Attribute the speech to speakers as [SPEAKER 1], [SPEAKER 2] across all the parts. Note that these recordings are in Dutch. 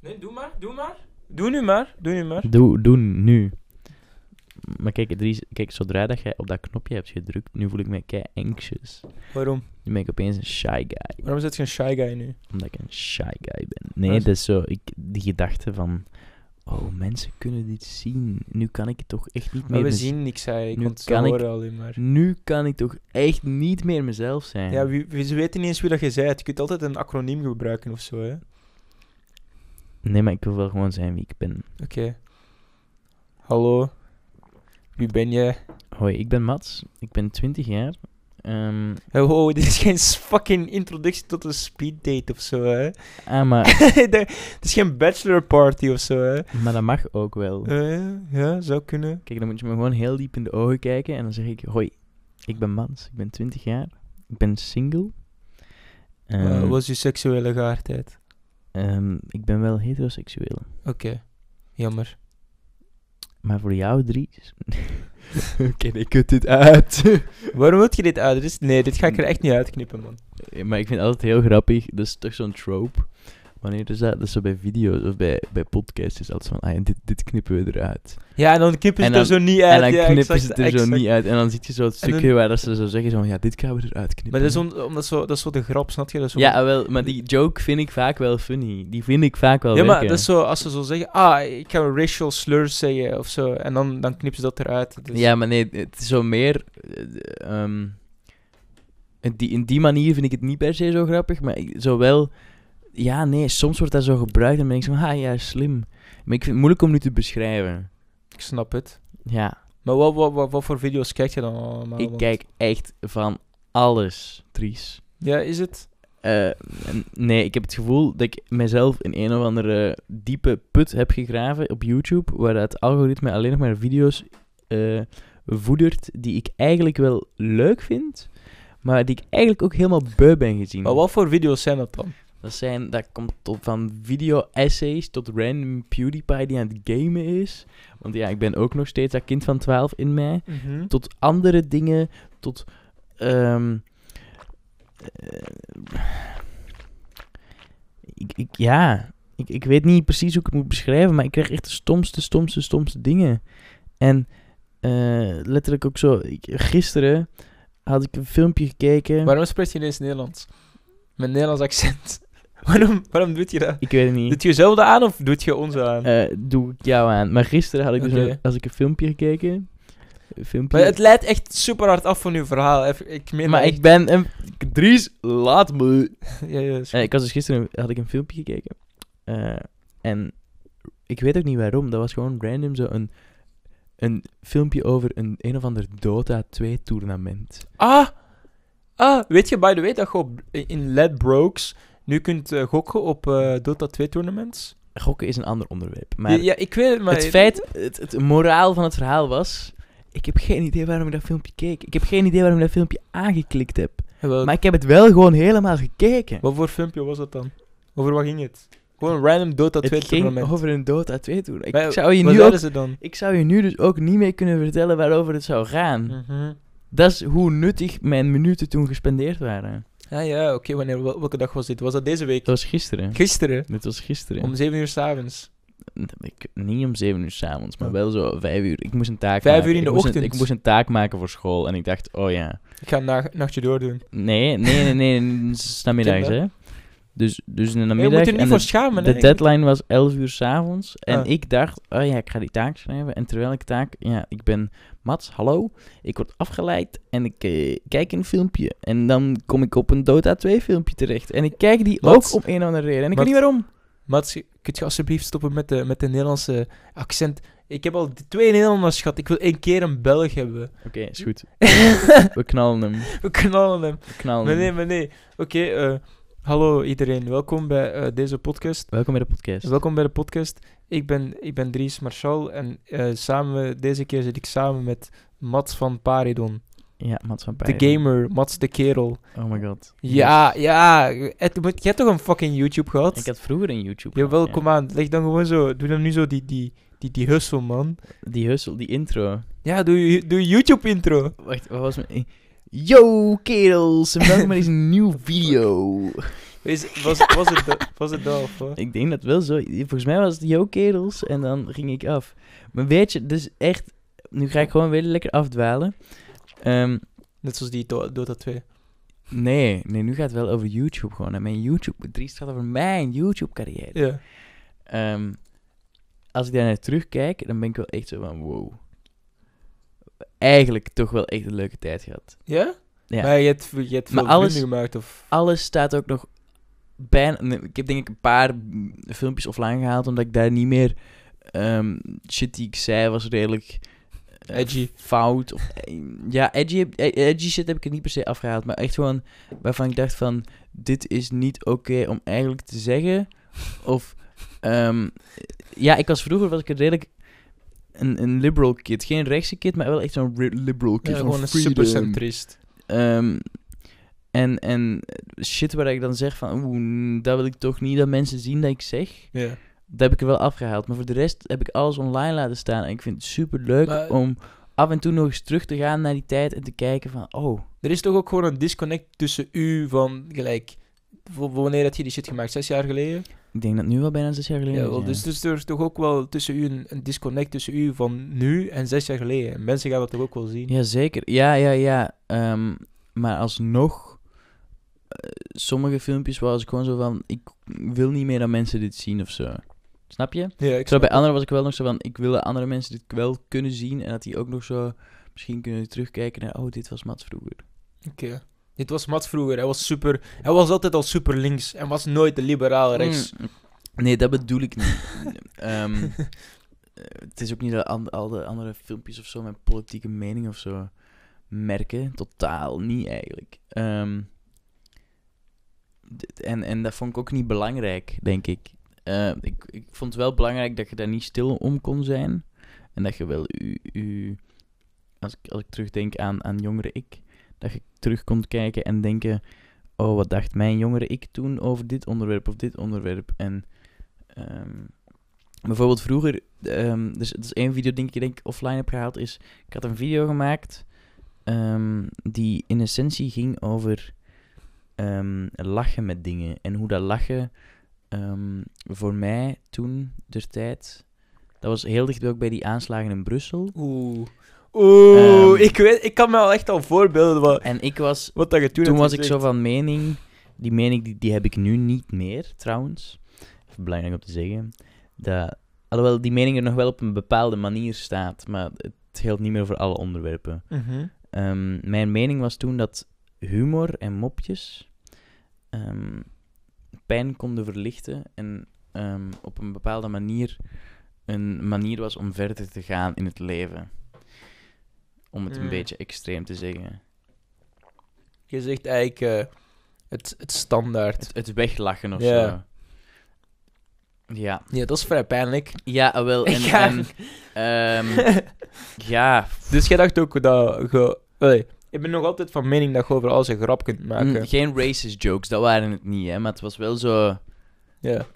[SPEAKER 1] nu, doe maar, doe maar. Doe nu maar, doe nu maar.
[SPEAKER 2] Doe, doe nu. Maar kijk, er is- kijk, zodra dat jij op dat knopje hebt gedrukt, nu voel ik me kei anxious.
[SPEAKER 1] Waarom?
[SPEAKER 2] Nu ben ik opeens een shy guy.
[SPEAKER 1] Waarom zit je een shy guy nu?
[SPEAKER 2] Omdat ik een shy guy ben. Nee,
[SPEAKER 1] Wat?
[SPEAKER 2] dat is zo. Ik, die gedachte van... Oh, mensen kunnen dit zien. Nu kan ik het toch echt niet
[SPEAKER 1] Maar
[SPEAKER 2] meer...
[SPEAKER 1] we
[SPEAKER 2] mez-
[SPEAKER 1] zien niks eigenlijk,
[SPEAKER 2] nu
[SPEAKER 1] want ze
[SPEAKER 2] kan ik-
[SPEAKER 1] horen alleen maar.
[SPEAKER 2] Nu kan ik toch echt niet meer mezelf zijn.
[SPEAKER 1] Ja, wie, wie- ze weten niet eens wie dat je bent. Je kunt altijd een acroniem gebruiken of zo, hè. Oké.
[SPEAKER 2] Nee, maar ik wil wel gewoon zijn wie ik ben.
[SPEAKER 1] Hallo. Wie ben jij?
[SPEAKER 2] Hoi, ik ben Mats. Ik ben 20 jaar. Ehm
[SPEAKER 1] Hey, wow, Oh, dit is geen fucking introductie tot een speeddate of zo, hè.
[SPEAKER 2] ah, maar,
[SPEAKER 1] Dat- Het is geen bachelor party of zo, hè.
[SPEAKER 2] maar dat mag ook wel.
[SPEAKER 1] Eh, ja, zou kunnen.
[SPEAKER 2] Kijk, dan moet je me gewoon heel diep in de ogen kijken en dan zeg ik: Hoi, ik ben Mats. Ik ben 20 jaar. Ik ben single. Ehm,
[SPEAKER 1] Eh, Wat is je seksuele geaardheid?
[SPEAKER 2] ehm, ik ben wel heteroseksueel.
[SPEAKER 1] Jammer.
[SPEAKER 2] Maar voor jou, Dries. Oké, ik kut dit uit.
[SPEAKER 1] Waarom wil je dit adres? Nee, dit ga ik er echt niet uitknippen, man.
[SPEAKER 2] Eh, maar ik vind het altijd heel grappig. Dat is toch zo'n trope. Wanneer is dat? Dat is zo bij video's of bij, bij podcasts. Is altijd van: ah, ja, dit, dit knippen we eruit.
[SPEAKER 1] Ja, en dan knippen ze
[SPEAKER 2] En
[SPEAKER 1] het er zo niet uit.
[SPEAKER 2] en dan
[SPEAKER 1] ja,
[SPEAKER 2] knippen
[SPEAKER 1] exact,
[SPEAKER 2] ze het er zo
[SPEAKER 1] exact.
[SPEAKER 2] niet uit. En dan zie je zo het
[SPEAKER 1] En dan-
[SPEAKER 2] stukje waar dat ze zo zeggen: zo, Ja, dit gaan we eruit knippen.
[SPEAKER 1] Maar dat is, on- omdat zo, dat is zo de grap, snap je? Dat is zo
[SPEAKER 2] Ja, wel, maar die joke vind ik vaak wel funny. Die vind ik vaak wel
[SPEAKER 1] Ja, maar
[SPEAKER 2] werken.
[SPEAKER 1] dat is zo, als ze zo zeggen, ah, ik ga racial slurs zeggen of zo, en dan, dan knippen ze dat eruit. Dus-
[SPEAKER 2] Ja, maar nee, het is zo meer... eh, ehm, in, die, in die manier vind ik het niet per se zo grappig, maar ik- zo wel... Ja, nee, soms wordt dat zo gebruikt en dan denk ik zo van, ah ja, slim. Maar ik vind het moeilijk om nu te beschrijven.
[SPEAKER 1] Ik snap het.
[SPEAKER 2] Ja,
[SPEAKER 1] Maar wat, wat, wat, wat voor video's kijk je dan allemaal?
[SPEAKER 2] ik
[SPEAKER 1] Want-
[SPEAKER 2] kijk echt van alles, Dries.
[SPEAKER 1] Ja, is het?
[SPEAKER 2] Eh, n- nee, ik heb het gevoel dat ik mezelf in een of andere diepe put heb gegraven op YouTube, waar het algoritme alleen nog maar video's eh, voedert die ik eigenlijk wel leuk vind, maar die ik eigenlijk ook helemaal beu ben gezien.
[SPEAKER 1] Maar wat voor video's zijn dat dan?
[SPEAKER 2] Dat, zijn, dat komt op van video-essays tot random PewDiePie die aan het gamen is. Want ja, ik ben ook nog steeds dat kind van 12 in mij tot andere dingen, tot. ehm, eh, ik, ik, ja, ik, ik weet niet precies hoe ik het moet beschrijven, maar ik krijg echt de stomste, stomste, stomste dingen. En eh, letterlijk ook zo. Ik, gisteren had ik een filmpje gekeken.
[SPEAKER 1] Waarom spreek je ineens Nederlands? Met Nederlands accent. waarom, waarom doe je dat?
[SPEAKER 2] ik weet het niet.
[SPEAKER 1] Doet je jezelf aan of doet je ons aan?
[SPEAKER 2] Eh, doe ik jou aan. Maar gisteren had ik dus
[SPEAKER 1] Oké.
[SPEAKER 2] een, als ik een filmpje gekeken. Een filmpje.
[SPEAKER 1] maar het leidt echt super hard af van uw verhaal. Even- Ik meen
[SPEAKER 2] maar
[SPEAKER 1] dat
[SPEAKER 2] ik ben een. Dries, laat me.
[SPEAKER 1] echt. Ja, ja, is
[SPEAKER 2] Eh, ik was dus gisteren had ik een filmpje gekeken. Eh, en ik weet ook niet waarom. Dat was gewoon random zo een, een filmpje over een een of ander Dota 2 toernament.
[SPEAKER 1] Ah, ah, weet je, by the way, dat je op, in Led Brokes nu kunt eh, gokken op eh, Dota 2 tournaments?
[SPEAKER 2] Gokken is een ander onderwerp. Maar
[SPEAKER 1] ja, ik weet het, maar...
[SPEAKER 2] het feit, het, het moraal van het verhaal was. Ik heb geen idee waarom ik dat filmpje keek. Ik heb geen idee waarom ik dat filmpje aangeklikt heb.
[SPEAKER 1] Jawel.
[SPEAKER 2] Maar ik heb het wel gewoon helemaal gekeken.
[SPEAKER 1] Wat voor filmpje was dat dan? Over wat ging het? Gewoon een random Dota 2
[SPEAKER 2] Het ging
[SPEAKER 1] tournament.
[SPEAKER 2] over een Dota 2 toernament.
[SPEAKER 1] Maar dus-
[SPEAKER 2] Ik zou je
[SPEAKER 1] Wat
[SPEAKER 2] nu ook,
[SPEAKER 1] zeiden ze dan?
[SPEAKER 2] ik zou je nu dus ook niet meer kunnen vertellen waarover het zou gaan.
[SPEAKER 1] Mhm.
[SPEAKER 2] Dat is hoe nuttig mijn minuten toen gespendeerd waren.
[SPEAKER 1] Ja, Ah, ja, oké, wanneer, wel- welke dag was dit? Was dat deze week?
[SPEAKER 2] Dat was gisteren.
[SPEAKER 1] Gisteren,
[SPEAKER 2] Dit was gisteren.
[SPEAKER 1] om 7 uur s'avonds.
[SPEAKER 2] Ik, niet om zeven uur s'avonds, maar
[SPEAKER 1] Oh.
[SPEAKER 2] wel zo vijf uur. Ik moest een taak
[SPEAKER 1] Vijf
[SPEAKER 2] maken.
[SPEAKER 1] uur in de
[SPEAKER 2] ik moest een-
[SPEAKER 1] ochtend.
[SPEAKER 2] ik moest een taak maken voor school en ik dacht, oh ja.
[SPEAKER 1] Ik ga een na- nachtje doordoen.
[SPEAKER 2] Nee, nee, nee, nee. nee, Het is namiddags,
[SPEAKER 1] Kinder.
[SPEAKER 2] hè. Dus, dus in de
[SPEAKER 1] Nee, je
[SPEAKER 2] namiddag...
[SPEAKER 1] moet er niet
[SPEAKER 2] en
[SPEAKER 1] voor
[SPEAKER 2] de,
[SPEAKER 1] schamen,
[SPEAKER 2] de
[SPEAKER 1] hè.
[SPEAKER 2] deadline was elf uur s'avonds. En
[SPEAKER 1] Ah.
[SPEAKER 2] ik dacht, oh ja, ik ga die taak schrijven. En terwijl ik taak... Ja, ik ben Mats, hallo. Ik word afgeleid en ik eh, kijk een filmpje. En dan kom ik op een Dota 2 filmpje terecht. En ik kijk die
[SPEAKER 1] Mats.
[SPEAKER 2] ook om een of andere reden. En ik
[SPEAKER 1] Mats.
[SPEAKER 2] weet niet waarom.
[SPEAKER 1] Mats, kunt je alsjeblieft stoppen met de, met de Nederlandse accent? Ik heb al d- twee Nederlanders gehad. Ik wil één keer een Belg hebben.
[SPEAKER 2] Oké, is goed. We knallen hem.
[SPEAKER 1] We knallen hem.
[SPEAKER 2] We knallen
[SPEAKER 1] Maar
[SPEAKER 2] hem.
[SPEAKER 1] nee, maar nee. Oké, eh, hallo iedereen. Welkom bij eh, deze podcast.
[SPEAKER 2] Welkom bij de podcast.
[SPEAKER 1] Welkom bij de podcast. Ik ben, ik ben Dries Marchal en eh, samen, deze keer zit ik samen met Mats van Paridon.
[SPEAKER 2] ja, Mats van
[SPEAKER 1] De
[SPEAKER 2] Pijen.
[SPEAKER 1] gamer, Mats de kerel.
[SPEAKER 2] Oh my god.
[SPEAKER 1] Ja, ja. Het, moet- je hebt toch een fucking YouTube gehad?
[SPEAKER 2] Ik had vroeger een YouTube.
[SPEAKER 1] Jawel,
[SPEAKER 2] gehad, ja.
[SPEAKER 1] kom aan. Leg dan gewoon zo. Doe dan nu zo die, die, die, die hustle, man.
[SPEAKER 2] Die hustle, die intro.
[SPEAKER 1] Ja, doe, je- doe je YouTube intro.
[SPEAKER 2] Wacht, wat was mijn... Yo, kerels. En welkom bij deze nieuwe video.
[SPEAKER 1] Is, was, was, het, da- was het dat of wat?
[SPEAKER 2] Ik denk dat wel zo. Volgens mij was het yo kerels en dan ging ik af. Maar weet je, dus echt, nu ga ik gewoon weer lekker afdwalen. Ehm,
[SPEAKER 1] Net zoals die Do- Dota 2.
[SPEAKER 2] nee, nee, nu gaat het wel over YouTube gewoon. En mijn YouTube, Dries gaat over mijn YouTube carrière.
[SPEAKER 1] Ja.
[SPEAKER 2] Ehm, als ik daar naar terugkijk, dan ben ik wel echt zo van wow. Eigenlijk toch wel echt een leuke tijd gehad.
[SPEAKER 1] Ja?
[SPEAKER 2] Ja.
[SPEAKER 1] Maar je hebt, je hebt veel
[SPEAKER 2] Maar alles- Ah,
[SPEAKER 1] vrienden gemaakt of...
[SPEAKER 2] Alles staat ook nog bijna... nee, ik heb denk ik een paar mm, filmpjes offline gehaald, omdat ik daar niet meer... ehm, shit die ik zei was redelijk... eh,
[SPEAKER 1] Edgy.
[SPEAKER 2] Fout. Of, eh, ja, edgy, heb- eh, edgy shit heb ik er niet per se afgehaald, maar echt gewoon waarvan ik dacht van... Dit is niet oké om eigenlijk te zeggen. Of... ehm, ja, ik was vroeger was ik een redelijk... Een, een liberal kid. Geen rechtse kid, maar wel echt zo'n re- liberal kid.
[SPEAKER 1] Ja,
[SPEAKER 2] van
[SPEAKER 1] gewoon een
[SPEAKER 2] freedom.
[SPEAKER 1] supercentrist.
[SPEAKER 2] Ehm, en, en shit waar ik dan zeg van, oeh, mm, dat wil ik toch niet dat mensen zien dat ik zeg.
[SPEAKER 1] Ja.
[SPEAKER 2] Dat heb ik er wel afgehaald. Maar voor de rest heb ik alles online laten staan. En ik vind het super leuk
[SPEAKER 1] Maar-
[SPEAKER 2] om af en toe nog eens terug te gaan naar die tijd en te kijken van, oh,
[SPEAKER 1] Er is toch ook gewoon een disconnect tussen u van gelijk... Voor, voor wanneer had je die shit gemaakt? Zes jaar geleden?
[SPEAKER 2] ik denk dat het nu wel bijna zes jaar
[SPEAKER 1] Ja,
[SPEAKER 2] geleden is,
[SPEAKER 1] wel, dus, dus er is toch ook wel tussen u een, een disconnect tussen u van nu en zes jaar geleden. En mensen gaan dat toch ook wel zien?
[SPEAKER 2] Ja, zeker. Ja, ja, ja. Ehm, maar alsnog, eh, sommige filmpjes was ik gewoon zo van, ik wil niet meer dat mensen dit zien of zo. Snap je?
[SPEAKER 1] Ja, ik
[SPEAKER 2] Zo,
[SPEAKER 1] snap
[SPEAKER 2] bij anderen was ik wel nog zo van, ik wil dat andere mensen dit wel kunnen zien en dat die ook nog zo misschien kunnen terugkijken naar, oh, dit was Mats vroeger.
[SPEAKER 1] Oké. Dit was Mats vroeger. Hij was super... Hij was altijd al super links. En was nooit de liberaal rechts.
[SPEAKER 2] Mm. Nee, dat bedoel ik niet. Ehm, eh, het is ook niet dat an- al de andere filmpjes of zo mijn politieke mening of zo merken. Totaal niet eigenlijk. Ehm, dit- en, en dat vond ik ook niet belangrijk, denk ik. Eh, ik. Ik vond het wel belangrijk dat je daar niet stil om kon zijn. En dat je wel u, u, als, ik, als ik terugdenk aan, aan jongere ik, dat je terug kon kijken en denken: oh, wat dacht mijn jongere ik toen over dit onderwerp of dit onderwerp? En ehm, bijvoorbeeld vroeger, ehm, dus dat is één video denk ik, die ik offline heb gehaald, is: ik had een video gemaakt ehm, die in essentie ging over ehm, lachen met dingen en hoe dat lachen ehm, voor mij toen, der tijd. Dat was heel dicht ook bij die aanslagen in Brussel.
[SPEAKER 1] Oeh. Oeh.
[SPEAKER 2] Ehm.
[SPEAKER 1] ik, weet, ik kan me al echt al voorbeelden wat,
[SPEAKER 2] En ik was,
[SPEAKER 1] wat dat je toen
[SPEAKER 2] toen
[SPEAKER 1] hebt
[SPEAKER 2] was ik zo
[SPEAKER 1] gezegd.
[SPEAKER 2] van mening, die mening die, die heb ik nu niet meer trouwens. Even belangrijk om te zeggen. Dat, alhoewel die mening er nog wel op een bepaalde manier staat, maar het geldt niet meer voor alle onderwerpen.
[SPEAKER 1] Mhm.
[SPEAKER 2] Ehm, mijn mening was toen dat humor en mopjes ehm, pijn konden verlichten en ehm, op een bepaalde manier een manier was om verder te gaan in het leven. Om het een
[SPEAKER 1] Mm.
[SPEAKER 2] beetje extreem te zeggen.
[SPEAKER 1] Je zegt eigenlijk eh, het, het standaard.
[SPEAKER 2] Het, het weglachen of
[SPEAKER 1] Ja.
[SPEAKER 2] zo. Ja,
[SPEAKER 1] Ja, dat is vrij pijnlijk.
[SPEAKER 2] ja, ah, wel. En,
[SPEAKER 1] Ja.
[SPEAKER 2] en, ehm, ja,
[SPEAKER 1] Dus jij dacht ook dat... Ge... Allee, ik ben nog altijd van mening dat je over alles een grap kunt maken.
[SPEAKER 2] mm, geen racist jokes, dat waren het niet, hè, maar het was wel zo.
[SPEAKER 1] Ja.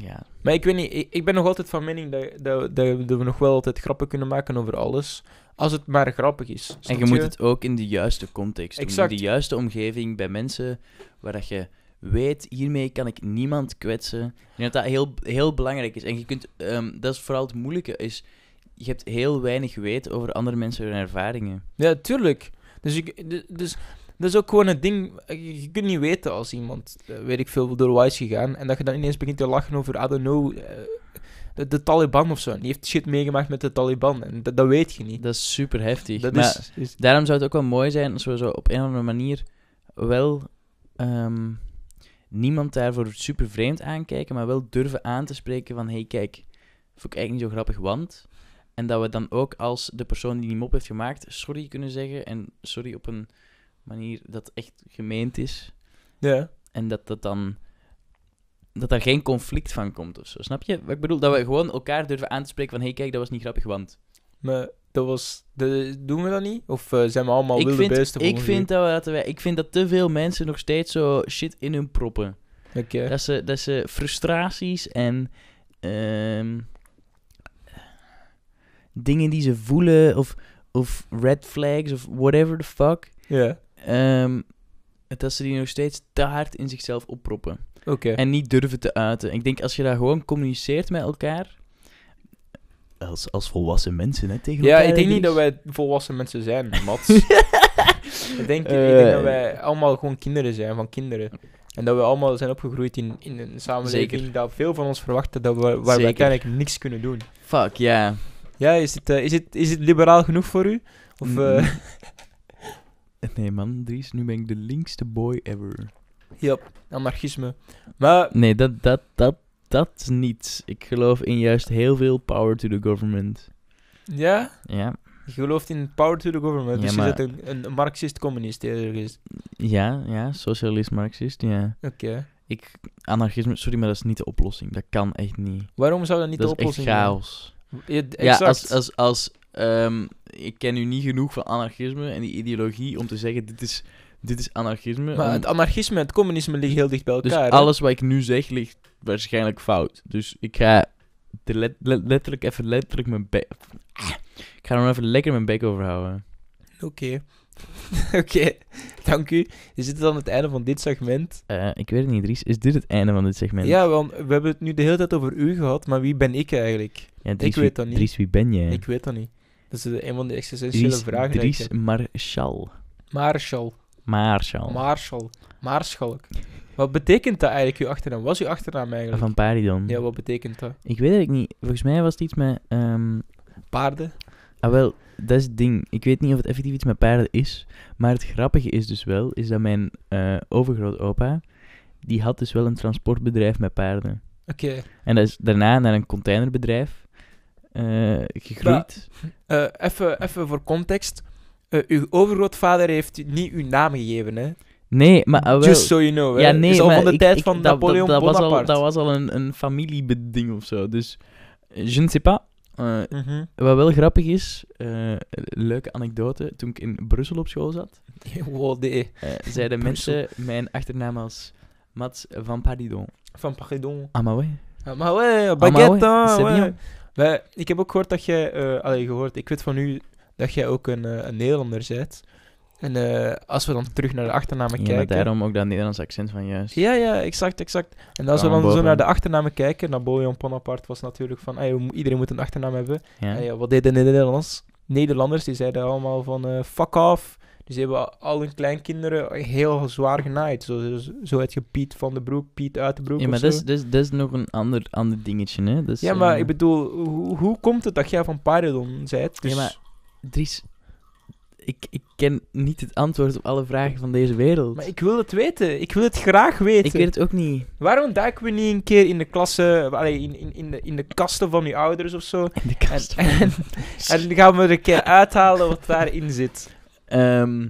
[SPEAKER 2] Ja,
[SPEAKER 1] Maar ik weet niet, ik, ik ben nog altijd van mening dat, dat, dat, dat we nog wel altijd grappen kunnen maken over alles. Als het maar grappig is.
[SPEAKER 2] en
[SPEAKER 1] snap
[SPEAKER 2] je moet het ook in de juiste context doen.
[SPEAKER 1] Exact.
[SPEAKER 2] In de juiste omgeving, bij mensen waar dat je weet, hiermee kan ik niemand kwetsen. Ik denk dat dat heel, heel belangrijk is. En je kunt, ehm, dat is vooral het moeilijke, is je hebt heel weinig weet over andere mensen hun ervaringen.
[SPEAKER 1] Ja, tuurlijk. Dus, ik, d- dus dat is ook gewoon het ding. Je je kunt niet weten als iemand, eh, weet ik veel, door Wise gegaan. En dat je dan ineens begint te lachen over, I don't know, eh, de, de Taliban of zo. Die heeft shit meegemaakt met de Taliban. En dat, dat weet je niet.
[SPEAKER 2] Dat is super heftig.
[SPEAKER 1] Dat
[SPEAKER 2] maar
[SPEAKER 1] is, is-
[SPEAKER 2] Daarom zou het ook wel mooi zijn als we zo op een of andere manier wel ehm, niemand daarvoor super vreemd aankijken, maar wel durven aan te spreken van hey kijk, vond ik eigenlijk niet zo grappig, want... En dat we dan ook als de persoon die die mop heeft gemaakt sorry kunnen zeggen en sorry op een manier dat echt gemeend is.
[SPEAKER 1] Ja.
[SPEAKER 2] En dat dat dan... Dat daar geen conflict van komt of zo. Snap je wat ik bedoel? Dat we gewoon elkaar durven aan te spreken van... hey, kijk, dat was niet grappig, want...
[SPEAKER 1] Maar dat was... dat- doen we dat niet? Of eh, zijn we allemaal
[SPEAKER 2] ik
[SPEAKER 1] wilde
[SPEAKER 2] vind,
[SPEAKER 1] beesten?
[SPEAKER 2] ik
[SPEAKER 1] volgens
[SPEAKER 2] vind dat we, dat we- ik vind dat te veel mensen nog steeds zo shit in hun proppen.
[SPEAKER 1] u? Oké.
[SPEAKER 2] Dat, ze, dat ze frustraties en ehm, dingen die ze voelen of, of red flags of whatever the fuck.
[SPEAKER 1] Ja.
[SPEAKER 2] ehm, dat ze die nog steeds te hard in zichzelf opproppen.
[SPEAKER 1] Oké.
[SPEAKER 2] En niet durven te uiten. Ik denk als je daar gewoon communiceert met elkaar. Als, als volwassen mensen, hè, tegen
[SPEAKER 1] Ja,
[SPEAKER 2] elkaar.
[SPEAKER 1] ik denk niet
[SPEAKER 2] dus.
[SPEAKER 1] dat wij volwassen mensen zijn, Mats. ik, denk, ik denk
[SPEAKER 2] Eh.
[SPEAKER 1] dat wij allemaal gewoon kinderen zijn, van kinderen. En dat we allemaal zijn opgegroeid in, in een samenleving
[SPEAKER 2] Zeker.
[SPEAKER 1] dat veel van ons verwachten dat we, waar we
[SPEAKER 2] Zeker.
[SPEAKER 1] uiteindelijk niks kunnen doen.
[SPEAKER 2] Fuck, ja.
[SPEAKER 1] Ja, is het, eh, is het, is het liberaal genoeg voor u? Of,
[SPEAKER 2] Mm,
[SPEAKER 1] eh,
[SPEAKER 2] mm. Nee, man, Dries, nu ben ik de linkste boy ever.
[SPEAKER 1] ja, anarchisme. Maar
[SPEAKER 2] Nee, dat, dat, dat, dat niet. Ik geloof in juist heel veel power to the government.
[SPEAKER 1] ja,
[SPEAKER 2] Ja,
[SPEAKER 1] je gelooft in power to the government.
[SPEAKER 2] Ja,
[SPEAKER 1] dus
[SPEAKER 2] maar-
[SPEAKER 1] je bent een, een marxist-communist ergens.
[SPEAKER 2] ja, ja, socialist, marxist, ja.
[SPEAKER 1] Oké.
[SPEAKER 2] Ik, anarchisme, sorry, maar dat is niet de oplossing. Dat kan echt niet.
[SPEAKER 1] Waarom zou dat niet
[SPEAKER 2] dat
[SPEAKER 1] de
[SPEAKER 2] is echt
[SPEAKER 1] oplossing zijn?
[SPEAKER 2] chaos.
[SPEAKER 1] Ja, d-
[SPEAKER 2] Ja,
[SPEAKER 1] exact.
[SPEAKER 2] als, als, als ehm, ik ken nu niet genoeg van anarchisme en die ideologie om te zeggen, dit is, dit is anarchisme.
[SPEAKER 1] Maar
[SPEAKER 2] Om-
[SPEAKER 1] het anarchisme en het communisme liggen heel dicht bij
[SPEAKER 2] dus
[SPEAKER 1] elkaar. hè?
[SPEAKER 2] alles wat ik nu zeg ligt waarschijnlijk fout. Dus ik ga de let- let- letterlijk even letterlijk mijn bek... Ik ga er nog even lekker mijn bek overhouden.
[SPEAKER 1] Oké. Oké, dank u. Is dit dan het einde van dit segment?
[SPEAKER 2] Eh, ik weet het niet, Dries. Is dit het einde van dit segment?
[SPEAKER 1] Ja, want we hebben het nu de hele tijd over u gehad, maar wie ben ik eigenlijk?
[SPEAKER 2] Ja, Dries,
[SPEAKER 1] ik
[SPEAKER 2] wie-
[SPEAKER 1] weet dat niet.
[SPEAKER 2] Dries, wie ben jij?
[SPEAKER 1] Ik weet dat niet. Dat is eh, een van de existentiële
[SPEAKER 2] Dries,
[SPEAKER 1] vragen. die ik
[SPEAKER 2] Dries
[SPEAKER 1] heb.
[SPEAKER 2] Marshall.
[SPEAKER 1] Marshall.
[SPEAKER 2] Marshall.
[SPEAKER 1] Marshall. Maarschalk. Wat betekent dat eigenlijk, uw achternaam? Wat is uw achternaam eigenlijk?
[SPEAKER 2] Van Paridon.
[SPEAKER 1] Ja, wat betekent dat?
[SPEAKER 2] Ik weet het niet. Volgens mij was het iets met... ehm,
[SPEAKER 1] Paarden?
[SPEAKER 2] Ah, wel, dat is het ding. Ik weet niet of het effectief iets met paarden is. Maar het grappige is dus wel, is dat mijn eh overgrootopa, die had dus wel een transportbedrijf met paarden.
[SPEAKER 1] Oké.
[SPEAKER 2] En dat is daarna naar een containerbedrijf eh, gegroeid.
[SPEAKER 1] Eh, even, even voor context. Eh, uw overgrootvader heeft u niet uw naam gegeven, hè?
[SPEAKER 2] Nee, maar ah, wel...
[SPEAKER 1] Just so you know, hè?
[SPEAKER 2] ja, nee,
[SPEAKER 1] is al
[SPEAKER 2] maar
[SPEAKER 1] van de
[SPEAKER 2] ik-
[SPEAKER 1] tijd
[SPEAKER 2] ik-
[SPEAKER 1] van
[SPEAKER 2] dat- dat-
[SPEAKER 1] Napoleon
[SPEAKER 2] dat, Was al,
[SPEAKER 1] Bonaparte.
[SPEAKER 2] dat was al een, een familiebeding of zo. Dus, eh, je ne sais pas. Eh,
[SPEAKER 1] Mhm.
[SPEAKER 2] wat wel grappig is, eh, leuke anekdote, toen ik in Brussel op school zat,
[SPEAKER 1] Wow, de
[SPEAKER 2] Eh, zeiden
[SPEAKER 1] Brussel.
[SPEAKER 2] mensen mijn achternaam als Mats van Paridon.
[SPEAKER 1] Van Paridon.
[SPEAKER 2] Ah, maar ouais.
[SPEAKER 1] Ah, maar ouais,
[SPEAKER 2] Ah, maar ouais,
[SPEAKER 1] baguette, ah,
[SPEAKER 2] c'est
[SPEAKER 1] ouais.
[SPEAKER 2] bien.
[SPEAKER 1] Wij- Ik heb ook gehoord dat jij... eh allee, gehoord. Ik weet van u dat jij ook een, eh, een Nederlander bent. En eh, als we dan terug naar de achternamen
[SPEAKER 2] Ja, maar
[SPEAKER 1] kijken...
[SPEAKER 2] daarom ook dat Nederlands accent van juist.
[SPEAKER 1] Ja, ja, exact, exact. En als we
[SPEAKER 2] Kwam
[SPEAKER 1] dan zo
[SPEAKER 2] boven.
[SPEAKER 1] naar de achternamen kijken... Napoleon Bonaparte was natuurlijk van... "Ey, we mo- iedereen moet een achternaam hebben.
[SPEAKER 2] Ja.
[SPEAKER 1] En Ah, ja, wat deden de Nederlanders? Nederlanders, die zeiden allemaal van... eh, fuck off. Dus die hebben al hun kleinkinderen heel zwaar genaaid. Zo, zo, zo het je Piet van de Broek, Piet uit de Broek
[SPEAKER 2] Ja,
[SPEAKER 1] of
[SPEAKER 2] maar
[SPEAKER 1] zo.
[SPEAKER 2] dat is, dat, is, dat is nog een ander, ander dingetje, hè. Dat is,
[SPEAKER 1] Ja, maar
[SPEAKER 2] eh,
[SPEAKER 1] ik bedoel, hoe, hoe komt het dat jij van Paridon bent? Dus...
[SPEAKER 2] Ja, maar- Dries, ik, ik ken niet het antwoord op alle vragen van deze wereld.
[SPEAKER 1] Dus- Maar ik wil het weten. Ik wil het graag weten.
[SPEAKER 2] Ik weet het ook niet.
[SPEAKER 1] Waarom duiken we niet een keer in de klasse, allee, in, in, in, de, in de kasten van je ouders of zo?
[SPEAKER 2] In de
[SPEAKER 1] En,
[SPEAKER 2] kast.
[SPEAKER 1] en, en dan gaan we er een keer uithalen wat daarin zit.
[SPEAKER 2] Ehm,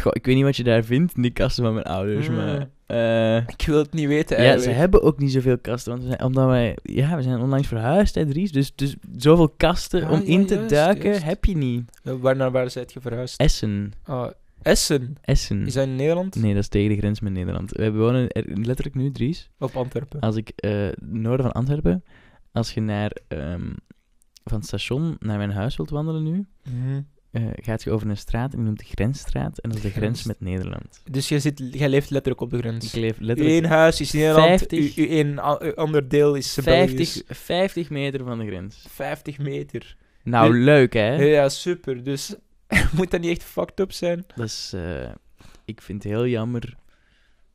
[SPEAKER 2] goh, ik weet niet wat je daar vindt in die kasten van mijn ouders,
[SPEAKER 1] Mm.
[SPEAKER 2] maar... eh,
[SPEAKER 1] Ik wil het niet weten
[SPEAKER 2] ja,
[SPEAKER 1] eigenlijk.
[SPEAKER 2] ze hebben ook niet zoveel kasten, want we zijn, omdat wij... Ja, we zijn onlangs verhuisd, hè, Dries. Dus, dus zoveel kasten
[SPEAKER 1] Ah,
[SPEAKER 2] om
[SPEAKER 1] ja,
[SPEAKER 2] in te
[SPEAKER 1] juist,
[SPEAKER 2] duiken
[SPEAKER 1] juist.
[SPEAKER 2] heb je niet.
[SPEAKER 1] Eh, Waar naar waar zijt je verhuisd?
[SPEAKER 2] Essen.
[SPEAKER 1] Ah, Essen.
[SPEAKER 2] Essen.
[SPEAKER 1] Is dat in Nederland?
[SPEAKER 2] Nee, dat is tegen de grens met Nederland. We wonen er letterlijk nu, Dries.
[SPEAKER 1] Op Antwerpen.
[SPEAKER 2] Als ik eh noorden van Antwerpen, als je naar, ehm, van het station naar mijn huis wilt wandelen nu,
[SPEAKER 1] Mhm.
[SPEAKER 2] eh, gaat je over een straat en die noemt de grensstraat. En dat is de grens
[SPEAKER 1] Grens.
[SPEAKER 2] met Nederland.
[SPEAKER 1] Dus jij, zit, jij leeft letterlijk op de grens.
[SPEAKER 2] Ik leef
[SPEAKER 1] Uw
[SPEAKER 2] letterlijk
[SPEAKER 1] één huis is in Nederland,
[SPEAKER 2] 50.
[SPEAKER 1] uw, uw één a- uw ander deel is eh, Belgisch.
[SPEAKER 2] 50, 50 meter van de grens.
[SPEAKER 1] 50 meter.
[SPEAKER 2] Nou,
[SPEAKER 1] Nee.
[SPEAKER 2] leuk hè?
[SPEAKER 1] Ja, ja, super. Dus moet dat niet echt fucked up zijn?
[SPEAKER 2] Dat is, eh, ik vind het heel jammer.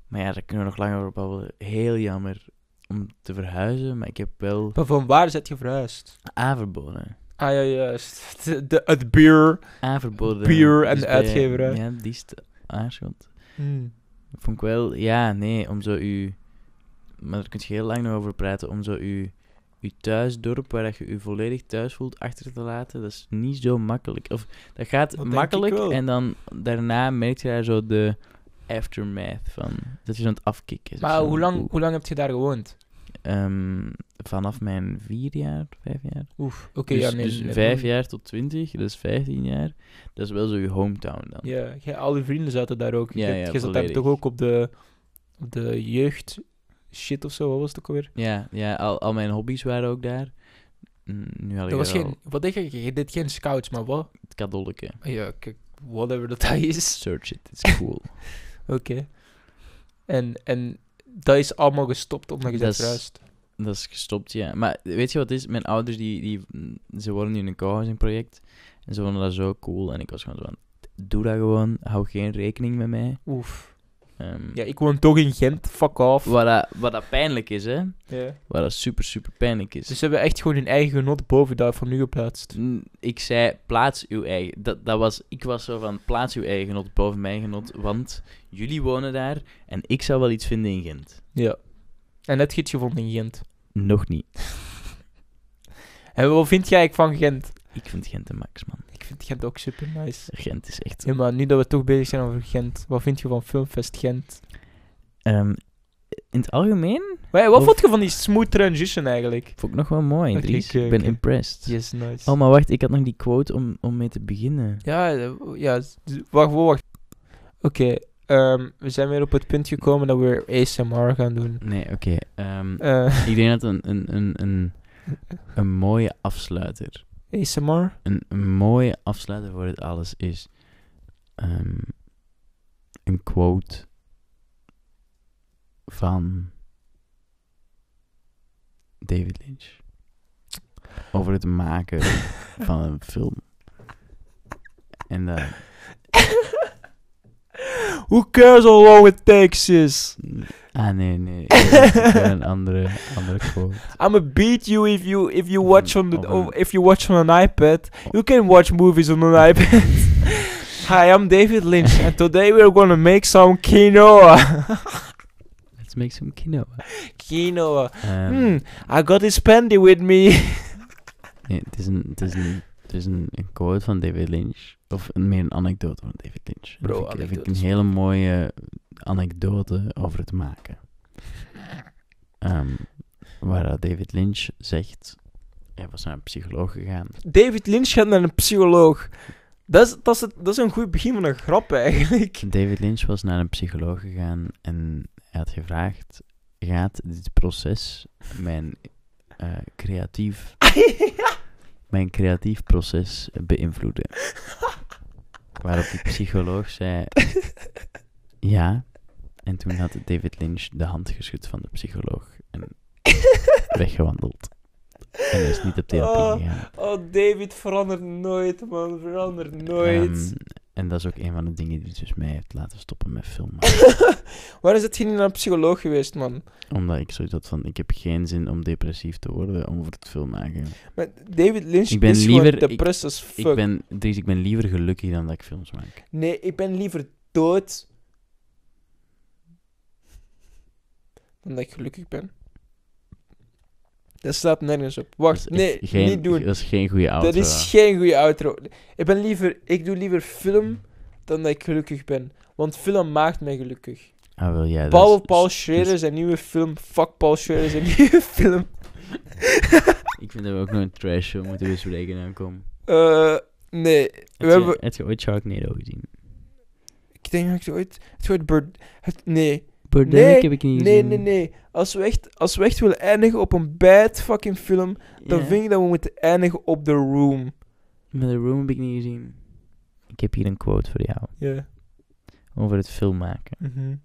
[SPEAKER 2] Maar ja, daar kunnen we nog langer over babbelen. Heel jammer om te verhuizen, maar ik heb wel
[SPEAKER 1] Maar van waar zit je verhuisd?
[SPEAKER 2] Averboden.
[SPEAKER 1] Ah ja, juist. De, de- het bier.
[SPEAKER 2] aanverboden.
[SPEAKER 1] Puur en
[SPEAKER 2] Dus bij-
[SPEAKER 1] uitgeverij.
[SPEAKER 2] Ja, die is te- aarschot.
[SPEAKER 1] Hmm.
[SPEAKER 2] Vond ik wel, ja, nee, om zo u. Maar daar kun je heel lang nog over praten. Om zo u, uw thuisdorp, waar dat je u volledig thuis voelt, achter te laten. Dat is niet zo makkelijk. Of dat gaat
[SPEAKER 1] Dat denk ik
[SPEAKER 2] makkelijk
[SPEAKER 1] wel.
[SPEAKER 2] en dan daarna merk je daar zo de aftermath van. Dat je zo aan het afkicken is.
[SPEAKER 1] Maar
[SPEAKER 2] Zo,
[SPEAKER 1] hoe lang,
[SPEAKER 2] oeh.
[SPEAKER 1] hoe lang heb je daar gewoond?
[SPEAKER 2] Ehm, vanaf mijn vier jaar, vijf jaar.
[SPEAKER 1] Oef. Oké,
[SPEAKER 2] dus,
[SPEAKER 1] ja, nee.
[SPEAKER 2] dus
[SPEAKER 1] nee,
[SPEAKER 2] vijf
[SPEAKER 1] nee.
[SPEAKER 2] jaar tot twintig, dat is vijftien jaar. Dat is wel zo je hometown dan.
[SPEAKER 1] Ja, jij- al je vrienden zaten daar ook.
[SPEAKER 2] Ja,
[SPEAKER 1] je
[SPEAKER 2] ja,
[SPEAKER 1] je zat daar
[SPEAKER 2] volledig.
[SPEAKER 1] toch ook op de, op de jeugd shit of zo, wat was het ook alweer?
[SPEAKER 2] Ja, ja al, al mijn hobby's waren ook daar. Mm, Nu had
[SPEAKER 1] Dat
[SPEAKER 2] ik
[SPEAKER 1] was
[SPEAKER 2] er al
[SPEAKER 1] geen, wat denk je, je deed geen scouts, maar wat?
[SPEAKER 2] het kadolletje.
[SPEAKER 1] Ja, kijk, whatever dat hij is.
[SPEAKER 2] Search it, it's cool.
[SPEAKER 1] En, en dat is allemaal gestopt omdat je
[SPEAKER 2] Dat
[SPEAKER 1] bent
[SPEAKER 2] is-
[SPEAKER 1] verhuisd.
[SPEAKER 2] Dat is gestopt, ja. Maar weet je wat het is? Mijn ouders, die, die, ze wonen nu in een co-housing-project. En ze vonden dat zo cool. En ik was gewoon zo van, doe dat gewoon. Hou geen rekening met mij.
[SPEAKER 1] Oef.
[SPEAKER 2] Ehm,
[SPEAKER 1] Ja, ik woon toch in Gent. Fuck off.
[SPEAKER 2] wat, dat, wat dat pijnlijk is, hè.
[SPEAKER 1] Ja.
[SPEAKER 2] Wat dat super, super pijnlijk is.
[SPEAKER 1] Dus ze hebben echt gewoon hun eigen genot boven dat van nu geplaatst.
[SPEAKER 2] Mm, Ik zei, plaats uw eigen... Dat, dat was, ik was zo van, plaats uw eigen genot boven mijn genot. Want jullie wonen daar en ik zou wel iets vinden in Gent.
[SPEAKER 1] Ja. En net gids gevonden in Gent.
[SPEAKER 2] Nog niet.
[SPEAKER 1] En wat vind jij eigenlijk van Gent?
[SPEAKER 2] Ik vind Gent de max, man.
[SPEAKER 1] Ik vind Gent ook super nice.
[SPEAKER 2] Gent is echt...
[SPEAKER 1] Ja, maar nu dat we toch bezig zijn over Gent, wat vind je van Filmfest Gent?
[SPEAKER 2] Ehm, in het algemeen
[SPEAKER 1] Wij, wat
[SPEAKER 2] Of-
[SPEAKER 1] vond je van die smooth transition eigenlijk?
[SPEAKER 2] vond ik nog wel mooi,
[SPEAKER 1] Oké,
[SPEAKER 2] Dries.
[SPEAKER 1] oké,
[SPEAKER 2] ik ben
[SPEAKER 1] oké.
[SPEAKER 2] impressed.
[SPEAKER 1] Yes, nice.
[SPEAKER 2] Oh, maar wacht, ik had nog die quote om, om mee te beginnen.
[SPEAKER 1] Ja, eh, ja, z- wacht, wacht. Oké, ehm, we zijn weer op het punt gekomen dat we ASMR gaan doen.
[SPEAKER 2] Nee, oké. ehm,
[SPEAKER 1] Eh,
[SPEAKER 2] ik denk dat een, een, een, een, een mooie afsluiter...
[SPEAKER 1] ASMR?
[SPEAKER 2] Een, een mooie afsluiter voor dit alles is... ehm, een quote van David Lynch. Over het maken van een film. En dat...
[SPEAKER 1] Who cares how long it takes is?
[SPEAKER 2] Ah, nee, nee. Ik heb een andere, andere quote.
[SPEAKER 1] I'ma beat you if you if you watch on the
[SPEAKER 2] Of een-
[SPEAKER 1] oh, if you watch on an iPad. You can watch movies on an iPad. Hi, I'm David Lynch, and today we're gonna make some quinoa.
[SPEAKER 2] Let's make some quinoa.
[SPEAKER 1] quinoa.
[SPEAKER 2] Ehm,
[SPEAKER 1] Hmm, I got this pandy with me.
[SPEAKER 2] nee, het is, een, het is, een, het is een, een quote van David Lynch. Of een, meer een anekdote van David Lynch. En
[SPEAKER 1] Bro,
[SPEAKER 2] dat vind ik, dat vind ik
[SPEAKER 1] anekdotes.
[SPEAKER 2] een hele mooie anekdote over het maken. Ehm, waar dat David Lynch zegt... Hij was naar een psycholoog gegaan.
[SPEAKER 1] David Lynch gaat naar een psycholoog. Dat is, dat, is het, dat is een goed begin van een grap eigenlijk.
[SPEAKER 2] David Lynch was naar een psycholoog gegaan en hij had gevraagd: gaat dit proces mijn eh, creatief, mijn creatief proces beïnvloeden? Waarop die psycholoog zei: ja. En toen had David Lynch de hand geschud van de psycholoog en weggewandeld. En hij is niet op therapie
[SPEAKER 1] Oh,
[SPEAKER 2] gegaan.
[SPEAKER 1] Oh, David verandert nooit, man. Verandert nooit.
[SPEAKER 2] Ehm, en dat is ook een van de dingen die dus mij heeft laten stoppen met filmen.
[SPEAKER 1] Waarom is het geen naar een psycholoog geweest, man?
[SPEAKER 2] Omdat ik zoiets had van, ik heb geen zin om depressief te worden om voor het film aan te gaan.
[SPEAKER 1] Maar David Lynch
[SPEAKER 2] Ik ben
[SPEAKER 1] is
[SPEAKER 2] liever-
[SPEAKER 1] gewoon
[SPEAKER 2] ik-
[SPEAKER 1] depressed as fuck.
[SPEAKER 2] Ik ben, Dries, ik ben liever gelukkig dan dat ik films maak.
[SPEAKER 1] Nee, ik ben liever dood. Dan dat ik gelukkig ben. Dat staat nergens op.
[SPEAKER 2] Dat is
[SPEAKER 1] Wacht,
[SPEAKER 2] echt
[SPEAKER 1] nee,
[SPEAKER 2] geen,
[SPEAKER 1] niet doen.
[SPEAKER 2] Dat is geen goede auto.
[SPEAKER 1] Dat is geen goede outro. Ik, ben liever, ik doe liever film dan dat ik gelukkig ben. Want film maakt mij gelukkig.
[SPEAKER 2] Ah, wel, ja, dat
[SPEAKER 1] Paul,
[SPEAKER 2] is-
[SPEAKER 1] Paul Schrader zijn nieuwe film. Fuck Paul Schrader zijn nieuwe film.
[SPEAKER 2] Ik vind dat we ook nog een trash show moeten bespreken aankomen.
[SPEAKER 1] Eh, nee, we
[SPEAKER 2] Heb,
[SPEAKER 1] hebben...
[SPEAKER 2] je- heb je ooit Sharknado gezien?
[SPEAKER 1] Ik denk dat ik ooit... Het ooit bird... Het, nee,
[SPEAKER 2] Birdemic
[SPEAKER 1] Nee,
[SPEAKER 2] heb ik niet
[SPEAKER 1] nee,
[SPEAKER 2] gezien.
[SPEAKER 1] nee, nee. Als we, echt, als we echt willen eindigen op een bad fucking film, dan
[SPEAKER 2] Ja,
[SPEAKER 1] vind ik dat we moeten eindigen op The Room.
[SPEAKER 2] Maar The Room heb ik niet gezien. Ik heb hier een quote voor jou.
[SPEAKER 1] Ja.
[SPEAKER 2] Over het film maken.
[SPEAKER 1] Mhm.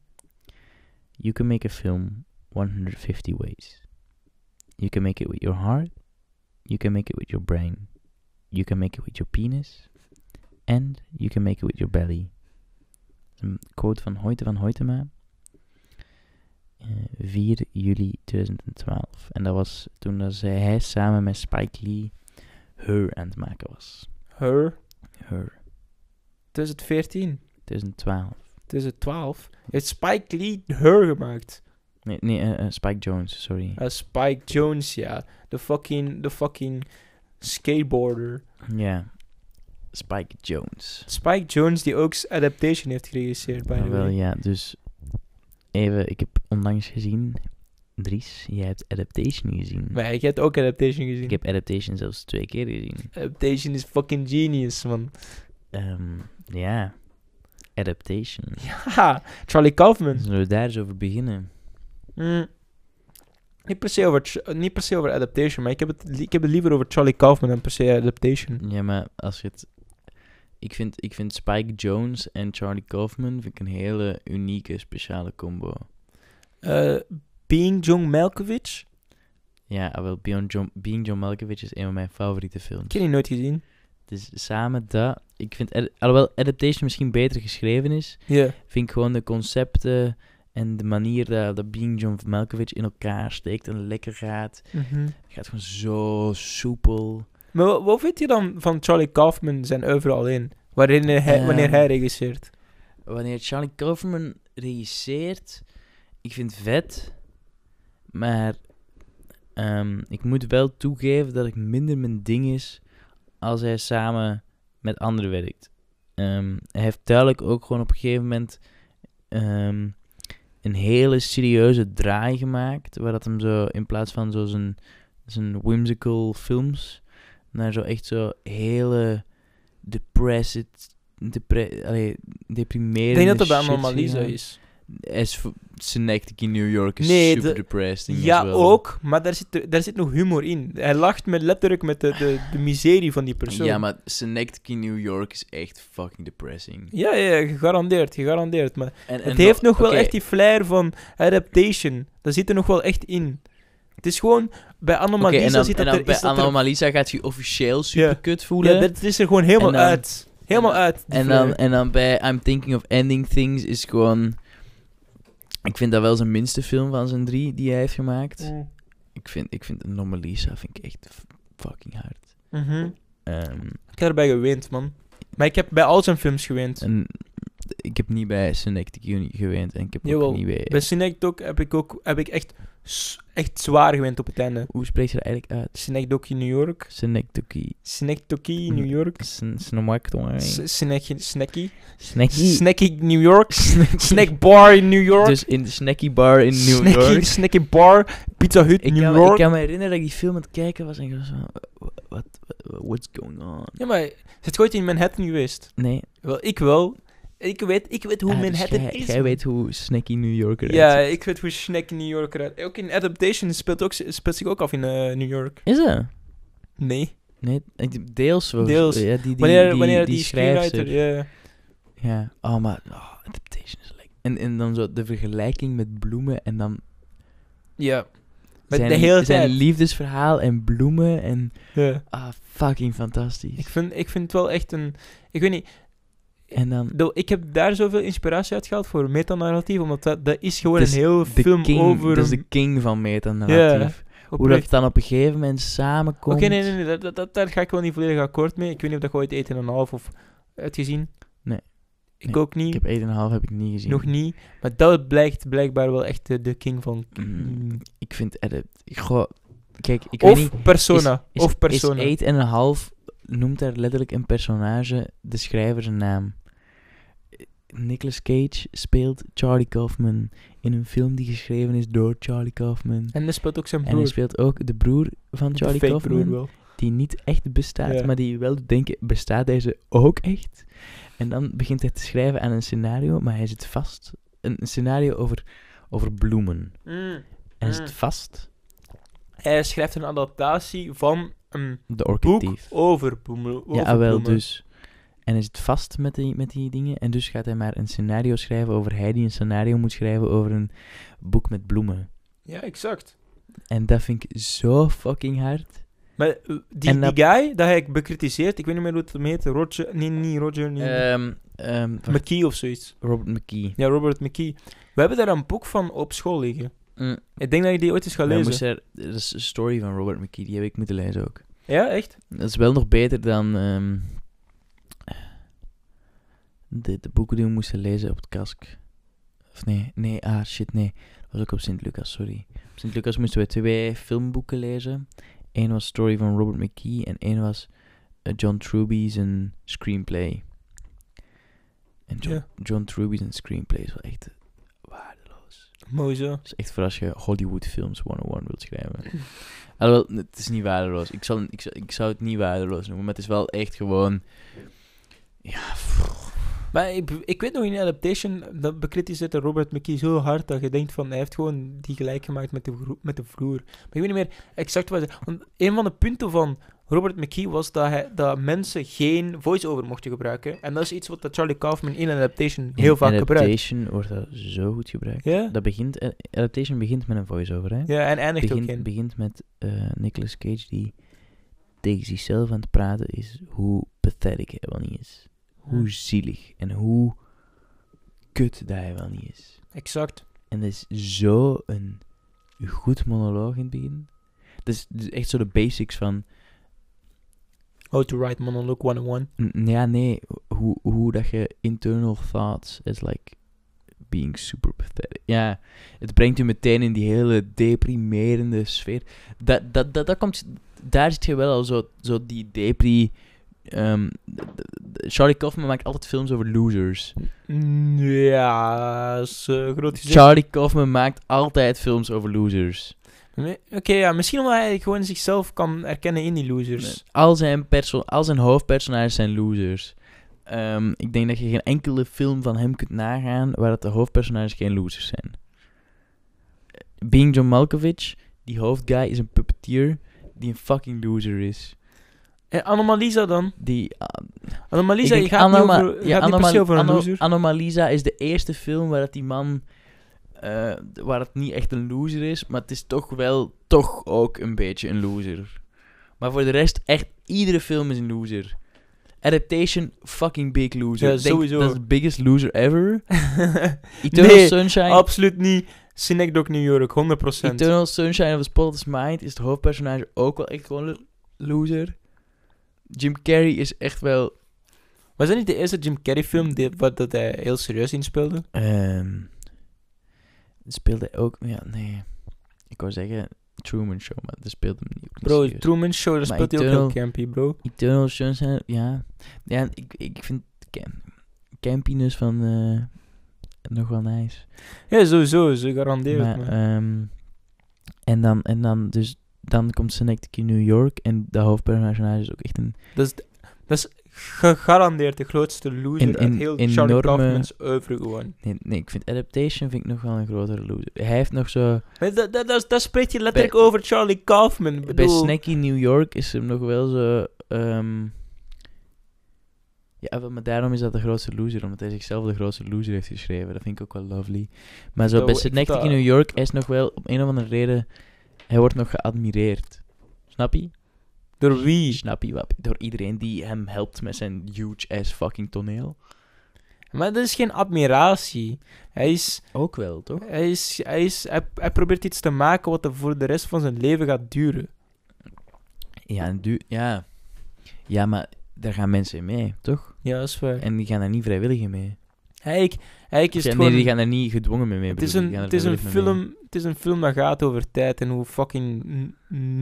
[SPEAKER 2] You can make a film 150 ways. You can make it with your heart. You can make it with your brain. You can make it with your penis. And you can make it with your belly. Een quote van Hoyte van Hoytema. eh, 4 juli 2012. En dat was toen dat zij, hij samen met Spike Lee Her aan het maken was.
[SPEAKER 1] Her.
[SPEAKER 2] Her.
[SPEAKER 1] 2014.
[SPEAKER 2] 2012.
[SPEAKER 1] 2012. Heeft Spike Lee Her gemaakt?
[SPEAKER 2] Nee, nee eh, eh, Spike Jones, sorry.
[SPEAKER 1] Uh, Spike Jones, ja. De fucking, de fucking skateboarder.
[SPEAKER 2] Ja. Spike Jones.
[SPEAKER 1] Spike Jones die ook s- Adaptation heeft geregisseerd, by the
[SPEAKER 2] Ah, wel
[SPEAKER 1] way.
[SPEAKER 2] ja, dus even, ik heb onlangs gezien, Dries, jij hebt Adaptation gezien.
[SPEAKER 1] Maar ik heb ook Adaptation gezien.
[SPEAKER 2] Ik heb Adaptation zelfs twee keer gezien.
[SPEAKER 1] Adaptation is fucking genius, man.
[SPEAKER 2] Ehm, ja, Adaptation.
[SPEAKER 1] Haha, Charlie Kaufman.
[SPEAKER 2] Zullen we daar eens over beginnen? Hmm.
[SPEAKER 1] Mm. Niet, per se over, Ch- niet per se over Adaptation, maar ik heb, het li- ik heb het liever over Charlie Kaufman dan per se Adaptation.
[SPEAKER 2] Ja, maar als je het... Ik vind, ik vind Spike Jones en Charlie Kaufman vind ik een hele unieke, speciale combo.
[SPEAKER 1] Eh, Being John Malkovich?
[SPEAKER 2] Ja, ah, wel, Beyond John, Being John Malkovich is een van mijn favoriete films.
[SPEAKER 1] Ik heb die nooit gezien.
[SPEAKER 2] Dus samen dat... Ik vind... ad- Alhoewel Adaptation misschien beter geschreven is,
[SPEAKER 1] Ja.
[SPEAKER 2] vind ik gewoon de concepten en de manier dat, dat Being John Malkovich in elkaar steekt en lekker gaat. Het gaat gewoon zo soepel.
[SPEAKER 1] Mhm. Maar wa- wat vind je dan van Charlie Kaufman zijn overal in? Waarin hij,
[SPEAKER 2] Ehm.
[SPEAKER 1] wanneer hij regisseert?
[SPEAKER 2] Wanneer Charlie Kaufman regisseert, ik vind het vet, maar ehm, ik moet wel toegeven dat ik minder mijn ding is als hij samen met anderen werkt. Ehm, hij heeft duidelijk ook gewoon op een gegeven moment ehm, een hele serieuze draai gemaakt, waar dat hem zo in plaats van zo zijn, zijn whimsical films naar zo echt zo hele depressed, depre allee,
[SPEAKER 1] Ik
[SPEAKER 2] deprimerende
[SPEAKER 1] denk dat dat bij
[SPEAKER 2] shit
[SPEAKER 1] Anomalisa
[SPEAKER 2] gegaan.
[SPEAKER 1] is.
[SPEAKER 2] As Synecdoche in New York is
[SPEAKER 1] Nee,
[SPEAKER 2] super
[SPEAKER 1] de-
[SPEAKER 2] depressing. as
[SPEAKER 1] Ja,
[SPEAKER 2] well.
[SPEAKER 1] ook, maar daar zit, daar zit nog humor in. Hij lacht met, letterlijk met de, de, de miserie van die persoon.
[SPEAKER 2] Ja, maar Synecdoche in New York is echt fucking depressing.
[SPEAKER 1] ja, ja, gegarandeerd, gegarandeerd. Maar
[SPEAKER 2] En, en
[SPEAKER 1] het heeft nog wel
[SPEAKER 2] oké,
[SPEAKER 1] echt die flair van adaptation. Dat zit er nog wel echt in. Het is gewoon, bij
[SPEAKER 2] oké,
[SPEAKER 1] Anomalisa
[SPEAKER 2] en dan,
[SPEAKER 1] zit
[SPEAKER 2] en
[SPEAKER 1] dat
[SPEAKER 2] dan
[SPEAKER 1] er...
[SPEAKER 2] bij
[SPEAKER 1] is dat er-
[SPEAKER 2] Anomalisa gaat je officieel
[SPEAKER 1] Ja.
[SPEAKER 2] super kut voelen.
[SPEAKER 1] ja, dat is er gewoon helemaal
[SPEAKER 2] En dan-
[SPEAKER 1] uit. Helemaal
[SPEAKER 2] en-
[SPEAKER 1] uit. die
[SPEAKER 2] en,
[SPEAKER 1] flair.
[SPEAKER 2] dan, en dan bij I'm Thinking of Ending Things is gewoon... Ik vind dat wel zijn minste film van zijn drie die hij heeft gemaakt.
[SPEAKER 1] Mm.
[SPEAKER 2] Ik vind, ik vind Anomalisa vind ik echt f- fucking hard.
[SPEAKER 1] Mhm.
[SPEAKER 2] Ehm,
[SPEAKER 1] Ik heb erbij gewend, man. Maar ik heb bij al zijn films gewend.
[SPEAKER 2] en ik heb niet bij Synecdoche Uni geweend en ik heb
[SPEAKER 1] Jawel,
[SPEAKER 2] ook niet bij...
[SPEAKER 1] Bij Synecdoche heb ik ook heb ik echt, s- echt zwaar gewend op het einde.
[SPEAKER 2] Hoe spreek je dat eigenlijk uit?
[SPEAKER 1] Synecdoche in New York.
[SPEAKER 2] Synecdoche.
[SPEAKER 1] Synecdoche in New York.
[SPEAKER 2] Sn- Snomakdoe.
[SPEAKER 1] S- Snacky, snacky.
[SPEAKER 2] Snacky.
[SPEAKER 1] Snacky New York. Snack bar in New York.
[SPEAKER 2] Dus in de snacky bar in New
[SPEAKER 1] snacky,
[SPEAKER 2] York.
[SPEAKER 1] Snacky bar. Pizza Hut
[SPEAKER 2] Ik
[SPEAKER 1] New
[SPEAKER 2] kan, me-
[SPEAKER 1] York.
[SPEAKER 2] ik kan me herinneren dat ik die film aan het kijken was en ik was van, wat, wat, what's going on?
[SPEAKER 1] Ja, maar het gooit in Manhattan geweest.
[SPEAKER 2] Nee.
[SPEAKER 1] Wel, ik wel. Ik weet, ik weet hoe
[SPEAKER 2] Ah, dus
[SPEAKER 1] Manhattan
[SPEAKER 2] jij-
[SPEAKER 1] is.
[SPEAKER 2] Jij
[SPEAKER 1] man.
[SPEAKER 2] weet hoe snacky New York eruit
[SPEAKER 1] Ja,
[SPEAKER 2] ziet.
[SPEAKER 1] ik weet hoe Snacky New York eruit. Ook in Adaptation speelt, ook, speelt zich ook af in eh, New York.
[SPEAKER 2] Is dat?
[SPEAKER 1] Nee.
[SPEAKER 2] Nee, ik- deels. wel.
[SPEAKER 1] Deels.
[SPEAKER 2] Ja, die, die,
[SPEAKER 1] wanneer
[SPEAKER 2] die,
[SPEAKER 1] wanneer
[SPEAKER 2] die,
[SPEAKER 1] die,
[SPEAKER 2] schrijfster.
[SPEAKER 1] screenwriter... Ja.
[SPEAKER 2] Ja. Oh, maar oh, adaptation is lekker. En, en dan zo de vergelijking met bloemen en dan
[SPEAKER 1] ja. Met
[SPEAKER 2] zijn,
[SPEAKER 1] de hele
[SPEAKER 2] zijn
[SPEAKER 1] tijd.
[SPEAKER 2] liefdesverhaal en bloemen en
[SPEAKER 1] Ja.
[SPEAKER 2] ah, fucking fantastisch.
[SPEAKER 1] Ik vind, ik vind het wel echt een... Ik weet niet,
[SPEAKER 2] en dan
[SPEAKER 1] do- ik heb daar zoveel inspiratie uit gehaald voor metanarratief, omdat dat, dat is gewoon
[SPEAKER 2] Dat is
[SPEAKER 1] een heel
[SPEAKER 2] de
[SPEAKER 1] film
[SPEAKER 2] king,
[SPEAKER 1] over...
[SPEAKER 2] Dat is de
[SPEAKER 1] een-
[SPEAKER 2] king van metanarratief. Hoe dat
[SPEAKER 1] oprecht.
[SPEAKER 2] dan op een gegeven moment samenkomt.
[SPEAKER 1] Oké, nee, nee, nee, dat, dat, dat- daar ga ik wel niet volledig akkoord mee. Ik weet niet of dat je ooit eten en een half of hebt gezien.
[SPEAKER 2] Nee.
[SPEAKER 1] Ik
[SPEAKER 2] Nee, Ik
[SPEAKER 1] ook niet,
[SPEAKER 2] heb 1,5 heb ik niet gezien.
[SPEAKER 1] nog niet. Maar dat blijkt blijkbaar wel echt eh, de, de king van...
[SPEAKER 2] Mm, ik vind edit. Ik, goh, kijk, ik
[SPEAKER 1] of
[SPEAKER 2] weet niet.
[SPEAKER 1] Persona.
[SPEAKER 2] Is,
[SPEAKER 1] of Persona.
[SPEAKER 2] Is 8,5 noemt daar letterlijk een personage de schrijver zijn naam. Nicolas Cage speelt Charlie Kaufman in een film die geschreven is door Charlie Kaufman.
[SPEAKER 1] en dat speelt ook zijn
[SPEAKER 2] En hij
[SPEAKER 1] broer.
[SPEAKER 2] speelt ook de broer van
[SPEAKER 1] De
[SPEAKER 2] Charlie
[SPEAKER 1] fake
[SPEAKER 2] Kaufman.
[SPEAKER 1] broer wel.
[SPEAKER 2] die niet echt bestaat,
[SPEAKER 1] Ja.
[SPEAKER 2] maar die je wel doet denken, bestaat deze ook echt? En dan begint hij te schrijven aan een scenario, maar hij zit vast. Een, een scenario over, over bloemen. En hij
[SPEAKER 1] Mm.
[SPEAKER 2] zit vast,
[SPEAKER 1] Hij schrijft een adaptatie van een
[SPEAKER 2] de
[SPEAKER 1] boek
[SPEAKER 2] orchidee.
[SPEAKER 1] over bloemen. over
[SPEAKER 2] Ja, wel
[SPEAKER 1] bloemen.
[SPEAKER 2] dus. En hij zit vast met die, met die dingen. En dus gaat hij maar een scenario schrijven over hij die een scenario moet schrijven over een boek met bloemen.
[SPEAKER 1] Ja, exact.
[SPEAKER 2] En dat vind ik zo fucking hard.
[SPEAKER 1] Maar eh, die,
[SPEAKER 2] En
[SPEAKER 1] die
[SPEAKER 2] dat-
[SPEAKER 1] guy, dat hij bekritiseerd, ik weet niet meer hoe het hem heet, Roger, nee, niet Roger, niet
[SPEAKER 2] Ehm ehm, wacht,
[SPEAKER 1] McKee of zoiets.
[SPEAKER 2] Robert McKee.
[SPEAKER 1] Ja, Robert McKee. We hebben daar een boek van op school liggen.
[SPEAKER 2] Mm.
[SPEAKER 1] Ik denk dat je die ooit eens gaat
[SPEAKER 2] Wij
[SPEAKER 1] lezen.
[SPEAKER 2] moesten er- dat is een story van Robert McKee, die heb ik moeten lezen ook.
[SPEAKER 1] Ja, echt?
[SPEAKER 2] Dat is wel nog beter dan ehm, de, de boeken die we moesten lezen op het kask. Of nee, nee, ah shit, nee. Dat was ook op Sint-Lucas, sorry. Op Sint-Lucas moesten we twee filmboeken lezen. Eén was Story van Robert McKee en één was eh, John Truby zijn screenplay. En John,
[SPEAKER 1] Ja.
[SPEAKER 2] John Truby zijn screenplay is wel echt eh, waardeloos.
[SPEAKER 1] Mooi zo.
[SPEAKER 2] Dat is echt voor als je Hollywood Films 101 wilt schrijven. Alhoewel, het is niet waardeloos. Ik, zal, ik, zou- ik zou het niet waardeloos noemen, maar het is wel echt gewoon... Ja, pff.
[SPEAKER 1] Maar ik, ik weet nog in Adaptation, dat bekritiseerde Robert McKee zo hard dat je denkt van, hij heeft gewoon die gelijk gemaakt met de, gro- met de vloer. Maar ik weet niet meer exact wat... Want een van de punten van Robert McKee was dat, hij, dat mensen geen voice-over mochten gebruiken. En dat is iets wat dat Charlie Kaufman in Adaptation heel
[SPEAKER 2] In
[SPEAKER 1] vaak gebruikt.
[SPEAKER 2] Adaptation wordt dat zo goed gebruikt.
[SPEAKER 1] Ja?
[SPEAKER 2] Dat begint, eh, adaptation begint met een voice-over, hè?
[SPEAKER 1] ja, en eindigt ook
[SPEAKER 2] begint,
[SPEAKER 1] in.
[SPEAKER 2] begint met eh, Nicolas Cage die tegen zichzelf aan het praten is hoe pathetic hij wel niet is. Hoe zielig en hoe kut dat hij wel niet is.
[SPEAKER 1] Exact.
[SPEAKER 2] En dat is zo een goed monoloog in het begin. Dat is, dat is echt zo de basics van...
[SPEAKER 1] How to write monologue 101.
[SPEAKER 2] n- Ja, nee, hoe, hoe dat je internal thoughts is like being super pathetic. Ja, het brengt je meteen in die hele deprimerende sfeer. Dat, dat, dat, dat komt, daar zit je wel al zo, zo die depri... ehm, d- d- d- Charlie Kaufman maakt altijd films over losers.
[SPEAKER 1] Mm, Ja, is eh, groot gezicht.
[SPEAKER 2] Charlie Kaufman maakt altijd films over losers.
[SPEAKER 1] Nee, Oké, ja, misschien omdat hij gewoon zichzelf kan herkennen in die losers.
[SPEAKER 2] Al zijn, perso- al zijn hoofdpersonages zijn losers. Ehm, ik denk dat je geen enkele film van hem kunt nagaan waar dat de hoofdpersonages geen losers zijn. Being John Malkovich, die hoofdguy is een puppeteer die een fucking loser is.
[SPEAKER 1] En Anomalisa dan?
[SPEAKER 2] Die, ah, ik
[SPEAKER 1] Anomalisa,
[SPEAKER 2] denk
[SPEAKER 1] je gaat
[SPEAKER 2] Anoma-
[SPEAKER 1] niet, over, je
[SPEAKER 2] ja,
[SPEAKER 1] gaat niet per se
[SPEAKER 2] Anoma-
[SPEAKER 1] over een
[SPEAKER 2] Ano-
[SPEAKER 1] loser.
[SPEAKER 2] Anomalisa is de eerste film waar dat die man, eh, d- waar het niet echt een loser is, maar het is toch wel, toch ook een beetje een loser. Maar voor de rest, echt iedere film is een loser. Adaptation, fucking big loser.
[SPEAKER 1] Ja,
[SPEAKER 2] Ik denk
[SPEAKER 1] sowieso.
[SPEAKER 2] Dat is the biggest loser ever. Eternal
[SPEAKER 1] Nee,
[SPEAKER 2] Sunshine.
[SPEAKER 1] Absoluut niet. Synecdoche New York, 100%.
[SPEAKER 2] Eternal Sunshine of the Spotless Mind is het hoofdpersonage ook wel echt gewoon een loser. Jim Carrey is echt wel
[SPEAKER 1] Was dat niet de eerste Jim Carrey film die, wat dat hij heel serieus inspeelde?
[SPEAKER 2] Ehm speelde hij ook... Ja, nee. Ik wou zeggen Truman Show, maar dat speelde hem niet. ook niet
[SPEAKER 1] Bro,
[SPEAKER 2] serieus.
[SPEAKER 1] Truman Show, daar
[SPEAKER 2] Maar
[SPEAKER 1] speelt hij ook heel
[SPEAKER 2] Eternal-
[SPEAKER 1] campy, bro.
[SPEAKER 2] Eternal Sunshine, ja. Ja, ik, ik vind cam- campiness van... eh nog wel nice.
[SPEAKER 1] Ja, sowieso, ze garandeer het
[SPEAKER 2] Maar,
[SPEAKER 1] me.
[SPEAKER 2] ehm, en dan... En dan dus... Dan komt Synecdoche in New York en de hoofdpersonage is ook echt een...
[SPEAKER 1] dat, is, dat is gegarandeerd de grootste loser
[SPEAKER 2] Een-
[SPEAKER 1] uit
[SPEAKER 2] een
[SPEAKER 1] heel Charlie
[SPEAKER 2] enorme-
[SPEAKER 1] Kaufman's oeuvre gewoon.
[SPEAKER 2] Nee, nee, ik vind Adaptation vind ik nog wel een grotere loser. Hij heeft nog zo...
[SPEAKER 1] Maar dat, dat, dat, dat spreekt je letterlijk over Charlie Kaufman. Ik
[SPEAKER 2] Bij
[SPEAKER 1] bedoel,
[SPEAKER 2] Snacky New York is hem nog wel zo. ehm, ja, wel, maar daarom is dat de grootste loser, omdat hij zichzelf de grootste loser heeft geschreven. Dat vind ik ook wel lovely. Maar zo
[SPEAKER 1] Dat-
[SPEAKER 2] bij
[SPEAKER 1] ik vind
[SPEAKER 2] Snacky
[SPEAKER 1] dat-
[SPEAKER 2] New York hij is nog wel op een of andere reden. Hij wordt nog geadmireerd. Snap je?
[SPEAKER 1] door wie?
[SPEAKER 2] Snap je wat? Door iedereen die hem helpt met zijn huge ass fucking toneel.
[SPEAKER 1] Maar dat is geen admiratie. Hij is...
[SPEAKER 2] Ook wel, toch?
[SPEAKER 1] Hij, is, hij, is, hij, hij probeert iets te maken wat er voor de rest van zijn leven gaat duren.
[SPEAKER 2] Ja, en du- ja. ja maar daar gaan mensen in mee, toch?
[SPEAKER 1] Ja, dat is waar.
[SPEAKER 2] En die gaan daar niet vrijwillig in mee.
[SPEAKER 1] Eigenlijk, eigenlijk is
[SPEAKER 2] Ja,
[SPEAKER 1] het
[SPEAKER 2] nee,
[SPEAKER 1] gewoon...
[SPEAKER 2] die gaan daar niet gedwongen mee mee.
[SPEAKER 1] het,
[SPEAKER 2] bedoel
[SPEAKER 1] is
[SPEAKER 2] ik.
[SPEAKER 1] een,
[SPEAKER 2] Die gaan
[SPEAKER 1] het,
[SPEAKER 2] er
[SPEAKER 1] is een
[SPEAKER 2] vrijwillig mee mee.
[SPEAKER 1] film, het is een film dat gaat over tijd en hoe fucking n-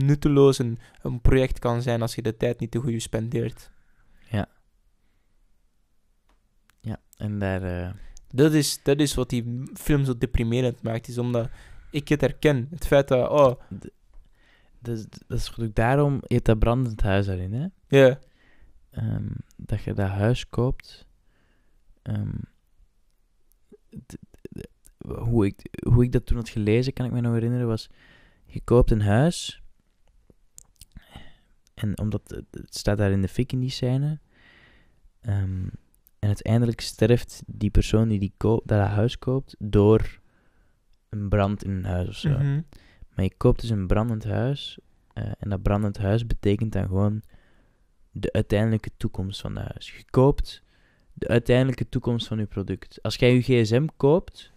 [SPEAKER 1] nutteloos een, een project kan zijn als je de tijd niet te goed spendeert.
[SPEAKER 2] En daar... eh,
[SPEAKER 1] Dat is, dat is wat die film zo deprimerend maakt, is omdat ik het herken. Het feit dat, oh,
[SPEAKER 2] dat, is- dat is goed ook daarom... Je hebt dat brandend huis daarin, hè?
[SPEAKER 1] ja,
[SPEAKER 2] Ehm, dat je dat huis koopt. Ehm, d- d- hoe, ik, hoe ik dat toen had gelezen, kan ik me nog herinneren, was... Je koopt een huis. En omdat... Het het staat daar in de fik in die scène. Ehm, en uiteindelijk sterft die persoon die, die koop, dat, dat huis koopt... door een brand in een huis of zo.
[SPEAKER 1] mhm.
[SPEAKER 2] Maar je koopt dus een brandend huis. eh, en dat brandend huis betekent dan gewoon de uiteindelijke toekomst van het huis. Je koopt de uiteindelijke toekomst van je product. Als jij je gsm koopt,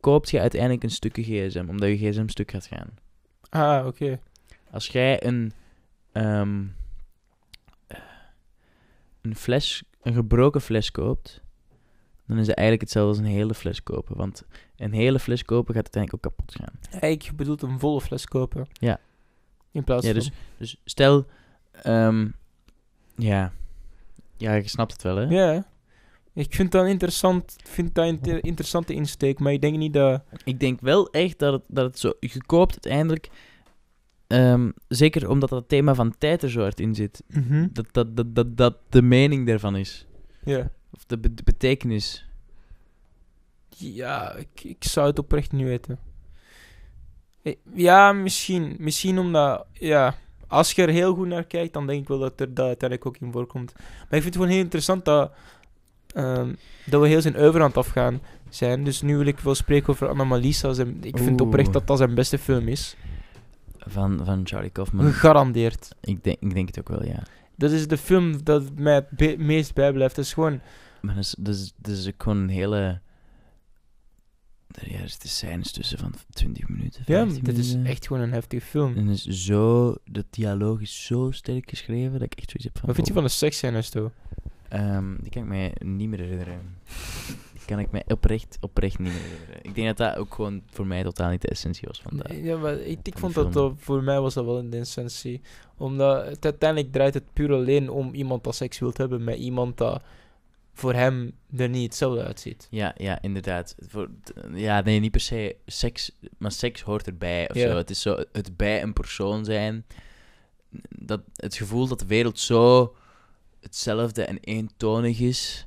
[SPEAKER 2] koopt je uiteindelijk een stukje gsm, omdat je gsm stuk gaat gaan.
[SPEAKER 1] ah, oké.
[SPEAKER 2] Als jij een, ehm, eh, een fles, een gebroken fles koopt, dan is het eigenlijk hetzelfde als een hele fles kopen. Want een hele fles kopen gaat uiteindelijk ook kapot gaan.
[SPEAKER 1] Eigenlijk bedoelt een volle fles kopen.
[SPEAKER 2] Ja.
[SPEAKER 1] In plaats
[SPEAKER 2] Ja,
[SPEAKER 1] van...
[SPEAKER 2] dus, dus stel, ehm, ja. Ja, je snapt het wel, hè?
[SPEAKER 1] Ja. Ik vind dat een interessant, vind dat een inter- interessante insteek, maar ik denk niet dat...
[SPEAKER 2] Ik denk wel echt dat het, dat het zo gekoopt uiteindelijk. ehm, zeker omdat dat thema van tijd er zo hard in zit.
[SPEAKER 1] Hm?
[SPEAKER 2] Dat dat, dat, dat, dat de mening daarvan is.
[SPEAKER 1] Ja,
[SPEAKER 2] Of de, be- de betekenis.
[SPEAKER 1] ja ik, ik zou het oprecht niet weten. Eh, Ja, misschien. Misschien omdat... Ja, als je er heel goed naar kijkt, dan denk ik wel dat er dat uiteindelijk ook in voorkomt. Maar ik vind het gewoon heel interessant dat, ehm, dat we heel zijn over aan het afgaan zijn. Dus nu wil ik wel spreken over Anomalisa. Zijn- Ik vind
[SPEAKER 2] Oeh.
[SPEAKER 1] oprecht dat dat zijn beste film is.
[SPEAKER 2] Van, van Charlie Kaufman.
[SPEAKER 1] Gegarandeerd.
[SPEAKER 2] ik, denk, ik denk het ook wel, ja.
[SPEAKER 1] Dat is de film dat mij het be- meest bijblijft. Dat is gewoon...
[SPEAKER 2] Maar dat is, dat is, dat is ook gewoon een hele... Er zitten scènes tussen van 20 minuten,
[SPEAKER 1] Ja,
[SPEAKER 2] 15
[SPEAKER 1] dit is
[SPEAKER 2] minuten.
[SPEAKER 1] echt gewoon een heftige film.
[SPEAKER 2] En is zo, de dialoog is zo sterk geschreven dat ik echt zoiets heb van...
[SPEAKER 1] Wat vind je
[SPEAKER 2] wow.
[SPEAKER 1] van de seksscènes, toe?
[SPEAKER 2] Ehm, die kan ik mij niet meer herinneren. Die kan ik mij oprecht, oprecht niet meer herinneren. Ik denk dat dat ook gewoon voor mij totaal niet de essentie was van dat.
[SPEAKER 1] Ja, maar ik, ik
[SPEAKER 2] die
[SPEAKER 1] vond dat,
[SPEAKER 2] film.
[SPEAKER 1] dat- voor mij was dat wel een essentie. Omdat het uiteindelijk draait het puur alleen om iemand dat seks wilt hebben met iemand dat voor hem er niet hetzelfde uitziet.
[SPEAKER 2] Ja, ja, inderdaad. Voor, t- ja, nee, niet per se seks, maar seks hoort erbij of
[SPEAKER 1] Ja.
[SPEAKER 2] zo. Het is zo, het bij een persoon zijn, dat, het gevoel dat de wereld zo hetzelfde en eentonig is,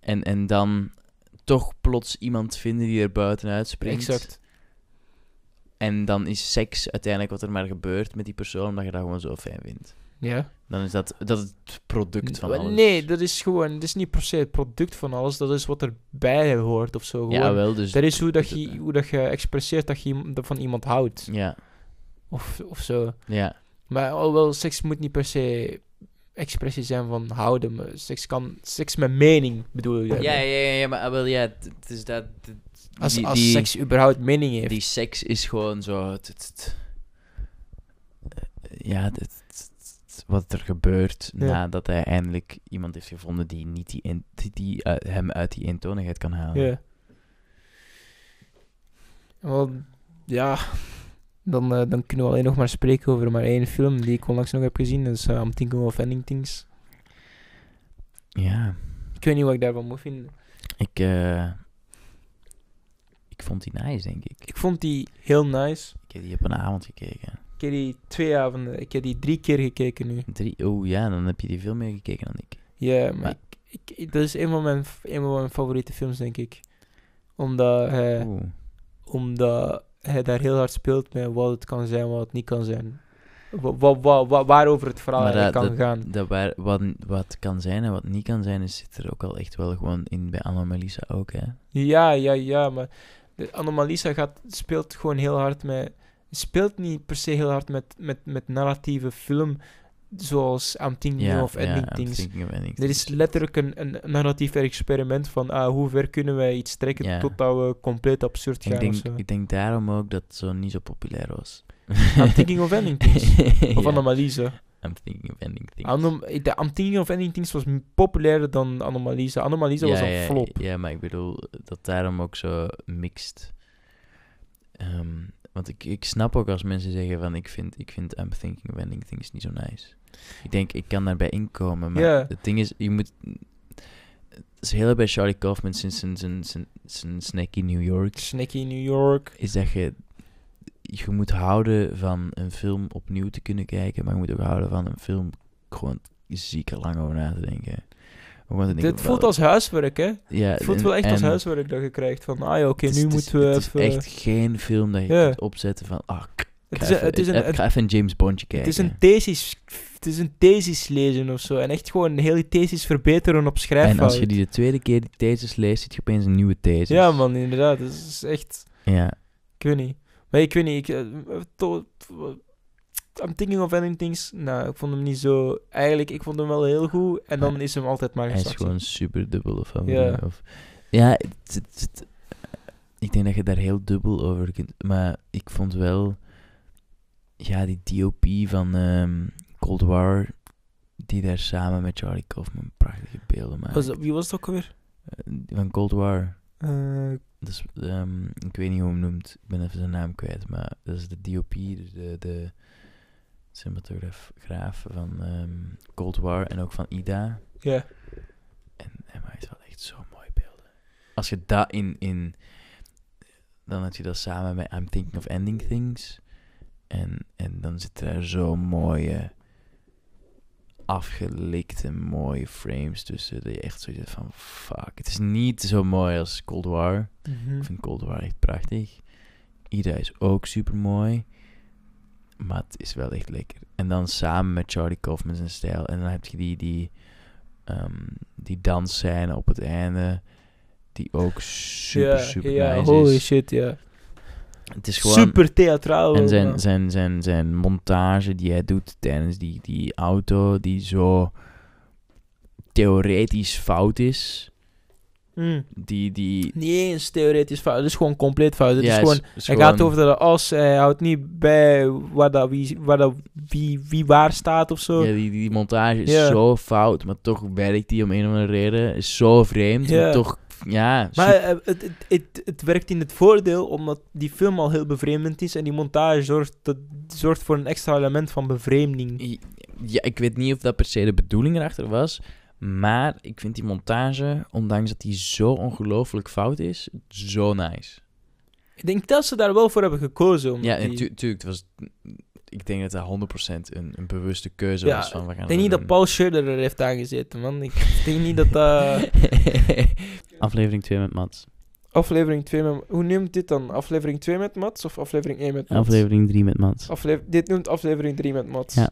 [SPEAKER 2] en, en dan toch plots iemand vinden die er buitenuit springt.
[SPEAKER 1] Exact.
[SPEAKER 2] En dan is seks uiteindelijk wat er maar gebeurt met die persoon, omdat je dat gewoon zo fijn vindt.
[SPEAKER 1] Ja.
[SPEAKER 2] Dan is dat, dat het product van
[SPEAKER 1] Maar
[SPEAKER 2] alles.
[SPEAKER 1] Nee, dat is gewoon, dat is niet per se het product van alles, dat is wat erbij hoort of zo. Gewoon.
[SPEAKER 2] ja, wel, dus...
[SPEAKER 1] dat is hoe, dat
[SPEAKER 2] dat-
[SPEAKER 1] je, hoe dat je expresseert dat je iem- dat van iemand houdt.
[SPEAKER 2] Ja,
[SPEAKER 1] Of, of zo.
[SPEAKER 2] ja.
[SPEAKER 1] Maar alhoewel, seks moet niet per se expressie zijn van houden. Maar seks kan seks met mening bedoel je.
[SPEAKER 2] Ja, ja, ja, ja, maar ah, wel, ja, het- het is dat... het-
[SPEAKER 1] Als,
[SPEAKER 2] die-
[SPEAKER 1] als
[SPEAKER 2] die-
[SPEAKER 1] seks überhaupt mening heeft.
[SPEAKER 2] Die seks is gewoon zo. Het, het- het- eh, ja, het- het- het- het- wat er gebeurt
[SPEAKER 1] Ja.
[SPEAKER 2] nadat hij eindelijk iemand heeft gevonden die, niet die, een- die, die uit- hem uit die eentonigheid kan halen.
[SPEAKER 1] Ja. Wel, ja. Dan, eh, dan kunnen we alleen nog maar spreken over maar één film die ik onlangs nog heb gezien. Dat is eh, I'm Thinking of Ending Things.
[SPEAKER 2] Ja,
[SPEAKER 1] Ik weet niet wat ik daarvan moet vinden.
[SPEAKER 2] ik, eh, ik vond die nice, denk ik.
[SPEAKER 1] Ik vond die heel nice.
[SPEAKER 2] Ik heb die op een avond gekeken.
[SPEAKER 1] Ik heb die twee avonden, ik heb die drie keer gekeken nu.
[SPEAKER 2] Drie, oh ja, dan heb je die veel meer gekeken dan ik.
[SPEAKER 1] Ja, maar
[SPEAKER 2] Maar-
[SPEAKER 1] ik, ik- ik- dat is een van, mijn, f- een van mijn favoriete films, denk ik. Omdat eh, hij,
[SPEAKER 2] Oeh.
[SPEAKER 1] omdat hij daar heel hard speelt met wat het kan zijn, wat het niet kan zijn. Wa- wa- wa- wa- waarover het verhaal
[SPEAKER 2] Maar dat-
[SPEAKER 1] eigenlijk kan gaan.
[SPEAKER 2] Dat waar, wat, wat kan zijn en wat niet kan zijn, is, zit er ook al echt wel gewoon in bij Anna-Melissa ook, hè?
[SPEAKER 1] Ja, ja, ja, maar de Anomalisa gaat, speelt gewoon heel hard met. Speelt niet per se heel hard met, met, met narratieve film zoals I'm Thinking of Ending
[SPEAKER 2] I'm
[SPEAKER 1] Things.
[SPEAKER 2] thinking of ending
[SPEAKER 1] Er is
[SPEAKER 2] things.
[SPEAKER 1] letterlijk een, een narratief experiment van ah, hoe ver kunnen wij iets trekken
[SPEAKER 2] Ja.
[SPEAKER 1] totdat we compleet absurd gaan
[SPEAKER 2] Ik
[SPEAKER 1] of zo.
[SPEAKER 2] denk, ik denk daarom ook dat het zo niet zo populair was.
[SPEAKER 1] I'm Thinking of Ending Things. Of
[SPEAKER 2] Ja,
[SPEAKER 1] Anomalisa.
[SPEAKER 2] I'm thinking of ending things.
[SPEAKER 1] Anom de I'm Thinking of Ending Things was m- populairder dan Anomalisa. Anomalisa was
[SPEAKER 2] Ja,
[SPEAKER 1] een
[SPEAKER 2] ja,
[SPEAKER 1] flop.
[SPEAKER 2] Ja, maar ik bedoel dat daarom ook zo mixed. Ehm, want ik, ik snap ook als mensen zeggen van ik vind, ik vind I'm thinking of ending things niet zo nice. Ik denk, ik kan daarbij inkomen. Maar
[SPEAKER 1] Ja.
[SPEAKER 2] het ding is, je moet. Het is heel bij Charlie Kaufman sinds zijn, zijn, zijn, zijn snack in New York.
[SPEAKER 1] Snacky in New York.
[SPEAKER 2] is dat je, je moet houden van een film opnieuw te kunnen kijken, maar je moet ook houden van een film gewoon ziek er lang over na te denken. Om gewoon te denken,
[SPEAKER 1] Dit voelt
[SPEAKER 2] wel-
[SPEAKER 1] als huiswerk, hè?
[SPEAKER 2] ja,
[SPEAKER 1] Het voelt
[SPEAKER 2] en-
[SPEAKER 1] wel echt als
[SPEAKER 2] en
[SPEAKER 1] huiswerk dat je krijgt. Van, ah ja, oké,
[SPEAKER 2] het is-
[SPEAKER 1] nu
[SPEAKER 2] het is-
[SPEAKER 1] moeten we
[SPEAKER 2] Het is
[SPEAKER 1] even...
[SPEAKER 2] echt geen film dat je
[SPEAKER 1] Ja.
[SPEAKER 2] kunt opzetten van, ah, k- ik
[SPEAKER 1] het, is
[SPEAKER 2] ga
[SPEAKER 1] een,
[SPEAKER 2] even-
[SPEAKER 1] het, is een,
[SPEAKER 2] ik
[SPEAKER 1] het,
[SPEAKER 2] ga even een James Bondje kijken.
[SPEAKER 1] is een thesis... Het is een thesis lezen of zo. En echt gewoon de hele thesis verbeteren op schrijffout.
[SPEAKER 2] en als je die de tweede keer die thesis leest, zit je opeens een nieuwe thesis.
[SPEAKER 1] Ja, man, inderdaad. Het is echt...
[SPEAKER 2] Ja,
[SPEAKER 1] Ik weet niet. Maar ik weet niet, ik... eh, to- to- I'm thinking of ending things. Nou, ik vond hem niet zo... Eigenlijk, ik vond hem wel heel goed. En dan is hem altijd maar
[SPEAKER 2] hij is
[SPEAKER 1] gezakt.
[SPEAKER 2] gewoon super dubbel of wat.
[SPEAKER 1] Ja.
[SPEAKER 2] Of, ja, het- het- het- ik denk dat je daar heel dubbel over kunt. Maar ik vond wel, ja, die DOP van ehm, Cold War, die daar samen met Charlie Kaufman prachtige beelden
[SPEAKER 3] eh,
[SPEAKER 2] maakt.
[SPEAKER 1] Was dat- wie was het ook alweer?
[SPEAKER 2] Eh, Van Cold War.
[SPEAKER 1] Eh,
[SPEAKER 2] Dat is, ehm, ik weet niet hoe hem noemt. Ik ben even zijn naam kwijt. Maar dat is de DOP, dus de, de cinematograaf graaf van ehm, Cold War en ook van Ida.
[SPEAKER 1] Ja.
[SPEAKER 2] En, en maar het is wel echt zo mooi beelden. Als je dat in, in... Dan had je dat samen met I'm Thinking of Ending Things. En, en dan zitten daar zo mooie... Afgelikte mooie frames tussen. Dat je echt zoiets hebt van... Fuck, het is niet zo mooi als Cold War.
[SPEAKER 1] mhm.
[SPEAKER 2] Ik vind Cold War echt prachtig. Ida is ook super mooi.
[SPEAKER 3] Maar het is wel echt lekker. En dan samen met Charlie Kaufman zijn stijl. En dan heb je die, die, ehm die dansscène op het einde. Die ook super,
[SPEAKER 1] ja,
[SPEAKER 3] super
[SPEAKER 1] ja,
[SPEAKER 3] nice
[SPEAKER 1] holy
[SPEAKER 3] is.
[SPEAKER 1] shit, ja.
[SPEAKER 3] Het is gewoon...
[SPEAKER 1] Super theatraal.
[SPEAKER 3] En
[SPEAKER 1] maar-
[SPEAKER 3] zijn, zijn, zijn, zijn montage die hij doet tijdens die, die auto, die zo theoretisch fout is.
[SPEAKER 1] Mm.
[SPEAKER 3] Die, die,
[SPEAKER 1] Niet eens theoretisch fout, het is gewoon compleet fout. Het
[SPEAKER 3] Ja,
[SPEAKER 1] is
[SPEAKER 3] is-
[SPEAKER 1] gewoon,
[SPEAKER 3] is
[SPEAKER 1] hij
[SPEAKER 3] gewoon-
[SPEAKER 1] gaat over de as, hij houdt niet bij waar, dat wie, waar dat wie, wie waar staat of zo.
[SPEAKER 3] Ja, die, die montage is
[SPEAKER 1] Ja.
[SPEAKER 3] zo fout, maar toch werkt die om een of andere reden. Is zo vreemd,
[SPEAKER 1] Ja.
[SPEAKER 3] maar toch... Ja,
[SPEAKER 1] Maar eh, het, het, het, het werkt in het voordeel, omdat die film al heel bevreemdend is. En die montage zorgt, dat, zorgt voor een extra element van bevreemding.
[SPEAKER 3] I- Ja, ik weet niet of dat per se de bedoeling erachter was. Maar ik vind die montage, ondanks dat die zo ongelooflijk fout is, zo nice.
[SPEAKER 1] Ik denk dat ze daar wel voor hebben gekozen. Om
[SPEAKER 3] Ja,
[SPEAKER 1] die-
[SPEAKER 3] natuurlijk. het was, ik denk dat dat 100% een, een bewuste keuze
[SPEAKER 1] Ja,
[SPEAKER 3] was van we gaan
[SPEAKER 1] ik denk niet dat Paul Schurder er heeft aangezeten, man. Ik denk niet dat eh, dat...
[SPEAKER 4] Aflevering 2 met Mats.
[SPEAKER 1] Aflevering 2 met... Hoe noemt dit dan? Aflevering 2 met Mats of aflevering 1 met Mats? Oh.
[SPEAKER 4] Aflevering 3 met Mats.
[SPEAKER 1] Aflever- dit noemt aflevering 3 met Mats.
[SPEAKER 4] Ja.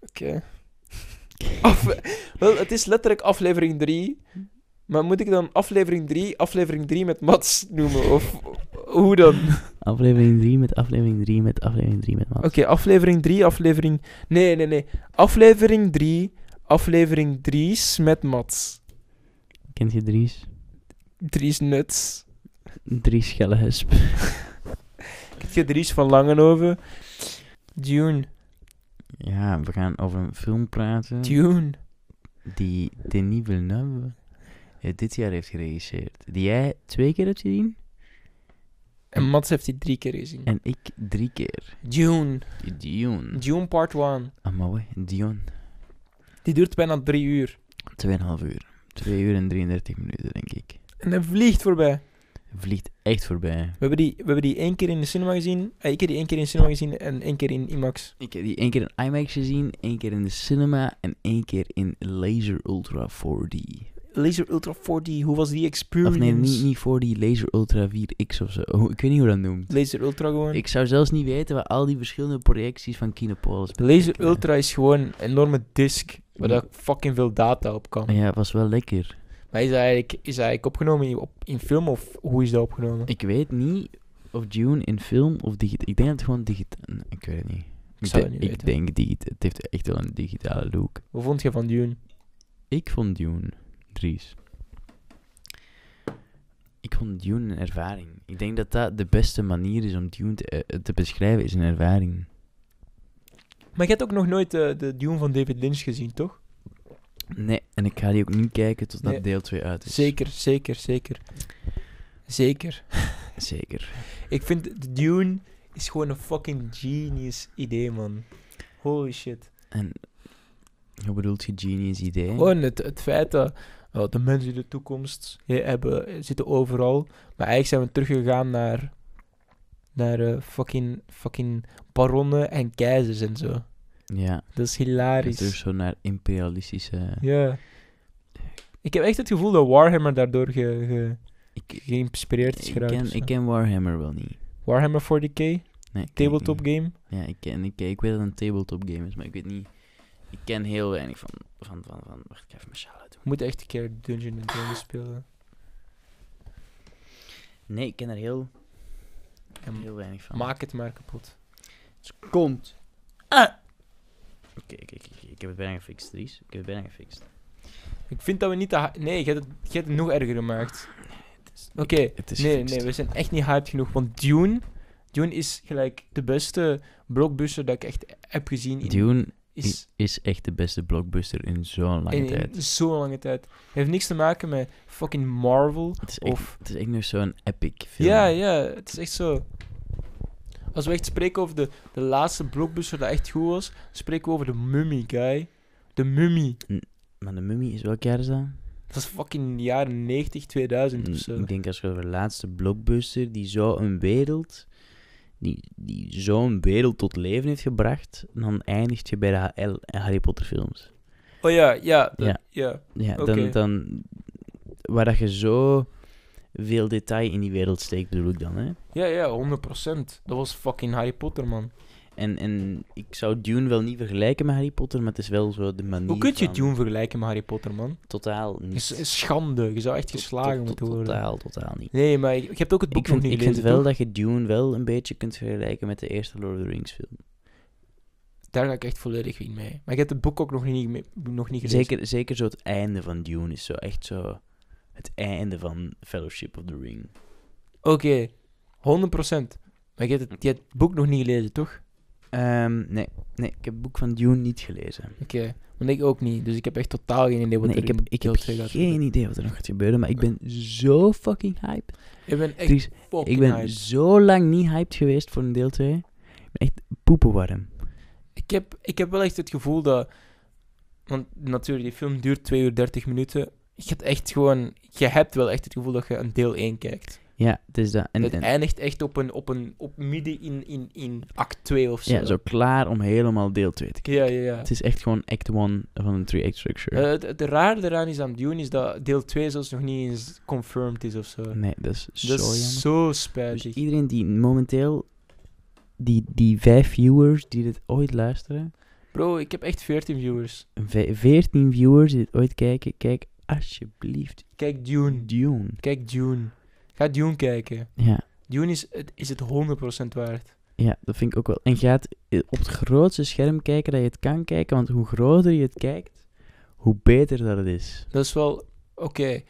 [SPEAKER 1] Oké. Af- Wel, het is letterlijk aflevering 3. Maar moet ik dan aflevering 3, aflevering 3 met Mats noemen? Of hoe dan? Oké,
[SPEAKER 4] Aflevering 3 met aflevering 3 met aflevering 3 met Mats.
[SPEAKER 1] Oh. aflevering 3, aflevering... Nee, nee, nee. Aflevering 3, aflevering 3's met Mats.
[SPEAKER 4] Kent je Dries?
[SPEAKER 1] 3's nuts.
[SPEAKER 4] Dries Gellehesp.
[SPEAKER 1] Ik heb 3's van Langenhoven. Dune,
[SPEAKER 3] Ja, we gaan over een film praten
[SPEAKER 1] Dune.
[SPEAKER 3] die Denis Villeneuve eh, dit jaar heeft geregisseerd. Die jij twee keer hebt gezien
[SPEAKER 1] En Mats heeft die drie keer gezien.
[SPEAKER 3] en ik drie keer. Ah,
[SPEAKER 1] Dune,
[SPEAKER 3] Dion.
[SPEAKER 1] Dune part 1.
[SPEAKER 3] Amawe, Dion.
[SPEAKER 1] Die duurt bijna drie uur.
[SPEAKER 3] Tweeënhalf uur. Twee uur en 33 minuten, denk ik.
[SPEAKER 1] En hij vliegt voorbij.
[SPEAKER 3] Vliegt echt voorbij.
[SPEAKER 1] We hebben, die, we hebben die één keer in de cinema gezien. Eh, ik heb die één keer in de cinema gezien en één keer in IMAX.
[SPEAKER 3] Ik heb die één keer in IMAX gezien, één keer in de cinema en één keer in Laser Ultra 4D.
[SPEAKER 1] Laser Ultra 4D, hoe was die experience?
[SPEAKER 3] Of nee, niet, niet 4D, Laser Ultra 4X of zo. Hoe- Ik weet niet hoe dat noemt.
[SPEAKER 1] Laser Ultra gewoon.
[SPEAKER 3] Ik zou zelfs niet weten waar al die verschillende projecties van Kinopolis
[SPEAKER 1] Laser
[SPEAKER 3] betekenen.
[SPEAKER 1] Ultra is gewoon een enorme disk waar dat fucking veel data op kan.
[SPEAKER 3] Ja, het was wel lekker.
[SPEAKER 1] Maar is hij eigenlijk, is hij eigenlijk opgenomen in, op, in film of hoe is dat opgenomen?
[SPEAKER 3] Ik weet niet of June in film of digitaal... Ik denk dat het gewoon digitaal... Ik weet het niet.
[SPEAKER 1] Ik zou
[SPEAKER 3] de-
[SPEAKER 1] het niet weten.
[SPEAKER 3] denk digitaal. Het heeft echt wel een digitale look.
[SPEAKER 1] Hoe vond je van Dune?
[SPEAKER 3] Ik vond Dune, Dries. Ik vond Dune een ervaring. Ik denk dat dat de beste manier is om Dune te, eh, te beschrijven, is een ervaring.
[SPEAKER 1] Maar je hebt ook nog nooit eh, de Dune van David Lynch gezien, toch?
[SPEAKER 3] Nee, en ik ga die ook niet kijken totdat
[SPEAKER 1] Nee.
[SPEAKER 3] deel 2 uit is.
[SPEAKER 1] Dus- Zeker, zeker, zeker. Zeker.
[SPEAKER 3] Zeker.
[SPEAKER 1] Ik vind Dune is gewoon een fucking genius idee, man. Holy shit.
[SPEAKER 3] En hoe bedoelt je genius idee?
[SPEAKER 1] Gewoon het, het feit dat wel, de mensen in de toekomst he- hebben, eh, zitten overal. Maar eigenlijk zijn we teruggegaan naar, naar eh, fucking, fucking baronnen en keizers en zo.
[SPEAKER 3] Ja,
[SPEAKER 1] Dat is
[SPEAKER 3] en terug
[SPEAKER 1] hilarisch.
[SPEAKER 3] zo naar imperialistische...
[SPEAKER 1] Ja. Ik heb echt het gevoel dat Warhammer daardoor ge, ge-
[SPEAKER 3] Ik,
[SPEAKER 1] geïnspireerd is
[SPEAKER 3] ik,
[SPEAKER 1] geraakt. of
[SPEAKER 3] ken,
[SPEAKER 1] zo.
[SPEAKER 3] ik ken Warhammer wel niet.
[SPEAKER 1] Warhammer 40k,
[SPEAKER 3] Nee, ik ken het
[SPEAKER 1] tabletop
[SPEAKER 3] niet.
[SPEAKER 1] game.
[SPEAKER 3] Ja, ik, ken, ik, ik weet dat het een tabletop game is, maar ik weet niet... Ik ken heel weinig van... van, van, van wacht, ik ga even mijn sjaal uit doen.
[SPEAKER 1] Moet echt een keer Dungeon Dragons spelen.
[SPEAKER 3] Nee, ik ken er heel,
[SPEAKER 1] En
[SPEAKER 3] heel weinig van.
[SPEAKER 1] maak het Hm. maar kapot.
[SPEAKER 3] komt. Ah! Oké, oké, oké, oké, ik heb het bijna gefixt, Dries. Ik heb het bijna gefixt.
[SPEAKER 1] Ik vind dat we niet te... hy- Nee, je hebt, het, je hebt het nog erger gemaakt. Oké,
[SPEAKER 3] het is
[SPEAKER 1] nee,
[SPEAKER 3] gefixt.
[SPEAKER 1] nee, we zijn echt niet hyped genoeg. Want Dune, Dune is gelijk de beste blockbuster dat ik echt heb gezien. In,
[SPEAKER 3] Dune
[SPEAKER 1] is
[SPEAKER 3] is echt de beste blockbuster in zo'n lange
[SPEAKER 1] in, in
[SPEAKER 3] tijd.
[SPEAKER 1] zo'n lange tijd. Het heeft niks te maken met fucking Marvel.
[SPEAKER 3] Het is, echt,
[SPEAKER 1] Of...
[SPEAKER 3] het is echt nog zo'n epic film.
[SPEAKER 1] Ja, ja, het is echt zo. Als we echt spreken over de, de laatste blockbuster dat echt goed was, spreken we over de Mummy, guy. De Mummy.
[SPEAKER 3] Maar de Mummy is welk jaar is dat?
[SPEAKER 1] Dat is fucking jaren 90, 2000 of zo.
[SPEAKER 3] Mm, Ik denk als we over de laatste blockbuster die zo'n wereld... Die, die zo'n wereld tot leven heeft gebracht, dan eindigt je bij de HL en Harry Potter films.
[SPEAKER 1] Oh ja, ja, dat-
[SPEAKER 3] Ja.
[SPEAKER 1] ja.
[SPEAKER 3] Ja, dan,
[SPEAKER 1] Oké.
[SPEAKER 3] dan... Waar dat je zo veel detail in die wereld steekt, bedoel ik dan, hè?
[SPEAKER 1] Ja, ja, 100%. Dat was fucking Harry Potter, man.
[SPEAKER 3] En, en ik zou Dune wel niet vergelijken met Harry Potter, maar het is wel zo de manier
[SPEAKER 1] Hoe kun je
[SPEAKER 3] van-
[SPEAKER 1] Dune vergelijken met Harry Potter, man?
[SPEAKER 3] Totaal niet.
[SPEAKER 1] Is, is schande. Je zou echt
[SPEAKER 3] Tot-
[SPEAKER 1] geslagen
[SPEAKER 3] tot-
[SPEAKER 1] moeten
[SPEAKER 3] tot-
[SPEAKER 1] worden.
[SPEAKER 3] Totaal, totaal niet.
[SPEAKER 1] Nee, maar je je hebt ook het boek
[SPEAKER 3] Ik vind,
[SPEAKER 1] nog niet
[SPEAKER 3] ik vind
[SPEAKER 1] gelezen,
[SPEAKER 3] wel
[SPEAKER 1] toch?
[SPEAKER 3] dat je Dune wel een beetje kunt vergelijken met de eerste Lord of the Rings film.
[SPEAKER 1] Daar ga ik echt volledig in mee. Maar ik heb het boek ook nog niet, me- nog niet gelezen.
[SPEAKER 3] Zeker, zeker zo het einde van Dune is zo echt zo... Het einde van Fellowship of the Ring.
[SPEAKER 1] Oké, 100%. Maar je hebt, het, je hebt het boek nog niet gelezen, toch?
[SPEAKER 3] Ehm, nee, nee, ik heb het boek van Dune niet gelezen.
[SPEAKER 1] Oké, want ik ook niet. Dus ik heb echt totaal geen idee wat
[SPEAKER 3] Nee,
[SPEAKER 1] er
[SPEAKER 3] ik heb,
[SPEAKER 1] in
[SPEAKER 3] ik
[SPEAKER 1] deel
[SPEAKER 3] heb
[SPEAKER 1] twee gaat
[SPEAKER 3] geen
[SPEAKER 1] gebeuren.
[SPEAKER 3] idee wat er nog gaat gebeuren, maar ik ben zo fucking hyped.
[SPEAKER 1] Ik ben echt
[SPEAKER 3] Dries,
[SPEAKER 1] fucking
[SPEAKER 3] ik ben
[SPEAKER 1] hyped.
[SPEAKER 3] zo lang niet hyped geweest voor een deel 2. Ik ben echt poepenwarm.
[SPEAKER 1] Ik heb, ik heb wel echt het gevoel dat... Want natuurlijk, die film duurt 2 uur 30 minuten. Je hebt echt gewoon... Je hebt wel echt het gevoel dat je een deel 1 kijkt.
[SPEAKER 3] Ja, het is dat. En,
[SPEAKER 1] het
[SPEAKER 3] en-
[SPEAKER 1] eindigt echt op een... Op een op midden in, in, in act 2 of zo.
[SPEAKER 3] ja, zo klaar om helemaal deel 2 te kijken.
[SPEAKER 1] Ja, ja, ja.
[SPEAKER 3] Het is echt gewoon act 1 van een 3-act structure.
[SPEAKER 1] Eh, het, het rare eraan is aan Dune is dat deel 2 zelfs nog niet eens confirmed is of zo.
[SPEAKER 3] nee, dat is zo
[SPEAKER 1] dat
[SPEAKER 3] jammer.
[SPEAKER 1] is zo
[SPEAKER 3] Dus
[SPEAKER 1] spijtig.
[SPEAKER 3] iedereen die momenteel... Die, die vijf viewers die dit ooit luisteren...
[SPEAKER 1] Bro, ik heb echt 14 viewers.
[SPEAKER 3] ve- Veertien viewers die dit ooit kijken... Kijk alsjeblieft
[SPEAKER 1] Kijk Dune.
[SPEAKER 3] Dune.
[SPEAKER 1] Kijk Dune. Ga Dune kijken.
[SPEAKER 3] Ja,
[SPEAKER 1] Dune is het, is het 100% waard.
[SPEAKER 3] ja, dat vind ik ook wel. En ga het eh, op het grootste scherm kijken dat je het kan kijken. Want hoe groter je het kijkt, hoe beter dat het is.
[SPEAKER 1] Dat is wel... Oké.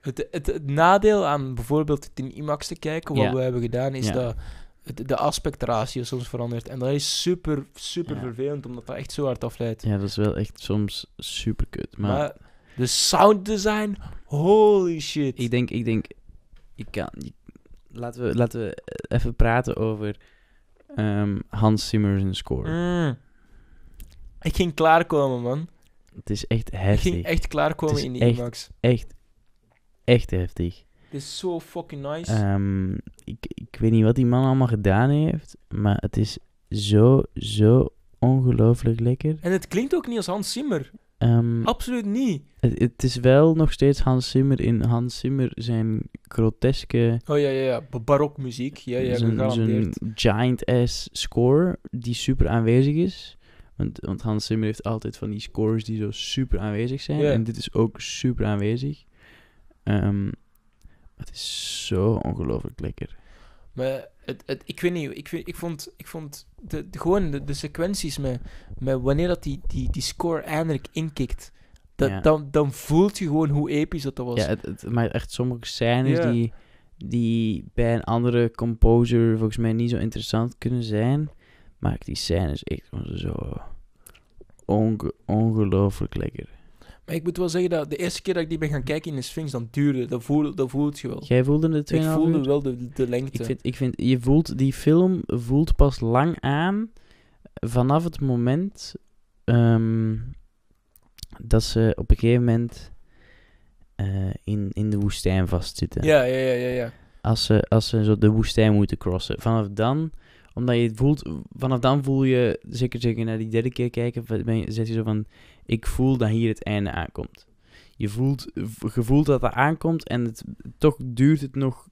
[SPEAKER 1] Het, het, het nadeel aan bijvoorbeeld het in IMAX te kijken, wat
[SPEAKER 3] Ja.
[SPEAKER 1] we hebben gedaan, is
[SPEAKER 3] Ja.
[SPEAKER 1] dat het, de aspectratio soms verandert. En dat is super, super
[SPEAKER 3] Ja.
[SPEAKER 1] vervelend, omdat dat echt zo hard afleidt.
[SPEAKER 3] Ja, dat is wel echt soms super kut. Maar,
[SPEAKER 1] Maar, de sound design, holy shit.
[SPEAKER 3] ik denk, ik denk, ik kan. ik- laten, we, laten we eh, even praten over ehm, Hans Zimmer's score.
[SPEAKER 1] Mm. Ik ging klaarkomen, man.
[SPEAKER 3] Het is echt
[SPEAKER 1] Ik
[SPEAKER 3] heftig.
[SPEAKER 1] ging
[SPEAKER 3] echt...
[SPEAKER 1] echt klaarkomen
[SPEAKER 3] Het is
[SPEAKER 1] in de
[SPEAKER 3] echt-
[SPEAKER 1] IMAX.
[SPEAKER 3] echt, heftig.
[SPEAKER 1] Het is zo fucking nice.
[SPEAKER 3] Ehm, ik, ik weet niet wat die man allemaal gedaan heeft, maar het is zo, zo ongelooflijk lekker.
[SPEAKER 1] En het klinkt ook niet als Hans Zimmer.
[SPEAKER 3] Ehm,
[SPEAKER 1] Absoluut niet.
[SPEAKER 3] het, het is wel nog steeds Hans Zimmer in Hans Zimmer zijn groteske,
[SPEAKER 1] Oh ja, ja, ja. Ba- Barokmuziek. Ja, ja,
[SPEAKER 3] zijn, zijn
[SPEAKER 1] gegarandeerd.
[SPEAKER 3] giant-ass score die super aanwezig is. Want, want Hans Zimmer heeft altijd van die scores die zo super aanwezig zijn.
[SPEAKER 1] Ja.
[SPEAKER 3] En dit is ook super aanwezig. Ehm, het is zo ongelooflijk lekker.
[SPEAKER 1] Maar het, het, ik weet niet, ik, vind, ik vond, ik vond de, de- gewoon de, de sequenties met, met wanneer dat die, die, die score eindelijk inkikt. Dat,
[SPEAKER 3] Ja.
[SPEAKER 1] dan, dan voelt je gewoon hoe episch dat, dat was.
[SPEAKER 3] Ja, het, het- maar echt sommige scènes
[SPEAKER 1] Ja.
[SPEAKER 3] die, die bij een andere composer volgens mij niet zo interessant kunnen zijn. Maakt die scènes echt gewoon zo onge- ongelooflijk lekker.
[SPEAKER 1] Maar ik moet wel zeggen dat de eerste keer dat ik die ben gaan kijken in de Sphinx, dan duurde, dat voelde, dat voelt je wel.
[SPEAKER 3] Jij voelde de 2,5
[SPEAKER 1] Ik voelde
[SPEAKER 3] uur?
[SPEAKER 1] wel de, de lengte.
[SPEAKER 3] Ik vind, ik vind, je voelt, die film voelt pas lang aan vanaf het moment ehm, dat ze op een gegeven moment eh, in, in de woestijn vastzitten.
[SPEAKER 1] ja, ja, ja, ja, ja.
[SPEAKER 3] Als, ze, als ze zo de woestijn moeten crossen. Vanaf dan, omdat je het voelt, vanaf dan voel je, zeker zeker na die derde keer kijken, v- ben je, zet je zo van, ik voel dat hier het einde aankomt. Je voelt, je voelt dat dat aankomt en het, toch duurt het nog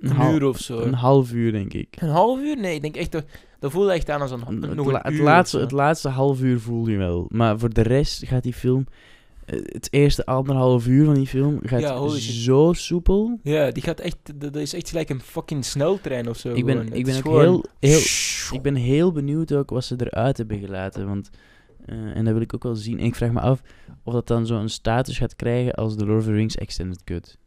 [SPEAKER 1] Een
[SPEAKER 3] hal-
[SPEAKER 1] uur of zo.
[SPEAKER 3] een half uur, denk ik.
[SPEAKER 1] Een half uur? Nee, ik denk echt dat, dat voelde echt aan als een,
[SPEAKER 3] Het,
[SPEAKER 1] nog
[SPEAKER 3] la-
[SPEAKER 1] een
[SPEAKER 3] het
[SPEAKER 1] uur.
[SPEAKER 3] laatste,
[SPEAKER 1] of
[SPEAKER 3] het
[SPEAKER 1] zo.
[SPEAKER 3] laatste half uur voel je wel. Maar voor de rest gaat die film... eh, Het eerste anderhalf uur van die film gaat
[SPEAKER 1] Ja, holy shit.
[SPEAKER 3] zo soepel.
[SPEAKER 1] Ja, die gaat echt, dat, dat is echt gelijk een fucking sneltrein of zo.
[SPEAKER 3] Ik ben,
[SPEAKER 1] gewoon.
[SPEAKER 3] ik
[SPEAKER 1] Het
[SPEAKER 3] ben
[SPEAKER 1] is
[SPEAKER 3] ook
[SPEAKER 1] gewoon-
[SPEAKER 3] heel, heel, ik ben heel benieuwd ook wat ze eruit hebben gelaten. Want, eh, en dat wil ik ook wel zien. En ik vraag me af of dat dan zo'n status gaat krijgen als The Lord of the Rings Extended Cut.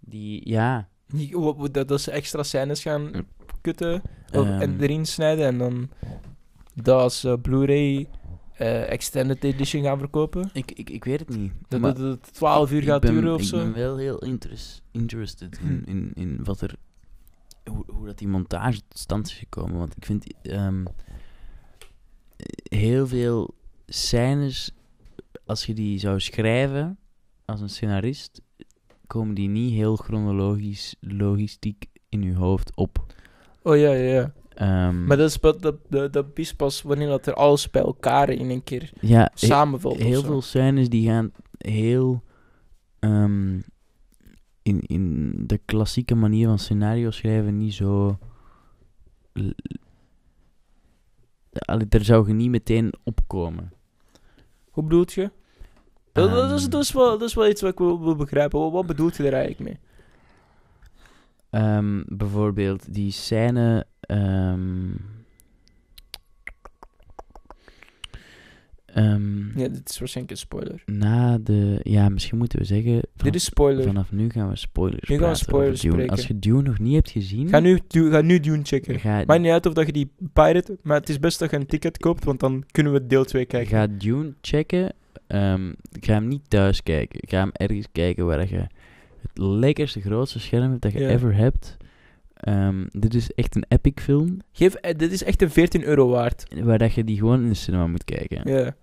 [SPEAKER 3] Die, ja...
[SPEAKER 1] Die- wat- wat- dat, dat ze extra scènes gaan kutten of- en
[SPEAKER 3] Ehm.
[SPEAKER 1] erin snijden en dan dat als eh, Blu-ray eh, Extended Edition gaan verkopen.
[SPEAKER 3] Ik, ik, ik weet het niet.
[SPEAKER 1] Dat
[SPEAKER 3] maar-
[SPEAKER 1] dat het 12 uur
[SPEAKER 3] Ik
[SPEAKER 1] gaat
[SPEAKER 3] ben-
[SPEAKER 1] duren of
[SPEAKER 3] ik
[SPEAKER 1] zo. Hm.
[SPEAKER 3] ben wel heel interes- interested in, in, in wat er... Hoe, hoe dat die montage tot stand is gekomen. Want ik vind ehm, heel veel scènes, als je die zou schrijven als een scenarist, komen die niet heel chronologisch, logistiek in je hoofd op.
[SPEAKER 1] Oh ja, ja, ja.
[SPEAKER 3] Ehm,
[SPEAKER 1] Maar dat is, pas- dat, dat, dat is pas wanneer dat er alles bij elkaar in een keer
[SPEAKER 3] ja, he-
[SPEAKER 1] samenvalt. of
[SPEAKER 3] heel
[SPEAKER 1] zo.
[SPEAKER 3] veel scènes die gaan heel ehm, in, in de klassieke manier van scenario schrijven niet zo l- Allee, daar zou je niet meteen opkomen.
[SPEAKER 1] Hoe bedoelt je? Dat, dat, is,
[SPEAKER 3] Ehm.
[SPEAKER 1] dat, is wel, dat is wel iets wat ik wil, wil begrijpen. Wat, wat bedoelt je er eigenlijk mee?
[SPEAKER 3] Ehm, bijvoorbeeld die scène. ehm, ehm,
[SPEAKER 1] Ja, dit is waarschijnlijk een spoiler.
[SPEAKER 3] Na de. Ja, misschien moeten we zeggen.
[SPEAKER 1] Dit
[SPEAKER 3] vanaf-
[SPEAKER 1] is spoiler.
[SPEAKER 3] Vanaf nu gaan we spoilers
[SPEAKER 1] Nu gaan we
[SPEAKER 3] praten over
[SPEAKER 1] spoilers
[SPEAKER 3] Dune.
[SPEAKER 1] spreken.
[SPEAKER 3] Als je Dune nog niet hebt gezien...
[SPEAKER 1] Ga nu, Du- ga nu Dune checken.
[SPEAKER 3] Ga,
[SPEAKER 1] Maakt niet uit of dat je die pirate, maar het is best dat je een ticket koopt, want dan kunnen we deel 2 kijken.
[SPEAKER 3] ga Dune checken. Ehm, ik ga hem niet thuis kijken. Ik ga hem ergens kijken waar je het lekkerste, grootste scherm hebt dat je
[SPEAKER 1] Ja.
[SPEAKER 3] ever hebt. Ehm, dit is echt een epic film.
[SPEAKER 1] Geef, eh, dit is echt een 14 euro waard.
[SPEAKER 3] Waar dat je die gewoon in de cinema moet kijken.
[SPEAKER 1] Ja.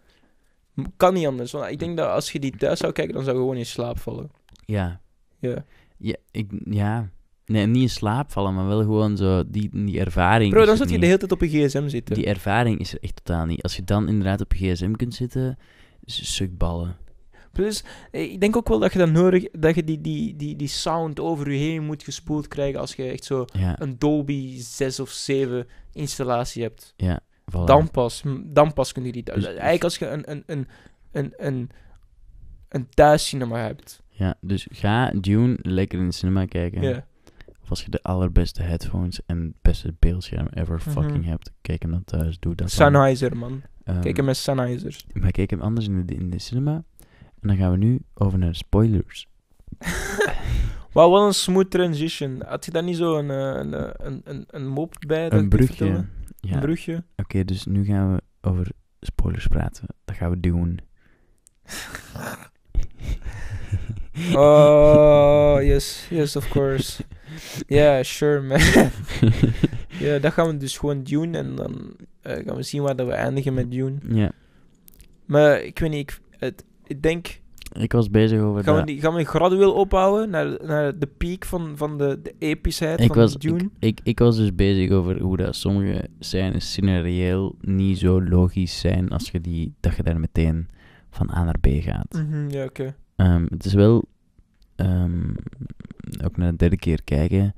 [SPEAKER 1] M- Kan niet anders, want ik denk dat als je die thuis zou kijken, dan zou je gewoon in slaap vallen.
[SPEAKER 3] Ja.
[SPEAKER 1] Ja.
[SPEAKER 3] Ja, ik, ja. Nee, niet in slaap vallen, maar wel gewoon zo... Die, die ervaring
[SPEAKER 1] Bro,
[SPEAKER 3] is
[SPEAKER 1] dan zat je
[SPEAKER 3] er dus niet.
[SPEAKER 1] de hele tijd op je gsm zitten.
[SPEAKER 3] Die ervaring is er echt totaal niet. Als je dan inderdaad op je gsm kunt zitten, is sukballen.
[SPEAKER 1] Plus, eh, ik denk ook wel dat je dan nodig, dat je die, die, die, die sound over je heen moet gespoeld krijgen als je echt zo
[SPEAKER 3] Ja,
[SPEAKER 1] een Dolby 6 of 7 installatie hebt.
[SPEAKER 3] voilà.
[SPEAKER 1] Dan pas, m- dan pas kun je die thuis.
[SPEAKER 3] Dus-
[SPEAKER 1] Eigenlijk als je een, een, een, een, een, een thuiscinema hebt.
[SPEAKER 3] Ja, dus ga Dune lekker in de cinema kijken.
[SPEAKER 1] Ja.
[SPEAKER 3] Of als je de allerbeste headphones en het beste beeldscherm ever
[SPEAKER 1] Mhm.
[SPEAKER 3] fucking hebt, kijk hem dan thuis. Doe dat dan.
[SPEAKER 1] Sennheiser, man.
[SPEAKER 3] Ehm,
[SPEAKER 1] nou- Kijk hem met Sennheiser.
[SPEAKER 3] Maar kijk hem anders in de, in de cinema. En dan gaan we nu over naar spoilers.
[SPEAKER 1] Wauw, wat een smooth transition. Had je daar niet zo een, eh, een, eh, een, een, een mop bij? dat
[SPEAKER 3] een
[SPEAKER 1] ik dit
[SPEAKER 3] brugje.
[SPEAKER 1] vertelde?
[SPEAKER 3] Ja,
[SPEAKER 1] Een
[SPEAKER 3] oké,
[SPEAKER 1] brugje.
[SPEAKER 3] dus nu gaan we over spoilers praten. Dat gaan we doen.
[SPEAKER 1] Oh, yes. Yes, of course. Ja, sure, man. ja, dan gaan we dus gewoon Dune. En dan eh, gaan we zien waar dat we eindigen met Dune.
[SPEAKER 3] Ja,
[SPEAKER 1] Maar ik weet niet, ik, het, ik denk...
[SPEAKER 3] ik was bezig over
[SPEAKER 1] Gaan we,
[SPEAKER 3] dat.
[SPEAKER 1] die, gaan we gradueel opbouwen naar, naar de piek van, van de, de epischheid
[SPEAKER 3] Ik
[SPEAKER 1] van
[SPEAKER 3] was, ik,
[SPEAKER 1] Dune?
[SPEAKER 3] ik, ik was dus bezig over hoe dat sommige scènes scenarioel niet zo logisch zijn als je die, dat je daar meteen van A naar B gaat.
[SPEAKER 1] Mhm, ja, oké.
[SPEAKER 3] Ehm, het is wel, ehm, ook na de derde keer kijken,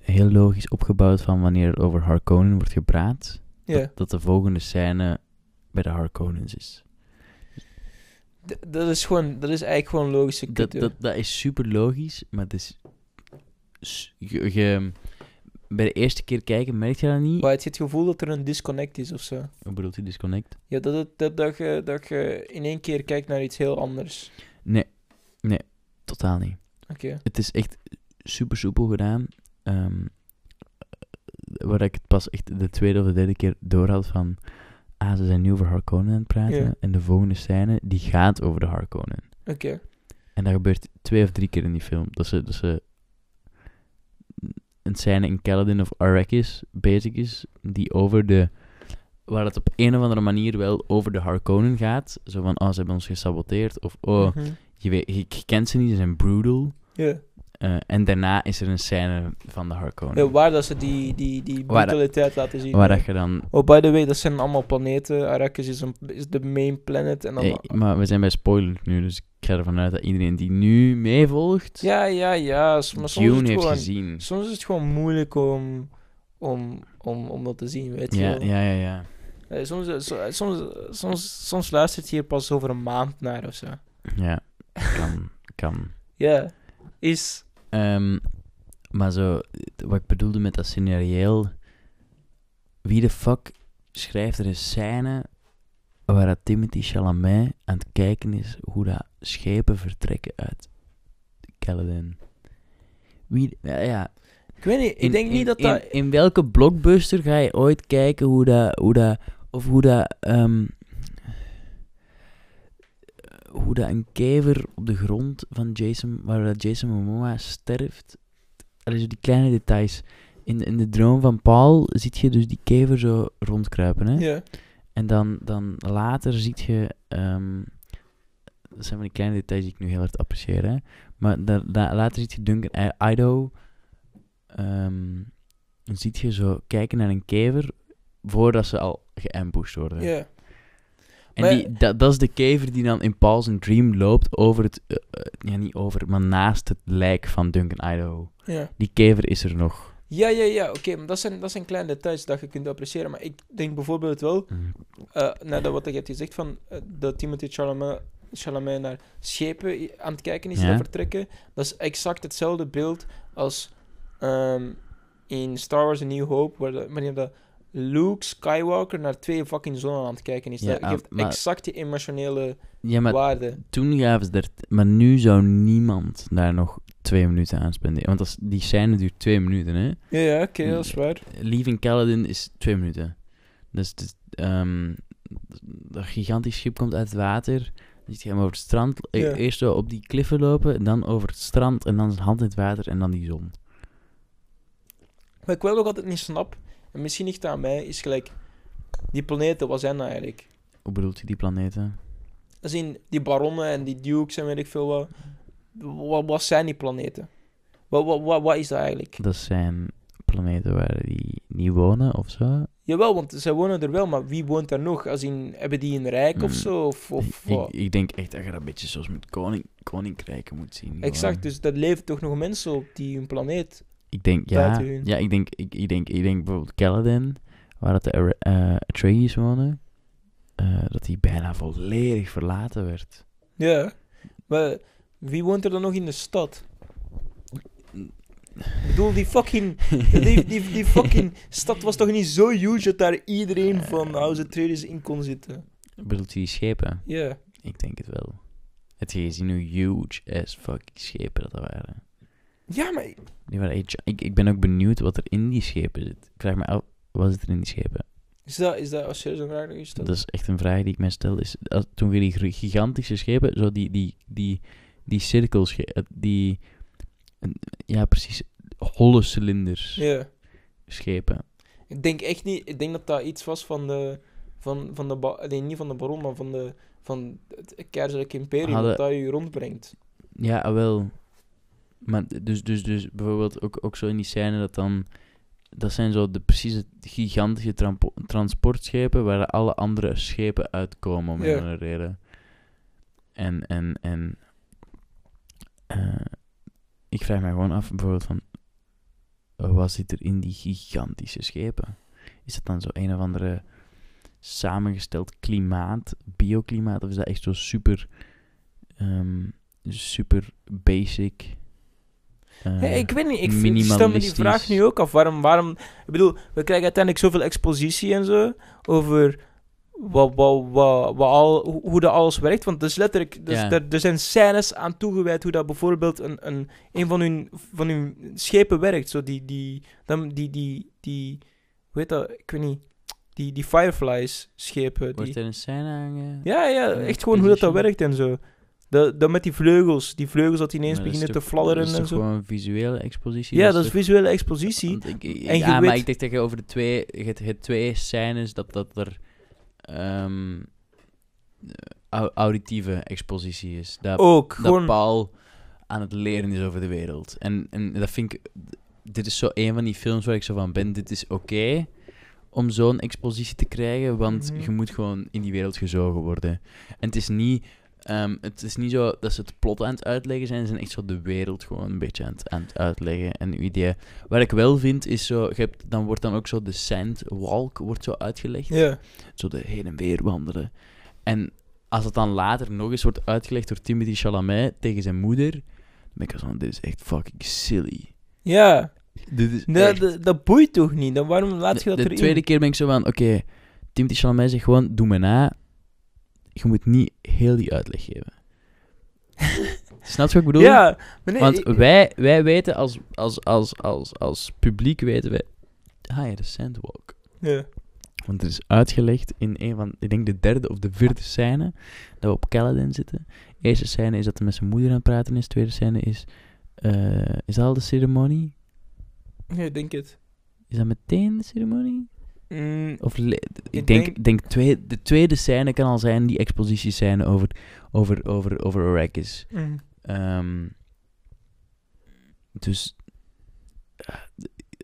[SPEAKER 3] heel logisch opgebouwd van wanneer er over Harkonnen wordt gepraat,
[SPEAKER 1] Ja,
[SPEAKER 3] dat, dat de volgende scène bij de Harkonnens is.
[SPEAKER 1] D- dat is gewoon, dat is eigenlijk gewoon logische kut,
[SPEAKER 3] Dat,
[SPEAKER 1] joh.
[SPEAKER 3] dat, dat is super logisch, maar het is... s- je- je- bij de eerste keer kijken merk je dat niet.
[SPEAKER 1] Maar het, het gevoel dat er een disconnect is of zo.
[SPEAKER 3] Wat bedoelt u, disconnect?
[SPEAKER 1] Ja, dat, het, dat, dat, je, dat je in één keer kijkt naar iets heel anders.
[SPEAKER 3] Nee, nee, totaal niet.
[SPEAKER 1] Oké.
[SPEAKER 3] Het is echt super soepel gedaan. ehm, waar ik het pas echt de tweede of de derde keer door had van... Ah, ze zijn nu over Harkonnen aan het praten.
[SPEAKER 1] Ja.
[SPEAKER 3] En de volgende scène, die gaat over de Harkonnen.
[SPEAKER 1] Oké.
[SPEAKER 3] En dat gebeurt twee of drie keer in die film. Dat ze, dat ze een scène in Caledon of Arrakis bezig is, die over de... Waar het op een of andere manier wel over de Harkonnen gaat. Zo van, oh, ze hebben ons gesaboteerd. Of, oh,
[SPEAKER 1] Mhm.
[SPEAKER 3] je, weet, je kent ze niet, ze zijn brutal.
[SPEAKER 1] Ja.
[SPEAKER 3] Eh, en daarna is er een scène van de Harkonnen.
[SPEAKER 1] Ja, waar dat ze die, die, die
[SPEAKER 3] Waar dat-
[SPEAKER 1] brutaliteit laten zien.
[SPEAKER 3] waar
[SPEAKER 1] ja.
[SPEAKER 3] dat je dan...
[SPEAKER 1] Oh, by the way, dat zijn allemaal planeten. Arrakis is, een, is de main planet. En dan...
[SPEAKER 3] Eh, maar we zijn bij spoilers nu, dus ik ga ervan uit dat iedereen die nu meevolgt,
[SPEAKER 1] Ja, ja, ja. s- Maar soms is het
[SPEAKER 3] Dune heeft
[SPEAKER 1] gewoon-
[SPEAKER 3] gezien.
[SPEAKER 1] Soms is het gewoon moeilijk om, om, om, om dat te zien, weet je
[SPEAKER 3] Ja,
[SPEAKER 1] wel.
[SPEAKER 3] ja, ja, ja.
[SPEAKER 1] Eh, Soms, eh, so- eh, soms, eh, soms, soms luistert je hier pas over een maand naar of zo. Ja,
[SPEAKER 3] Ja, kan, kan.
[SPEAKER 1] is...
[SPEAKER 3] Ehm, maar zo, wat ik bedoelde met dat scenario, wie de fuck schrijft er een scène waar dat Timothy Chalamet aan het kijken is hoe dat schepen vertrekken uit Caledon? Wie, ja, ja,
[SPEAKER 1] Ik weet niet, ik
[SPEAKER 3] In-
[SPEAKER 1] denk
[SPEAKER 3] in-
[SPEAKER 1] niet dat
[SPEAKER 3] in,
[SPEAKER 1] dat...
[SPEAKER 3] In welke blockbuster ga je ooit kijken hoe dat... Hoe dat of hoe dat... ehm, hoe dat een kever op de grond van Jason... Waar dat Jason Momoa sterft. Allee, zo die kleine details. In, in de droom van Paul ziet je dus die kever zo rondkruipen, hè?
[SPEAKER 1] Ja,
[SPEAKER 3] En dan, dan later ziet je... ehm, dat zijn van die kleine details die ik nu heel hard apprecieer, hè. Maar da- da- later ziet je Duncan I- Idaho... ehm, dan ziet je zo kijken naar een kever... voordat ze al geambushed worden.
[SPEAKER 1] ja.
[SPEAKER 3] En
[SPEAKER 1] Maar-
[SPEAKER 3] die, dat, dat is de kever die dan in Paul's Dream loopt over het... eh, eh, ja, niet over, maar naast het lijk van Duncan Idaho.
[SPEAKER 1] ja.
[SPEAKER 3] Die kever is er nog.
[SPEAKER 1] Ja, ja, ja, oké, maar dat zijn, dat zijn kleine details dat je kunt appreciëren. Maar ik denk bijvoorbeeld wel,
[SPEAKER 3] Mhm.
[SPEAKER 1] eh nadat wat je hebt gezegd van eh, dat Timothy Chalamet, Chalamet naar schepen i- aan het kijken is,
[SPEAKER 3] Ja.
[SPEAKER 1] dat vertrekken, dat is exact hetzelfde beeld als ehm, in Star Wars A New Hope, waar de- wanneer dat Luke Skywalker naar twee fucking zonnen aan het kijken is.
[SPEAKER 3] Ja, ah,
[SPEAKER 1] dat geeft
[SPEAKER 3] maar-
[SPEAKER 1] exact die emotionele
[SPEAKER 3] Ja, maar
[SPEAKER 1] waarde.
[SPEAKER 3] toen gaven ze er... Maar nu zou niemand daar nog twee minuten aan spenderen. Want als, die scène duurt twee minuten, hè.
[SPEAKER 1] Ja, ja, oké,
[SPEAKER 3] Mm.
[SPEAKER 1] dat is waar.
[SPEAKER 3] Leaving Caledon is twee minuten. Dus het is, ehm, dat gigantisch schip komt uit het water. Dan ziet je hem over het strand. e-
[SPEAKER 1] Ja.
[SPEAKER 3] Eerst zo op die kliffen lopen, en dan over het strand, en dan zijn hand in het water, en dan die zon.
[SPEAKER 1] Wat ik wel nog altijd niet snap, en misschien ligt het aan mij, is gelijk... Die planeten, wat zijn dat eigenlijk?
[SPEAKER 3] Hoe bedoelt u die planeten?
[SPEAKER 1] Dat zijn die baronnen en die dukes en weet ik veel wat. Wat, wat zijn die planeten? Wat, wat, wat, wat is dat eigenlijk?
[SPEAKER 3] Dat zijn planeten waar die niet wonen of zo.
[SPEAKER 1] Jawel, want zij wonen er wel, maar wie woont daar nog? Als in, hebben die een rijk of
[SPEAKER 3] Mm.
[SPEAKER 1] zo? Of, of
[SPEAKER 3] ik,
[SPEAKER 1] wat?
[SPEAKER 3] ik denk echt dat je dat een beetje zoals met koning, koninkrijken moet zien. gewoon.
[SPEAKER 1] Exact, dus dat leven toch nog mensen op die hun planeet.
[SPEAKER 3] Ik denk, ja.
[SPEAKER 1] buiten hun.
[SPEAKER 3] Ja, ik denk, ik, ik denk, ik denk bijvoorbeeld Caledon, waar dat de Ara- eh, Atreides wonen, eh, dat die bijna volledig verlaten werd.
[SPEAKER 1] Ja. Maar wie woont er dan nog in de stad? Ik bedoel, die fucking, die, die, die fucking stad was toch niet zo huge dat daar iedereen van House Atreides in kon zitten?
[SPEAKER 3] Bedoelt u die schepen?
[SPEAKER 1] Ja.
[SPEAKER 3] Ik denk het wel. Het je gezien hoe huge as fucking schepen dat waren?
[SPEAKER 1] Ja, maar
[SPEAKER 3] Die waren echt, ik, ik ben ook benieuwd wat er in die schepen zit. Ik vraag me af, wat zit er in die schepen?
[SPEAKER 1] Is dat, is dat als je zo'n vraag nog eens stelt?
[SPEAKER 3] Dat is echt een vraag die ik mij stel. Is, als, toen weer die gr- gigantische schepen, zo die, die, die, die cirkels, die, een- ja precies, holle cilinders
[SPEAKER 1] Ja.
[SPEAKER 3] schepen.
[SPEAKER 1] Ik denk echt niet... Ik denk dat dat iets was van de... Van, van de ba- nee, niet van de baron, maar van, de, van het keizerlijk imperium
[SPEAKER 3] Hadden-
[SPEAKER 1] dat dat je rondbrengt.
[SPEAKER 3] Ja, ah, wel. Maar d- dus, dus, dus bijvoorbeeld ook, ook zo in die scène dat dan... Dat zijn zo de precieze gigantische trampo- transportschepen waar alle andere schepen uitkomen om
[SPEAKER 1] Ja.
[SPEAKER 3] een of andere reden. En, en, en... eh, ik vraag me gewoon af bijvoorbeeld van... eh, Wat zit er in die gigantische schepen? Is dat dan zo een of andere samengesteld klimaat, bioklimaat? Of is dat echt zo super... ehm, super basic. eh,
[SPEAKER 1] Hey, ik weet niet, ik v- stel me die vraag
[SPEAKER 3] minimalistisch.
[SPEAKER 1] nu ook af. Waarom, waarom... Ik bedoel, we krijgen uiteindelijk zoveel expositie en zo over wat, wat, wat, wat al, hoe- hoe dat alles werkt. Want dus letterlijk, dus
[SPEAKER 3] Ja.
[SPEAKER 1] er, er zijn scènes aan toegewijd hoe dat bijvoorbeeld een, een, een van, hun, van hun schepen werkt. Zo die, die, dan, die, die, die, hoe heet dat, ik weet niet, die, die Fireflies schepen. Die,
[SPEAKER 3] Wordt er een scène hangen?
[SPEAKER 1] ja, ja,
[SPEAKER 3] een
[SPEAKER 1] echt gewoon hoe dat, dat
[SPEAKER 3] exposition?
[SPEAKER 1] werkt en zo. Dat, dat met die vleugels, die vleugels dat ineens
[SPEAKER 3] Maar dat is
[SPEAKER 1] beginnen te
[SPEAKER 3] toch-
[SPEAKER 1] fladderen
[SPEAKER 3] Dat is
[SPEAKER 1] en
[SPEAKER 3] toch
[SPEAKER 1] zo.
[SPEAKER 3] gewoon een visuele expositie?
[SPEAKER 1] Ja, dat is
[SPEAKER 3] toch-
[SPEAKER 1] visuele expositie.
[SPEAKER 3] want ik- ik-
[SPEAKER 1] en je
[SPEAKER 3] ja, maar
[SPEAKER 1] weet-
[SPEAKER 3] ik denk dat je over de twee, je hebt- je hebt twee scènes dat, dat er ehm, eh, au- auditieve expositie is. Dat,
[SPEAKER 1] Ook,
[SPEAKER 3] eh, dat
[SPEAKER 1] gewoon...
[SPEAKER 3] Paul aan het leren is over de wereld. En, en dat vind ik... Dit is zo een van die films waar ik zo van ben. Dit is oké om zo'n expositie te krijgen, want
[SPEAKER 1] Mhm.
[SPEAKER 3] je moet gewoon in die wereld gezogen worden. En het is niet... ehm, het is niet zo dat ze het plot aan het uitleggen zijn. Ze zijn echt zo de wereld gewoon een beetje aan het, aan het uitleggen. En uw idee. Wat ik wel vind, is zo... Je hebt, dan wordt dan ook zo de sandwalk wordt zo uitgelegd
[SPEAKER 1] Ja.
[SPEAKER 3] zo de heen en weer wandelen. En als het dan later nog eens wordt uitgelegd door Timothy Chalamet tegen zijn moeder, dan ben ik al zo van, dit is echt fucking silly.
[SPEAKER 1] Ja.
[SPEAKER 3] Dit is
[SPEAKER 1] Nee,
[SPEAKER 3] echt-
[SPEAKER 1] dat, dat boeit toch niet? Dan waarom laat je dat
[SPEAKER 3] de
[SPEAKER 1] erin?
[SPEAKER 3] tweede keer ben ik zo van, oké, Timothy Chalamet zegt gewoon, doe me na. Je moet niet heel die uitleg geven. Snap je wat ik bedoel?
[SPEAKER 1] Ja, maar nee,
[SPEAKER 3] Want
[SPEAKER 1] ik-
[SPEAKER 3] wij, wij weten als, als, als, als, als publiek weten wij... Ah ja, de Sandwalk.
[SPEAKER 1] ja.
[SPEAKER 3] Want er is uitgelegd in een van, ik denk de derde of de vierde scène, dat we op Caledon zitten. eerste scène is dat hij met zijn moeder aan het praten is. Tweede scène is, eh, is dat al de ceremonie?
[SPEAKER 1] Ja, ik denk het.
[SPEAKER 3] Is dat meteen de ceremonie?
[SPEAKER 1] Mm,
[SPEAKER 3] Of le- ik,
[SPEAKER 1] Ik
[SPEAKER 3] denk,
[SPEAKER 1] denk-
[SPEAKER 3] denk... twee, de tweede scène kan al zijn die expositiescène over, over, over, over Arrakis.
[SPEAKER 1] mm.
[SPEAKER 3] Ehm, dus eh,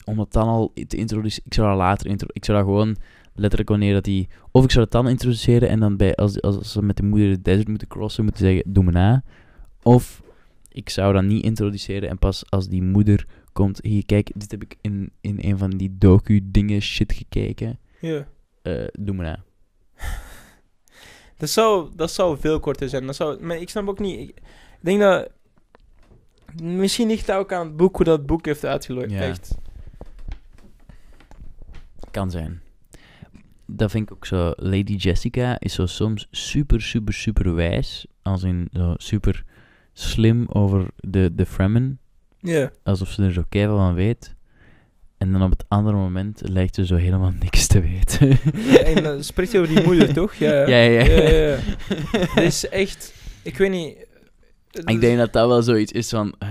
[SPEAKER 3] om dat dan al te introduceren, ik zou dat later intro, ik zou dat gewoon letterlijk wanneer dat die, of ik zou dat dan introduceren en dan bij als, als, als ze met de moeder de desert moeten crossen moeten zeggen doe me na, of ik zou dat niet introduceren en pas als die moeder komt. Hier, kijk, dit heb ik in, in een van die docu-dingen shit gekeken.
[SPEAKER 1] Ja.
[SPEAKER 3] Eh, doe maar na.
[SPEAKER 1] Dat zou, dat zou veel korter zijn. Dat zou, maar ik snap ook niet... Ik ik denk dat... Misschien ligt dat ook aan het boek, hoe dat boek heeft uitgelegd.
[SPEAKER 3] Ja. Kan zijn. Dat vind ik ook zo. Lady Jessica is zo soms super, super, super wijs. Als in zo super slim over de, de Fremen.
[SPEAKER 1] Ja.
[SPEAKER 3] Alsof ze er zo keihard van weet. En dan op het andere moment lijkt ze zo helemaal niks te weten.
[SPEAKER 1] en dan spreekt hij over die moeder, toch? Ja, ja.
[SPEAKER 3] ja, ja.
[SPEAKER 1] Ja, ja, Dit is echt... Ik weet niet... Het
[SPEAKER 3] Ik
[SPEAKER 1] is-
[SPEAKER 3] denk dat dat wel zoiets is van... eh,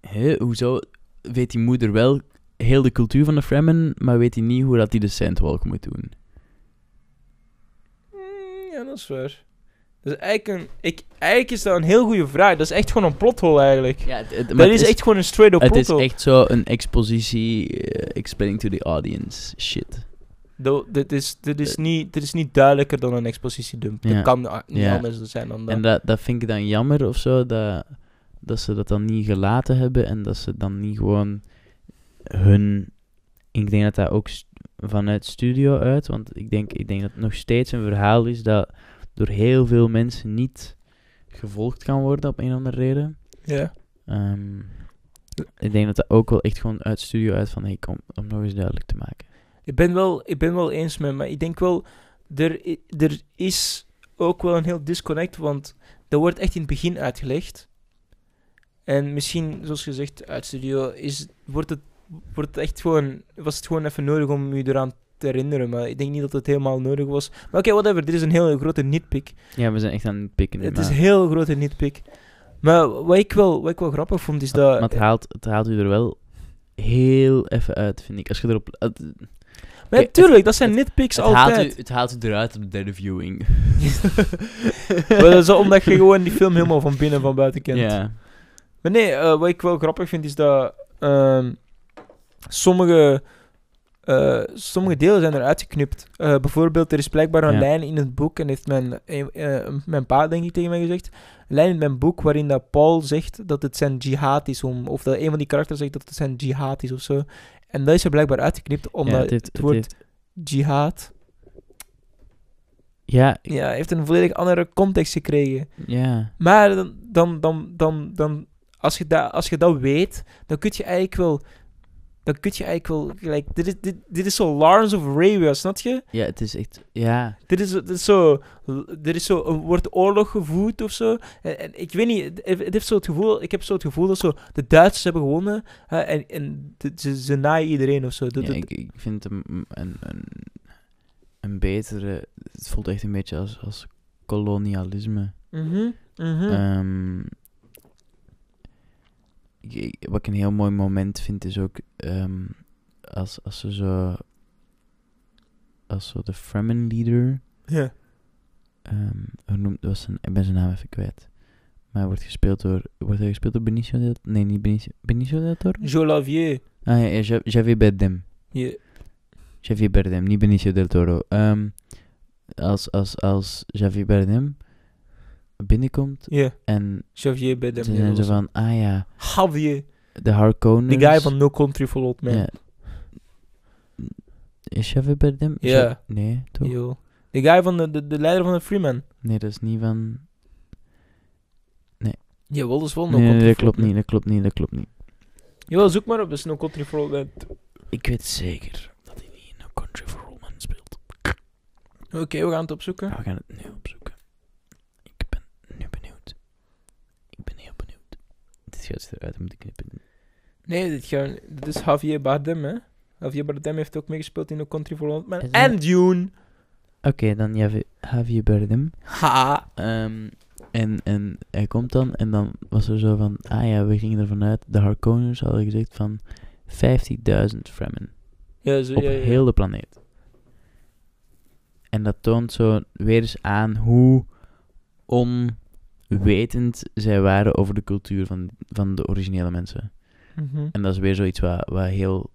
[SPEAKER 3] hè, hoezo weet die moeder wel heel de cultuur van de Fremen, maar weet hij niet hoe dat die de Sandwalk moet doen?
[SPEAKER 1] Mm, Ja, dat is waar. Dat is eigenlijk, een, ik, eigenlijk is dat een heel goede vraag. Dat is echt gewoon een plothol eigenlijk.
[SPEAKER 3] Ja, het, het- maar
[SPEAKER 1] dat is,
[SPEAKER 3] het
[SPEAKER 1] echt gewoon een straight-up
[SPEAKER 3] Het is
[SPEAKER 1] plothol.
[SPEAKER 3] echt zo een expositie, eh, explaining to the audience shit.
[SPEAKER 1] Do- dit, is, dit, is niet, dit is niet duidelijker dan een expositiedump.
[SPEAKER 3] Eh. Ja.
[SPEAKER 1] Dat kan ah, niet
[SPEAKER 3] Ja.
[SPEAKER 1] anders zijn dan dat.
[SPEAKER 3] En dat, dat vind ik dan jammer of zo, dat, dat ze dat dan niet gelaten hebben en dat ze dan niet gewoon hun... Ik denk dat dat ook st- vanuit studio uit, want ik denk, ik denk dat het nog steeds een verhaal is dat door heel veel mensen niet gevolgd kan worden op een of andere reden.
[SPEAKER 1] ja.
[SPEAKER 3] Ehm, ik denk dat dat ook wel echt gewoon uit studio uit van, hey kom, om nog eens duidelijk te maken.
[SPEAKER 1] ik, ben wel, ik ben wel eens met maar ik denk wel... Er, i- er is ook wel een heel disconnect, want dat wordt echt in het begin uitgelegd. En misschien, zoals gezegd, uit studio is, wordt het, wordt het echt gewoon, was het gewoon even nodig om je eraan te herinneren. Maar ik denk niet dat het helemaal nodig was. Maar oké, whatever. Dit is een heel grote nitpick.
[SPEAKER 3] Ja, we zijn echt aan het pikken. nu,
[SPEAKER 1] Het
[SPEAKER 3] maar-
[SPEAKER 1] is heel grote nitpick. Maar wat ik wel, wat ik wel grappig vond, is
[SPEAKER 3] Maar,
[SPEAKER 1] dat...
[SPEAKER 3] maar het, haalt, het haalt u er wel heel even uit, vind ik. Als je erop... Het,
[SPEAKER 1] Maar
[SPEAKER 3] Oké,
[SPEAKER 1] natuurlijk, dat zijn nitpicks
[SPEAKER 3] het haalt
[SPEAKER 1] altijd.
[SPEAKER 3] u, het haalt u eruit op de derde viewing.
[SPEAKER 1] Maar dat is omdat je gewoon die film helemaal van binnen en van buiten kent.
[SPEAKER 3] Ja.
[SPEAKER 1] Maar nee, eh, wat ik wel grappig vind, is dat ehm, sommige, eh, sommige delen zijn eruit geknipt. Eh, bijvoorbeeld, er is blijkbaar een
[SPEAKER 3] Ja.
[SPEAKER 1] lijn in het boek, en heeft mijn, eh, eh, mijn pa, denk ik, tegen mij gezegd, een lijn in mijn boek waarin dat Paul zegt dat het zijn jihad is, om, of dat een van die karakters zegt dat het zijn jihad is, of zo. En dat is er blijkbaar uitgeknipt, omdat
[SPEAKER 3] ja,
[SPEAKER 1] het,
[SPEAKER 3] heeft-
[SPEAKER 1] woord
[SPEAKER 3] heeft-
[SPEAKER 1] jihad...
[SPEAKER 3] ja, ik-
[SPEAKER 1] Ja, heeft een volledig andere context gekregen.
[SPEAKER 3] ja,
[SPEAKER 1] Maar dan, dan, dan, dan, dan als, je dat als je dat weet, dan kun je eigenlijk wel. Dan kun je eigenlijk wel. gelijk dit, is, dit, dit is zo Lawrence of Arabia, snap je?
[SPEAKER 3] ja, het is echt... Ja,
[SPEAKER 1] Dit is, dit is zo. Dit is zo. Er wordt oorlog gevoerd of zo. En, en ik weet niet. Het, het heeft zo het gevoel, ik heb zo het gevoel dat zo de Duitsers hebben gewonnen. hè, en en de- ze, ze naaien iedereen of zo. Dat-
[SPEAKER 3] ja
[SPEAKER 1] dat-
[SPEAKER 3] ik, ik vind het een, een, een, een betere... Het voelt echt een beetje als, als kolonialisme.
[SPEAKER 1] Mhm, mhm.
[SPEAKER 3] Ehm, ik- ik- wat ik een heel mooi moment vind is ook ehm, als, als ze zo. Als zo de Fremen leader.
[SPEAKER 1] ja.
[SPEAKER 3] ehm, hoe noemt, was zijn, ik ben zijn naam even kwijt. Maar hij wordt gespeeld door. Wordt hij gespeeld door Benicio del Nee, niet Benicio, Benicio del Toro?
[SPEAKER 1] Joe Lavier.
[SPEAKER 3] Ah ja, ja Ja- Javier Bardem.
[SPEAKER 1] Ja.
[SPEAKER 3] Javier Bardem, niet Benicio del Toro. Ehm, als, als, als Javier Bardem binnenkomt
[SPEAKER 1] Ja.
[SPEAKER 3] en
[SPEAKER 1] Xavier bij
[SPEAKER 3] ze zijn zo
[SPEAKER 1] de
[SPEAKER 3] van, ah ja,
[SPEAKER 1] Javier.
[SPEAKER 3] de Harkonnens.
[SPEAKER 1] Die guy van No Country for Old Men.
[SPEAKER 3] Ja. Is Chevy Berdem? Is
[SPEAKER 1] Ja.
[SPEAKER 3] hij- Nee, toch?
[SPEAKER 1] Yo. De guy van de, de, de leider van de Freeman.
[SPEAKER 3] Nee, dat is niet van...
[SPEAKER 1] Jawel, dat is wel
[SPEAKER 3] Nee, nee, dat klopt niet, dat klopt niet, dat klopt niet.
[SPEAKER 1] Jawel, zoek maar op, dat is No Country for Old Men.
[SPEAKER 3] Ik weet zeker dat hij niet in No Country for Old Men speelt.
[SPEAKER 1] Oké, we gaan het opzoeken.
[SPEAKER 3] We gaan het nu opzoeken. Ik ben nu benieuwd. Ik ben heel benieuwd. Dit gaat eruit dan moet ik knippen.
[SPEAKER 1] Nee, dit, gaan, dit is Javier Bardem, hè. Javier Bardem heeft ook meegespeeld in No Country for Old Men.
[SPEAKER 3] Is dat-
[SPEAKER 1] En Dune.
[SPEAKER 3] Oké, dan Javi- Javier Berdem.
[SPEAKER 1] Ha.
[SPEAKER 3] Ehm, en, en hij komt dan en dan was er zo van... Ah ja, we gingen ervan uit. De Harkonnens hadden gezegd van 50.000 Fremen.
[SPEAKER 1] Ja, zo,
[SPEAKER 3] op
[SPEAKER 1] ja, ja.
[SPEAKER 3] heel de planeet. En dat toont zo weer eens aan hoe onwetend zij waren over de cultuur van, van de originele mensen.
[SPEAKER 1] Mhm.
[SPEAKER 3] En dat is weer zoiets wat, wat heel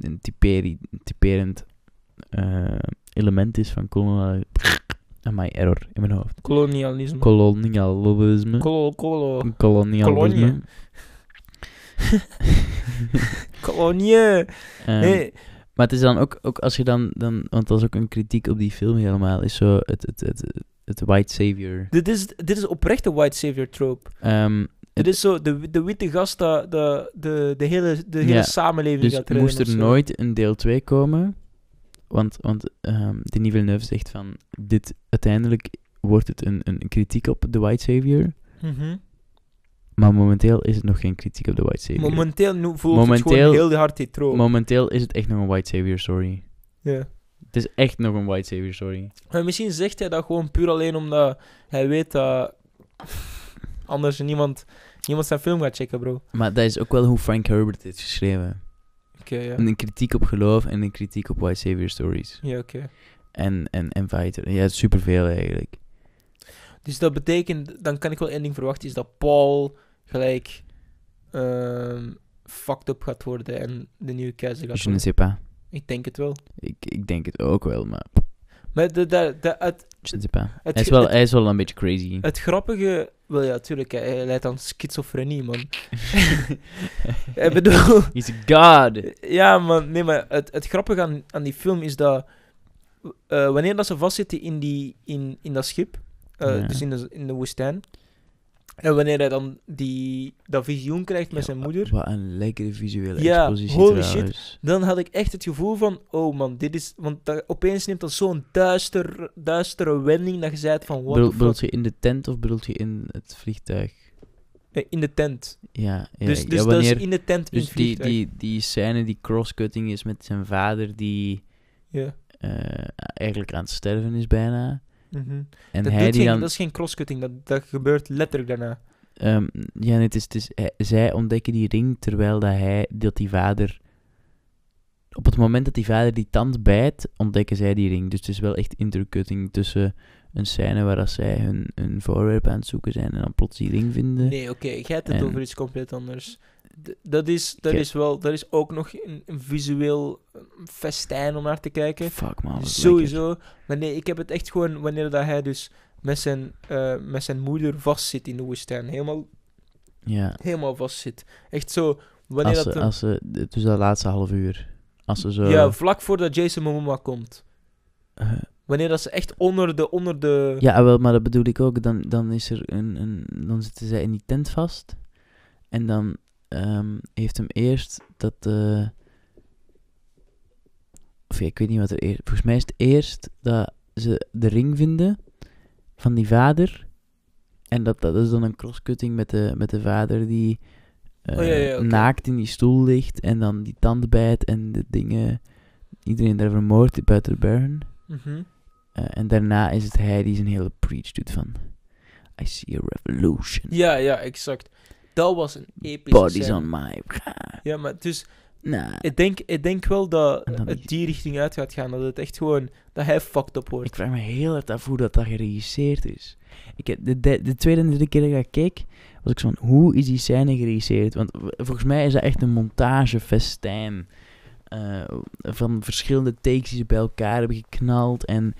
[SPEAKER 3] een typeri, typerend eh, element is van kolonial... Amai, error in mijn hoofd.
[SPEAKER 1] Mm. Kolonialisme.
[SPEAKER 3] Kolonialisme.
[SPEAKER 1] Kolo, kolo.
[SPEAKER 3] Kolonialisme.
[SPEAKER 1] Kolonie. Kolonie.
[SPEAKER 3] Ehm,
[SPEAKER 1] Nee.
[SPEAKER 3] Maar het is dan ook, ook als je dan, dan, want dat is ook een kritiek op die film helemaal, is zo het, het, het, het white savior.
[SPEAKER 1] Dit is, dit is oprecht een white savior trope.
[SPEAKER 3] Ehm,
[SPEAKER 1] Dit is zo de, de witte gast dat de, de, de hele, de hele
[SPEAKER 3] Ja,
[SPEAKER 1] samenleving
[SPEAKER 3] dus
[SPEAKER 1] gaat redden
[SPEAKER 3] moest
[SPEAKER 1] of
[SPEAKER 3] er
[SPEAKER 1] zo.
[SPEAKER 3] nooit een deel 2 komen, want, want ehm Denis Villeneuve zegt van, dit, uiteindelijk wordt het een, een kritiek op de white savior,
[SPEAKER 1] Mhm.
[SPEAKER 3] maar momenteel is het nog geen kritiek op de white savior.
[SPEAKER 1] Momenteel nu voelt het
[SPEAKER 3] Momenteel-
[SPEAKER 1] gewoon heel hard die trope.
[SPEAKER 3] momenteel is het echt nog een white savior story.
[SPEAKER 1] ja.
[SPEAKER 3] Het is echt nog een white savior story.
[SPEAKER 1] Maar misschien zegt hij dat gewoon puur alleen omdat hij weet dat anders niemand, niemand zijn film gaat checken, bro. Oké,
[SPEAKER 3] Maar dat is ook wel hoe Frank Herbert heeft geschreven.
[SPEAKER 1] ja.
[SPEAKER 3] Een kritiek op geloof en een kritiek op white savior stories.
[SPEAKER 1] Ja, oké.
[SPEAKER 3] En, en, en fighter. Ja, superveel eigenlijk.
[SPEAKER 1] Dus dat betekent, dan kan ik wel één ding verwachten, is dat Paul gelijk ehm, fucked up gaat worden en de nieuwe keizer gaat
[SPEAKER 3] Je ne
[SPEAKER 1] worden.
[SPEAKER 3] sais pas.
[SPEAKER 1] Ik denk het wel.
[SPEAKER 3] Ik, ik denk het ook wel, maar
[SPEAKER 1] Maar de, de, de, het,
[SPEAKER 3] je ne sais pas.
[SPEAKER 1] het,
[SPEAKER 3] Hij is wel,
[SPEAKER 1] het,
[SPEAKER 3] hij is wel een beetje crazy.
[SPEAKER 1] het grappige... Wel ja, tuurlijk, hij, hij leidt aan schizofrenie, man. ik bedoel...
[SPEAKER 3] He's a god.
[SPEAKER 1] Ja, man. Nee, maar het, het grappige aan, aan die film is dat... eh, wanneer dat ze vastzitten in, die, in, in dat schip, eh,
[SPEAKER 3] Ja.
[SPEAKER 1] dus in de, in de woestijn... En wanneer hij dan die, dat visioen krijgt met
[SPEAKER 3] Ja,
[SPEAKER 1] zijn moeder...
[SPEAKER 3] Wat een lekkere visuele
[SPEAKER 1] Ja,
[SPEAKER 3] expositie
[SPEAKER 1] holy
[SPEAKER 3] trouwens.
[SPEAKER 1] Dan had ik echt het gevoel van... Oh man, dit is... Want dat, opeens neemt dat zo'n duister, duistere wending dat je zei van... What
[SPEAKER 3] Bedoel,
[SPEAKER 1] the fuck?
[SPEAKER 3] bedoelt je in de tent of bedoelt je in het vliegtuig?
[SPEAKER 1] Eh, In de tent.
[SPEAKER 3] Ja, ja,
[SPEAKER 1] dus
[SPEAKER 3] ja,
[SPEAKER 1] dus dat
[SPEAKER 3] wanneer,
[SPEAKER 1] is in de tent in
[SPEAKER 3] dus
[SPEAKER 1] het
[SPEAKER 3] die,
[SPEAKER 1] vliegtuig.
[SPEAKER 3] die, die scène die crosscutting is met zijn vader die
[SPEAKER 1] Ja.
[SPEAKER 3] eh, eigenlijk aan het sterven is bijna.
[SPEAKER 1] Mhm.
[SPEAKER 3] En
[SPEAKER 1] dat,
[SPEAKER 3] hij
[SPEAKER 1] doet
[SPEAKER 3] die
[SPEAKER 1] geen,
[SPEAKER 3] dan...
[SPEAKER 1] dat is geen crosscutting, dat, dat gebeurt letterlijk daarna.
[SPEAKER 3] Ehm, ja, nee, het is, het is, hij- zij ontdekken die ring terwijl dat hij, dat die vader... Op het moment dat die vader die tand bijt, ontdekken zij die ring. Dus het is wel echt intercutting tussen een scène waar dat zij hun, hun voorwerp aan het zoeken zijn en dan plots die ring vinden.
[SPEAKER 1] Nee, oké, ik heb het
[SPEAKER 3] En-
[SPEAKER 1] over iets compleet anders. D- dat is, dat
[SPEAKER 3] Oké.
[SPEAKER 1] is wel, dat is ook nog een, een visueel eh, festijn om naar te kijken.
[SPEAKER 3] Fuck man, wat lekker.
[SPEAKER 1] Sowieso. Maar nee, ik heb het echt gewoon wanneer dat hij dus met zijn, eh, met zijn moeder vastzit in de woestijn. Helemaal,
[SPEAKER 3] Ja,
[SPEAKER 1] helemaal vastzit. Echt zo, wanneer
[SPEAKER 3] als
[SPEAKER 1] dat...
[SPEAKER 3] ze,
[SPEAKER 1] hem-
[SPEAKER 3] als ze, dus dat laatste half uur. Als ze zo...
[SPEAKER 1] ja, vlak voordat Jason Momoa komt.
[SPEAKER 3] eh,
[SPEAKER 1] Wanneer dat ze echt onder de... Onder de
[SPEAKER 3] Ja, wel, maar dat bedoel ik ook. Dan, dan, is er een, een, dan zitten zij in die tent vast. En dan ehm, heeft hem eerst dat. eh, of ja, ik weet niet wat er eerst. Volgens mij is het eerst dat ze de ring vinden van die vader. En dat, dat is dan een crosscutting met de, met de vader die eh,
[SPEAKER 1] Oh, ja, ja, oké.
[SPEAKER 3] naakt in die stoel ligt. En dan die tanden bijt en de dingen. Iedereen daar vermoord buiten Baron.
[SPEAKER 1] Mhm.
[SPEAKER 3] Eh, en daarna is het hij die zijn hele preach doet van... I see a revolution.
[SPEAKER 1] ja, ja, exact. Dat was een epische
[SPEAKER 3] Bodies
[SPEAKER 1] scène.
[SPEAKER 3] on my... Nou,
[SPEAKER 1] Ja, maar dus
[SPEAKER 3] Nah.
[SPEAKER 1] Ik denk, ik denk wel dat
[SPEAKER 3] En dan die-
[SPEAKER 1] het die richting uit gaat gaan. Dat het echt gewoon... Dat hij fucked up wordt.
[SPEAKER 3] Ik vraag me heel hard af hoe dat, dat geregisseerd is. Ik, heb- de, de, de tweede en derde keer dat ik dat keek, was ik zo van... Hoe is die scène geregisseerd? Want v- volgens mij is dat echt een montagefestijn. eh, van verschillende takes die ze bij elkaar hebben geknald. En,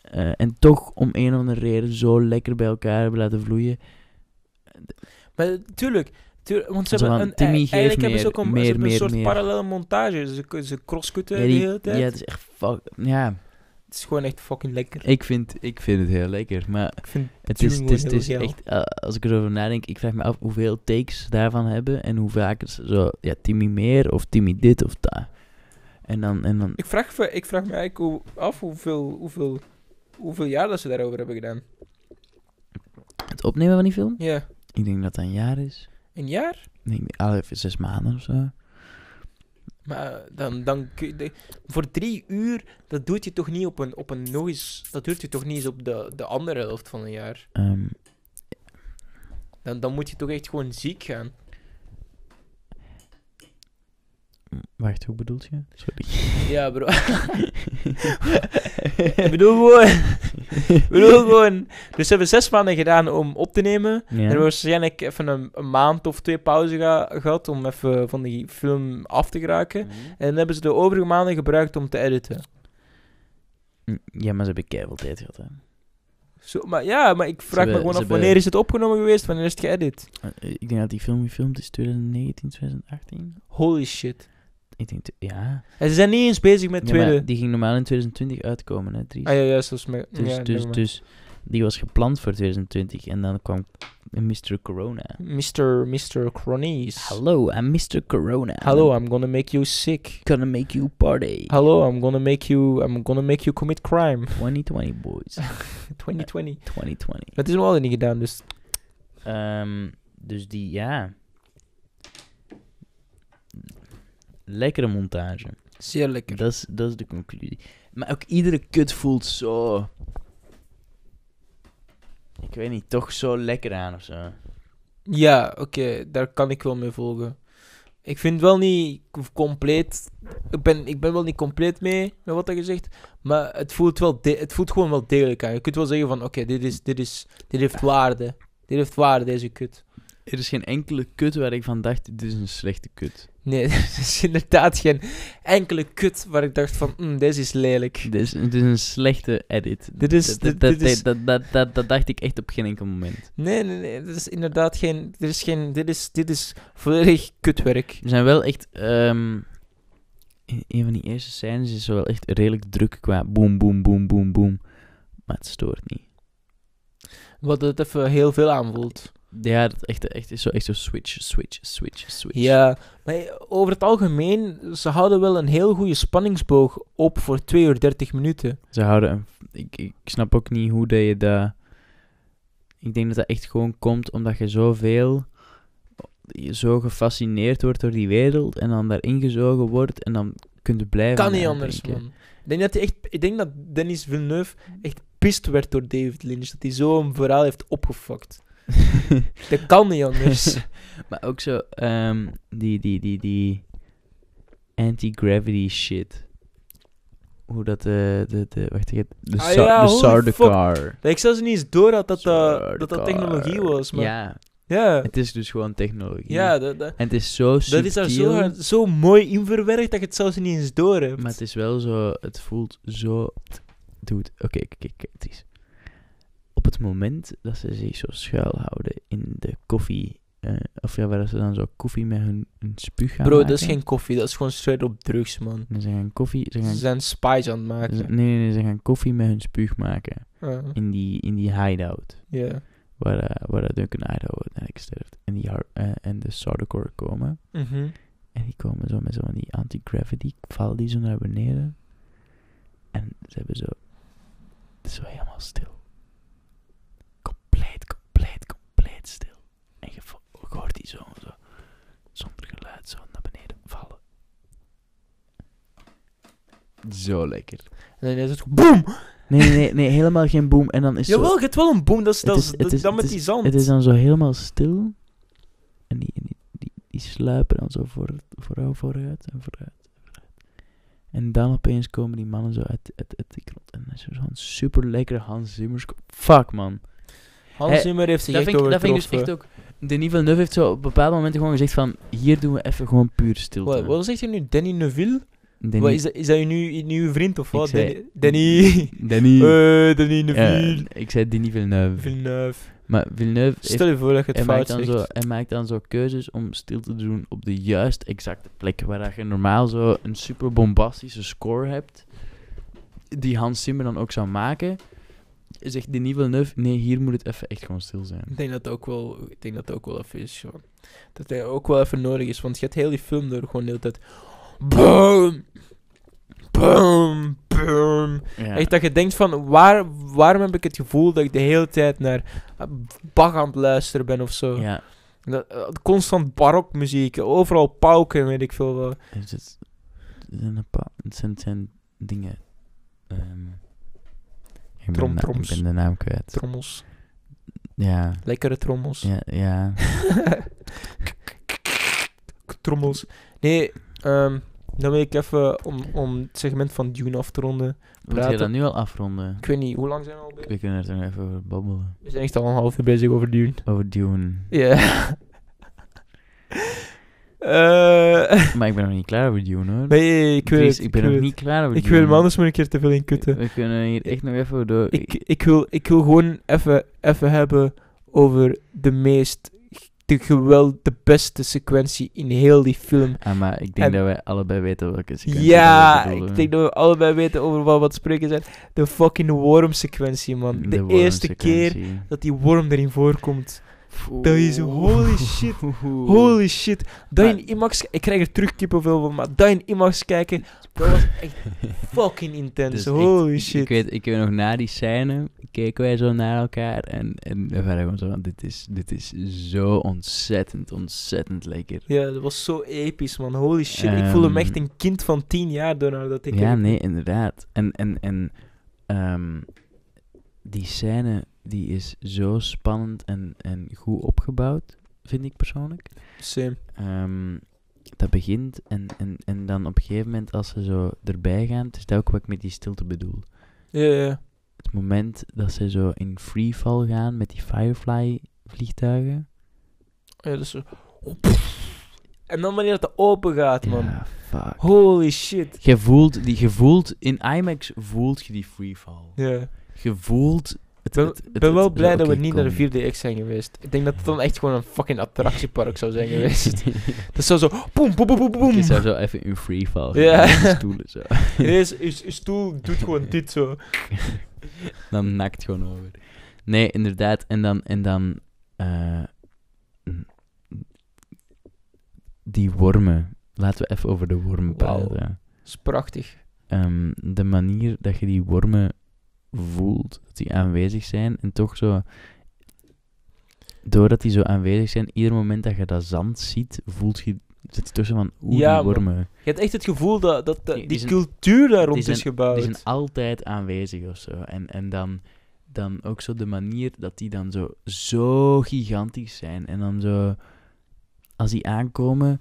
[SPEAKER 3] eh, en toch om een of andere reden zo lekker bij elkaar hebben laten vloeien.
[SPEAKER 1] Maar tuurlijk... tuurlijk want ze
[SPEAKER 3] Zo
[SPEAKER 1] hebben
[SPEAKER 3] van,
[SPEAKER 1] een,
[SPEAKER 3] Timmy,
[SPEAKER 1] ei-
[SPEAKER 3] geef
[SPEAKER 1] eigenlijk hebben ze
[SPEAKER 3] meer,
[SPEAKER 1] ook een, ze
[SPEAKER 3] meer,
[SPEAKER 1] hebben een
[SPEAKER 3] meer,
[SPEAKER 1] soort
[SPEAKER 3] meer.
[SPEAKER 1] parallele montage. Ze, ze crosscutten
[SPEAKER 3] die-
[SPEAKER 1] de hele tijd.
[SPEAKER 3] ja, het is echt... Fuck, ja,
[SPEAKER 1] Het is gewoon echt fucking lekker.
[SPEAKER 3] Ik vind, ik vind het heel lekker, maar
[SPEAKER 1] Ik vind
[SPEAKER 3] het is, het
[SPEAKER 1] Turing
[SPEAKER 3] is, het
[SPEAKER 1] heel
[SPEAKER 3] is
[SPEAKER 1] geil.
[SPEAKER 3] echt, eh, als ik erover nadenk, ik vraag me af hoeveel takes ze daarvan hebben en hoe vaak ze zo, ja, Timmy meer of Timmy dit of dat. En dan, en dan,
[SPEAKER 1] Ik vraag, me- ik vraag me eigenlijk hoe- af hoeveel, hoeveel, hoeveel jaar dat ze daarover hebben gedaan.
[SPEAKER 3] het opnemen van die film,
[SPEAKER 1] Ja.
[SPEAKER 3] ik denk dat dat een jaar is.
[SPEAKER 1] Een jaar?
[SPEAKER 3] Ik denk, ah, even zes maanden of zo.
[SPEAKER 1] Maar eh, dan, dan kun je... de- voor drie uur, dat doet je toch niet op een... Op een nog eens, dat doet je toch niet eens op de, de andere helft van een jaar.
[SPEAKER 3] Ehm,
[SPEAKER 1] Dan, dan moet je toch echt gewoon ziek gaan.
[SPEAKER 3] wacht, hoe bedoelt je? Sorry.
[SPEAKER 1] Ja, bro. ik bedoel gewoon... ik bedoel gewoon... Dus ze hebben zes maanden gedaan om op te nemen.
[SPEAKER 3] Ja.
[SPEAKER 1] En waarschijnlijk even een, een maand of twee pauze ga- gehad om even van die film af te geraken. En dan hebben ze de overige maanden gebruikt om te editen.
[SPEAKER 3] Mm, Ja, maar ze hebben keiveel tijd gehad, hè.
[SPEAKER 1] Zo, maar ja, maar ik vraag me
[SPEAKER 3] hebben-
[SPEAKER 1] gewoon af,
[SPEAKER 3] ze hebben-
[SPEAKER 1] wanneer is het opgenomen geweest? Wanneer is het geëdit?
[SPEAKER 3] Eh, Ik denk dat die film gefilmd is 2019, 2018.
[SPEAKER 1] Holy shit.
[SPEAKER 3] Ik denk, tw- ja.
[SPEAKER 1] En ze zijn niet eens bezig met
[SPEAKER 3] Ja,
[SPEAKER 1] tweede...
[SPEAKER 3] maar die ging normaal in 2020 uitkomen, hè, Dries.
[SPEAKER 1] Ah ja, juist, dat is me...
[SPEAKER 3] Dus,
[SPEAKER 1] ja,
[SPEAKER 3] dus,
[SPEAKER 1] nevermind.
[SPEAKER 3] dus die was gepland voor 2020 en dan kwam Mr. Corona.
[SPEAKER 1] Mr. Mr. Cronies.
[SPEAKER 3] dus- Hallo, I'm Mr. Corona.
[SPEAKER 1] Hallo, I'm gonna make you sick.
[SPEAKER 3] gonna make you party.
[SPEAKER 1] Hallo, I'm gonna make you... I'm gonna make you commit crime.
[SPEAKER 3] 2020 boys.
[SPEAKER 1] 2020.
[SPEAKER 3] 2020.
[SPEAKER 1] Dat is nog altijd niet gedaan, dus...
[SPEAKER 3] Ehm, dus die, ja. Lekkere montage.
[SPEAKER 1] Zeer lekker.
[SPEAKER 3] Dat is, dat is de conclusie. Maar ook iedere kut voelt zo. Ik weet niet, toch zo lekker aan of zo.
[SPEAKER 1] Ja, oké, daar kan ik wel mee volgen. Ik vind wel niet k- compleet. Ik ben, ik ben wel niet compleet mee met wat hij gezegd. Maar het voelt, wel de- het voelt gewoon wel degelijk aan. Je kunt wel zeggen van oké, dit, is, dit, is, dit heeft waarde. Dit heeft waarde, deze kut.
[SPEAKER 3] Er is geen enkele kut waar ik van dacht: dit is een slechte kut.
[SPEAKER 1] Nee, er is inderdaad geen enkele kut waar ik dacht van mm, deze is lelijk.
[SPEAKER 3] Dit is, dit is een slechte edit.
[SPEAKER 1] Dit is-
[SPEAKER 3] Dat-
[SPEAKER 1] dit-
[SPEAKER 3] dat-
[SPEAKER 1] dit is-
[SPEAKER 3] dat- dat- dat- dat dacht ik echt op geen enkel moment.
[SPEAKER 1] Nee, nee, nee. Dit is inderdaad geen. Dit is geen. Dit is, dit is volledig kutwerk.
[SPEAKER 3] Er zijn wel echt. ehm, in een van die eerste scènes is er wel echt redelijk druk qua boom, boom, boom, boom, boom. Maar het stoort niet.
[SPEAKER 1] Wat het even heel veel aanvoelt.
[SPEAKER 3] Ja, dat echt, echt is zo, echt zo switch, switch, switch, switch.
[SPEAKER 1] Ja, maar over het algemeen, ze houden wel een heel goede spanningsboog op voor 2 uur 30 minuten.
[SPEAKER 3] Ze houden een- ik, ik snap ook niet hoe dat je dat... Ik denk dat dat echt gewoon komt omdat je zoveel... je Zo gefascineerd wordt door die wereld en dan daarin gezogen wordt en dan kunt je blijven
[SPEAKER 1] kan niet anders,
[SPEAKER 3] nadenken.
[SPEAKER 1] man. Ik denk, dat hij echt, ik denk dat Dennis Villeneuve echt pist werd door David Lynch. Dat hij zo'n verhaal heeft opgefokt. Dat kan niet anders.
[SPEAKER 3] maar ook zo, ehm, die, die, die, die anti-gravity shit. Hoe dat de, de, de wacht ik het- de,
[SPEAKER 1] Ah
[SPEAKER 3] sa-
[SPEAKER 1] ja,
[SPEAKER 3] de
[SPEAKER 1] holy
[SPEAKER 3] sardaukar.
[SPEAKER 1] dat ik zelfs niet eens door had dat dat,
[SPEAKER 3] Sardaukar.
[SPEAKER 1] dat, dat technologie was. Maar ja,
[SPEAKER 3] Ja,
[SPEAKER 1] ja,
[SPEAKER 3] het is dus gewoon technologie.
[SPEAKER 1] dat, dat,
[SPEAKER 3] En het is zo subtiel,
[SPEAKER 1] dat is daar zo, hard- zo mooi in verwerkt dat je het zelfs niet eens door hebt.
[SPEAKER 3] maar het is wel zo, het voelt zo... Dude, oké, kijk, kijk, kijk, Dries. Op het moment dat ze zich zo schuilhouden in de koffie, eh, of ja, waar ze dan zo koffie met hun, hun spuug gaan
[SPEAKER 1] Bro, dat
[SPEAKER 3] maken.
[SPEAKER 1] is geen koffie, dat is gewoon straight op drugs, man.
[SPEAKER 3] En Ze gaan koffie... Ze
[SPEAKER 1] Ze
[SPEAKER 3] gaan,
[SPEAKER 1] zijn spies aan het
[SPEAKER 3] ze-
[SPEAKER 1] maken.
[SPEAKER 3] nee, nee, nee, ze gaan koffie met hun spuug maken.
[SPEAKER 1] Ja.
[SPEAKER 3] In die, in die hideout.
[SPEAKER 1] Ja.
[SPEAKER 3] Waar, eh, waar Duncan Idaho uiteindelijk sterft. En, die, har- eh, en de Sardaukor komen.
[SPEAKER 1] Mhm.
[SPEAKER 3] En die komen zo met zo'n die anti-gravity. Vallen die zo naar beneden. En ze hebben zo... Het is zo helemaal stil. Compleet, compleet, compleet stil. En je, vo- je hoort die zo, zo... Zonder geluid zo naar beneden vallen. Zo lekker.
[SPEAKER 1] En dan is het gewoon boom.
[SPEAKER 3] Nee, nee, nee, nee, helemaal geen boom. En dan is zo,
[SPEAKER 1] Jawel, je hebt wel een boom. Dat is,
[SPEAKER 3] Het
[SPEAKER 1] dat
[SPEAKER 3] is-
[SPEAKER 1] is,
[SPEAKER 3] het
[SPEAKER 1] dat
[SPEAKER 3] is-
[SPEAKER 1] dan
[SPEAKER 3] het
[SPEAKER 1] met die zand.
[SPEAKER 3] het is dan zo helemaal stil. En die, die, die, die sluipen dan zo voor, vooruit, vooruit en vooruit. En dan opeens komen die mannen zo uit, uit, uit de grot. En dan is er zo'n super lekkere Hans Zimmers. Fuck man.
[SPEAKER 1] Hans
[SPEAKER 3] Hey,
[SPEAKER 1] Zimmer heeft zich
[SPEAKER 3] Dat
[SPEAKER 1] echt
[SPEAKER 3] vind, ik, dat vind ik
[SPEAKER 1] overtroffen.
[SPEAKER 3] dus echt ook. Denis Villeneuve heeft zo op bepaalde momenten gewoon gezegd: van... Hier doen we even gewoon puur stilte.
[SPEAKER 1] Wat, wat zegt hij nu? Danny Neville?
[SPEAKER 3] Denis-
[SPEAKER 1] Wat, is, dat, is dat je nu- je nieuwe vriend of
[SPEAKER 3] Ik
[SPEAKER 1] wat?
[SPEAKER 3] zei-
[SPEAKER 1] Danny... Danny...
[SPEAKER 3] Denis.
[SPEAKER 1] Eh, Danny Neville.
[SPEAKER 3] Ja, ik zei Denis Villeneuve.
[SPEAKER 1] Villeneuve.
[SPEAKER 3] Maar Villeneuve heeft
[SPEAKER 1] Stel je voor dat je het
[SPEAKER 3] Hij
[SPEAKER 1] fout
[SPEAKER 3] maakt, dan
[SPEAKER 1] zegt.
[SPEAKER 3] zo, hij maakt dan zo keuzes om stil te doen op de juist exacte plek waar dat je normaal zo een super bombastische score hebt, die Hans Zimmer dan ook zou maken. Zegt Denis Villeneuve, nee, hier moet het even echt gewoon stil zijn.
[SPEAKER 1] Ik denk dat het ook wel, ik denk dat het ook wel even is, joh. Dat hij ook wel even nodig is, want je hebt heel die film door gewoon de hele tijd... Boom! Boom! Boom!
[SPEAKER 3] Ja.
[SPEAKER 1] Echt dat je denkt van, waar, waarom heb ik het gevoel dat ik de hele tijd naar eh, Bach aan het luisteren ben of zo.
[SPEAKER 3] ja.
[SPEAKER 1] Dat, eh, constant barokmuziek, overal pauken, weet ik veel wel.
[SPEAKER 3] Het, is- het zijn een paar- het zijn, het zijn dingen. ehm, ik, ben de na- ik
[SPEAKER 1] Tromtroms.
[SPEAKER 3] ben de naam kwijt.
[SPEAKER 1] Trommels,
[SPEAKER 3] Ja,
[SPEAKER 1] lekkere trommels.
[SPEAKER 3] ja, ja.
[SPEAKER 1] Trommels. Nee, ehm, dan wil ik even, om, om het segment van Dune af te ronden.
[SPEAKER 3] Moet je
[SPEAKER 1] Praten.
[SPEAKER 3] dat nu al afronden?
[SPEAKER 1] Ik weet niet, hoe lang zijn we al bezig?
[SPEAKER 3] We kunnen er toch nog even over babbelen.
[SPEAKER 1] We zijn echt al een half uur bezig over Dune.
[SPEAKER 3] Over Dune.
[SPEAKER 1] Ja. Eh,
[SPEAKER 3] Maar ik ben nog niet klaar voor Dune, hoor.
[SPEAKER 1] nee, ik weet
[SPEAKER 3] Dries,
[SPEAKER 1] het,
[SPEAKER 3] ik ben nog
[SPEAKER 1] weet
[SPEAKER 3] niet klaar voor
[SPEAKER 1] het. Ik
[SPEAKER 3] Dune.
[SPEAKER 1] wil hem anders maar een keer te veel in kutten.
[SPEAKER 3] We kunnen hier echt nog even door...
[SPEAKER 1] Ik, ik, wil, ik wil gewoon even, even hebben over de meest... De, geweld, de beste sequentie in heel die film.
[SPEAKER 3] Ah, maar ik denk
[SPEAKER 1] En-
[SPEAKER 3] dat wij allebei weten welke sequentie
[SPEAKER 1] ja,
[SPEAKER 3] dat we
[SPEAKER 1] ik
[SPEAKER 3] bedoelen.
[SPEAKER 1] denk dat we allebei weten over wat wat spreken zijn. De fucking worm-sequentie, man. De,
[SPEAKER 3] worm
[SPEAKER 1] eerste keer
[SPEAKER 3] sequentie.
[SPEAKER 1] dat die worm erin voorkomt. Dat is holy shit.
[SPEAKER 3] Oeh.
[SPEAKER 1] Holy shit. Dat
[SPEAKER 3] Maar-
[SPEAKER 1] in IMAX... Ik krijg er terug kippenvel van, maar dat in IMAX kijken... Dat was echt fucking intens.
[SPEAKER 3] Dus echt,
[SPEAKER 1] holy
[SPEAKER 3] ik-
[SPEAKER 1] shit.
[SPEAKER 3] Ik weet, ik weet nog, na die scène keken wij zo naar elkaar en, en we waren gewoon zo van, dit is, dit is zo ontzettend, ontzettend lekker.
[SPEAKER 1] Ja, dat was zo episch, man. Holy shit. ik voelde me
[SPEAKER 3] Ehm,
[SPEAKER 1] echt een kind van tien jaar door naar dat ik...
[SPEAKER 3] Ja, nee, inderdaad. En, en, en ehm, die scène, die is zo spannend en, en goed opgebouwd, vind ik persoonlijk.
[SPEAKER 1] Same.
[SPEAKER 3] Ehm, dat begint en, en, en dan op een gegeven moment als ze zo erbij gaan, het is dat ook wat ik met die stilte bedoel.
[SPEAKER 1] Ja, ja.
[SPEAKER 3] Het moment dat ze zo in freefall gaan met die Firefly vliegtuigen.
[SPEAKER 1] ja dat is zo... En dan wanneer het open gaat, man.
[SPEAKER 3] Ja, fuck.
[SPEAKER 1] Holy shit.
[SPEAKER 3] Je voelt, die, je voelt, in IMAX voelt je die freefall.
[SPEAKER 1] Ja.
[SPEAKER 3] Je voelt...
[SPEAKER 1] Ik
[SPEAKER 3] Het,
[SPEAKER 1] ben,
[SPEAKER 3] het- het-
[SPEAKER 1] ben wel
[SPEAKER 3] het-
[SPEAKER 1] blij
[SPEAKER 3] ja,
[SPEAKER 1] dat we
[SPEAKER 3] oké,
[SPEAKER 1] niet
[SPEAKER 3] kom.
[SPEAKER 1] naar de 4DX zijn geweest. Ik denk dat het dan echt gewoon een fucking attractiepark zou zijn geweest. Dat zou zo... Boom, boom, boom, boom, boom.
[SPEAKER 3] Je zou zo even in freefall gaan,
[SPEAKER 1] Ja.
[SPEAKER 3] met die stoelen zo.
[SPEAKER 1] Ineens, je, je stoel doet gewoon dit zo.
[SPEAKER 3] dan nakt gewoon over. Nee, inderdaad. En dan... En dan eh, n- die wormen. Laten we even over de wormen
[SPEAKER 1] Wauw.
[SPEAKER 3] praten.
[SPEAKER 1] Dat is prachtig.
[SPEAKER 3] Ehm, de manier dat je die wormen voelt, dat die aanwezig zijn en toch zo... Doordat die zo aanwezig zijn, ieder moment dat je dat zand ziet, voelt je... Zit je toch zo van, oeh,
[SPEAKER 1] Ja, man.
[SPEAKER 3] die wormen.
[SPEAKER 1] Je hebt echt het gevoel dat, dat, dat
[SPEAKER 3] Die-
[SPEAKER 1] die,
[SPEAKER 3] die zijn-
[SPEAKER 1] cultuur daar rond
[SPEAKER 3] zijn-
[SPEAKER 1] is gebouwd.
[SPEAKER 3] Die zijn altijd aanwezig of zo. En, en dan, dan ook zo de manier dat die dan zo, zo gigantisch zijn. En dan zo, als die aankomen,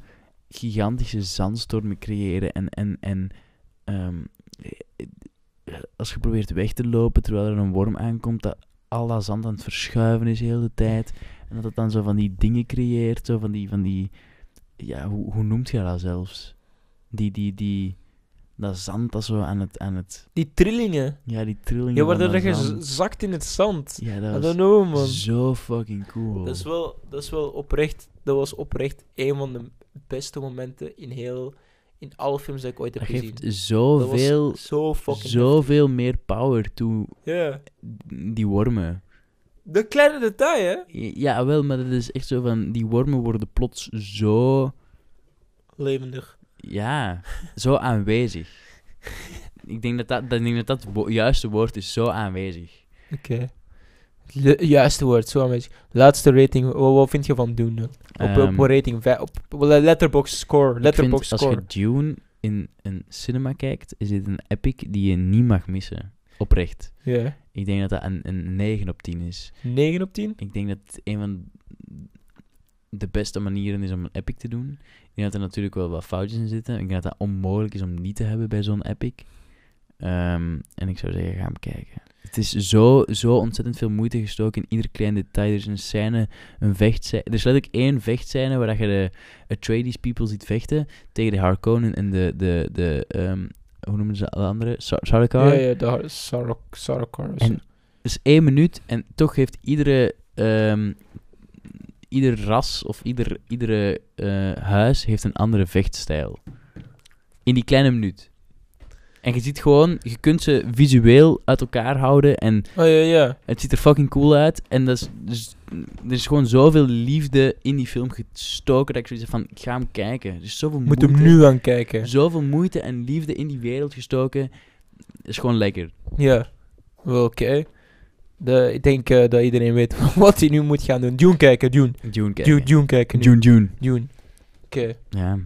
[SPEAKER 3] gigantische zandstormen creëren. En, en, en ehm, eh, als je probeert weg te lopen terwijl er een worm aankomt, dat al dat zand aan het verschuiven is de hele tijd. En dat het dan zo van die dingen creëert, zo van die, van die ja, hoe, hoe noemt je dat zelfs? Die, die, die, dat zand dat zo aan het, aan het,
[SPEAKER 1] Die trillingen.
[SPEAKER 3] ja, die trillingen
[SPEAKER 1] Ja,
[SPEAKER 3] van
[SPEAKER 1] waardoor
[SPEAKER 3] dat
[SPEAKER 1] dat je z-
[SPEAKER 3] zand.
[SPEAKER 1] zakt in het zand.
[SPEAKER 3] Ja,
[SPEAKER 1] I
[SPEAKER 3] dat
[SPEAKER 1] don't
[SPEAKER 3] was
[SPEAKER 1] know, man.
[SPEAKER 3] zo fucking cool.
[SPEAKER 1] Dat is, wel, dat is wel oprecht... Dat was oprecht een van de beste momenten in heel... In alle films die ik ooit heb
[SPEAKER 3] dat
[SPEAKER 1] gezien.
[SPEAKER 3] geeft zoveel,
[SPEAKER 1] dat was zo fucking...
[SPEAKER 3] zoveel meer power toe
[SPEAKER 1] Ja.
[SPEAKER 3] die wormen.
[SPEAKER 1] De kleine detail, hè?
[SPEAKER 3] Ja, wel, maar dat is echt zo van, die wormen worden plots zo,
[SPEAKER 1] Levendig.
[SPEAKER 3] ja, zo aanwezig. Ik denk dat dat, dat, ik denk dat, dat het wo- juiste woord is, zo aanwezig.
[SPEAKER 1] Oké. Juiste woord, zo aanwezig. Laatste rating, wa- wat, vind je van Dune? dan? Op, op
[SPEAKER 3] Ehm,
[SPEAKER 1] een rating, vij- op letterbox score,
[SPEAKER 3] Ik vind,
[SPEAKER 1] letterbox score.
[SPEAKER 3] Als je Dune in een cinema kijkt, is dit een epic die je niet mag missen. Oprecht.
[SPEAKER 1] Ja.
[SPEAKER 3] Ik denk dat dat een, een 9 op 10 is.
[SPEAKER 1] 9 op 10?
[SPEAKER 3] Ik denk dat het een van de beste manieren is om een epic te doen. Ik denk dat er natuurlijk wel wat foutjes in zitten. Ik denk dat dat onmogelijk is om niet te hebben bij zo'n epic. Ehm, en ik zou zeggen, ga hem kijken. Het is zo, zo ontzettend veel moeite gestoken in ieder klein detail. Er is een scène, een vechtscène. Er is letterlijk één vechtscène waar dat je de Atreides people ziet vechten tegen de Harkonnen en de, de, de ehm, hoe noemen ze de andere? Sar- Sarkar.
[SPEAKER 1] Ja, ja, daar is Sarok- Sarokar.
[SPEAKER 3] En- Dus één minuut en toch heeft iedere, ehm, ieder ras of ieder, iedere eh, huis heeft een andere vechtstijl. In die kleine minuut. En je ziet gewoon, je kunt ze visueel uit elkaar houden en
[SPEAKER 1] Oh ja, ja.
[SPEAKER 3] het ziet er fucking cool uit. En dat is, dus, er is gewoon zoveel liefde in die film gestoken dat ik zoiets heb van, ik ga hem kijken. Er is zoveel
[SPEAKER 1] Moet
[SPEAKER 3] moeite,
[SPEAKER 1] hem nu aan kijken.
[SPEAKER 3] zoveel moeite en liefde in die wereld gestoken. Het is gewoon lekker.
[SPEAKER 1] Ja. Wel, oké. De- Ik denk eh, dat iedereen weet wat hij nu moet gaan doen. Dune kijken, Dune.
[SPEAKER 3] Dune kijken.
[SPEAKER 1] Dune, Dune kijken. nu.
[SPEAKER 3] Dune, Dune.
[SPEAKER 1] Dune. Oké.
[SPEAKER 3] Ja.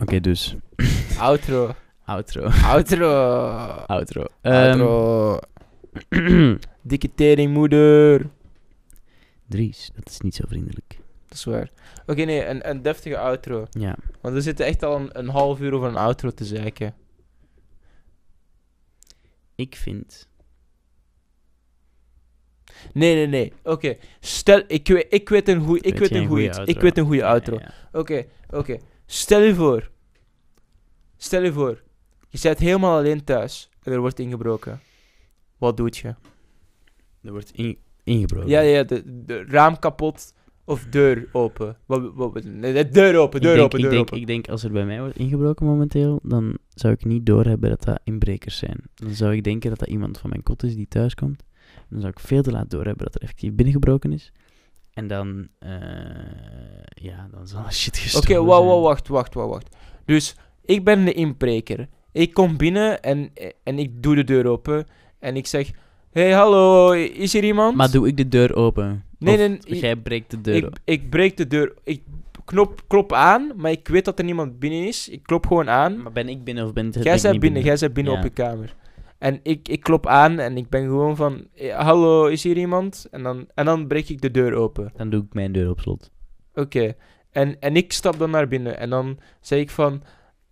[SPEAKER 3] Oké, dus.
[SPEAKER 1] Outro.
[SPEAKER 3] Outro.
[SPEAKER 1] Outro.
[SPEAKER 3] Outro. Ehm,
[SPEAKER 1] Outro. Dikke teringmoeder.
[SPEAKER 3] Dries, dat is niet zo vriendelijk.
[SPEAKER 1] Dat is waar. Oké, nee, een, een deftige outro.
[SPEAKER 3] Ja.
[SPEAKER 1] Want we zitten echt al een, een half uur over een outro te zeiken.
[SPEAKER 3] Ik vind...
[SPEAKER 1] Nee, nee, nee. Oké. Stel, ik, we- ik weet een goeie, ik
[SPEAKER 3] Weet
[SPEAKER 1] weet
[SPEAKER 3] jij
[SPEAKER 1] een goeie,
[SPEAKER 3] een goeie
[SPEAKER 1] iets. ik
[SPEAKER 3] outro?
[SPEAKER 1] weet een goede outro.
[SPEAKER 3] Ja, ja.
[SPEAKER 1] Oké, oké. Stel je voor. Stel je voor. Je zit helemaal alleen thuis en er wordt ingebroken. Wat doet je?
[SPEAKER 3] Er wordt in- ingebroken.
[SPEAKER 1] Ja, ja, de, de raam kapot of deur open. Wat, wat, nee, nee, deur open,
[SPEAKER 3] Ik
[SPEAKER 1] deur
[SPEAKER 3] denk,
[SPEAKER 1] open,
[SPEAKER 3] ik,
[SPEAKER 1] deur
[SPEAKER 3] denk,
[SPEAKER 1] open.
[SPEAKER 3] ik denk als er bij mij wordt ingebroken momenteel, dan zou ik niet doorhebben dat dat inbrekers zijn. Dan zou ik denken dat dat iemand van mijn kot is die thuis komt. Dan zou ik veel te laat doorhebben dat er effectief binnengebroken is. En dan, eh, ja, dan zal shit
[SPEAKER 1] Oké,
[SPEAKER 3] gestolen
[SPEAKER 1] wauw,
[SPEAKER 3] zijn.
[SPEAKER 1] wauw, wacht, wacht, wacht, wacht. Dus ik ben de inbreker. Ik kom binnen en, en ik doe de deur open en ik zeg: Hey, hallo, is hier iemand?
[SPEAKER 3] Maar doe ik de deur open?
[SPEAKER 1] nee,
[SPEAKER 3] Of
[SPEAKER 1] nee, nee,
[SPEAKER 3] Jij breekt de deur
[SPEAKER 1] ik,
[SPEAKER 3] open.
[SPEAKER 1] ik breek de deur. Ik knop, klop aan, maar ik weet dat er niemand binnen is. Ik klop gewoon aan.
[SPEAKER 3] Maar ben ik binnen of ben ben ik
[SPEAKER 1] Jij bent
[SPEAKER 3] niet
[SPEAKER 1] binnen, jij bent binnen
[SPEAKER 3] Ja.
[SPEAKER 1] op je kamer. En ik, ik klop aan en ik ben gewoon van... "Eh, Hallo, is hier iemand? En dan, en dan breek ik de deur open.
[SPEAKER 3] Dan doe ik mijn deur op slot.
[SPEAKER 1] Oké. En, en ik stap dan naar binnen. En dan zeg ik van...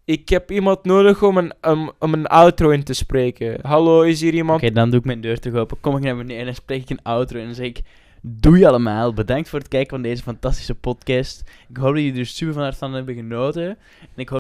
[SPEAKER 1] Ik heb iemand nodig om een, om, om een outro in te spreken. Hallo, is hier iemand?
[SPEAKER 3] Oké, dan doe ik mijn deur terug open. Kom ik naar beneden en spreek ik een outro. En dan zeg ik: Doei allemaal. Bedankt voor het kijken van deze fantastische podcast. Ik hoop dat jullie er super van hart van hebben genoten. En ik hoop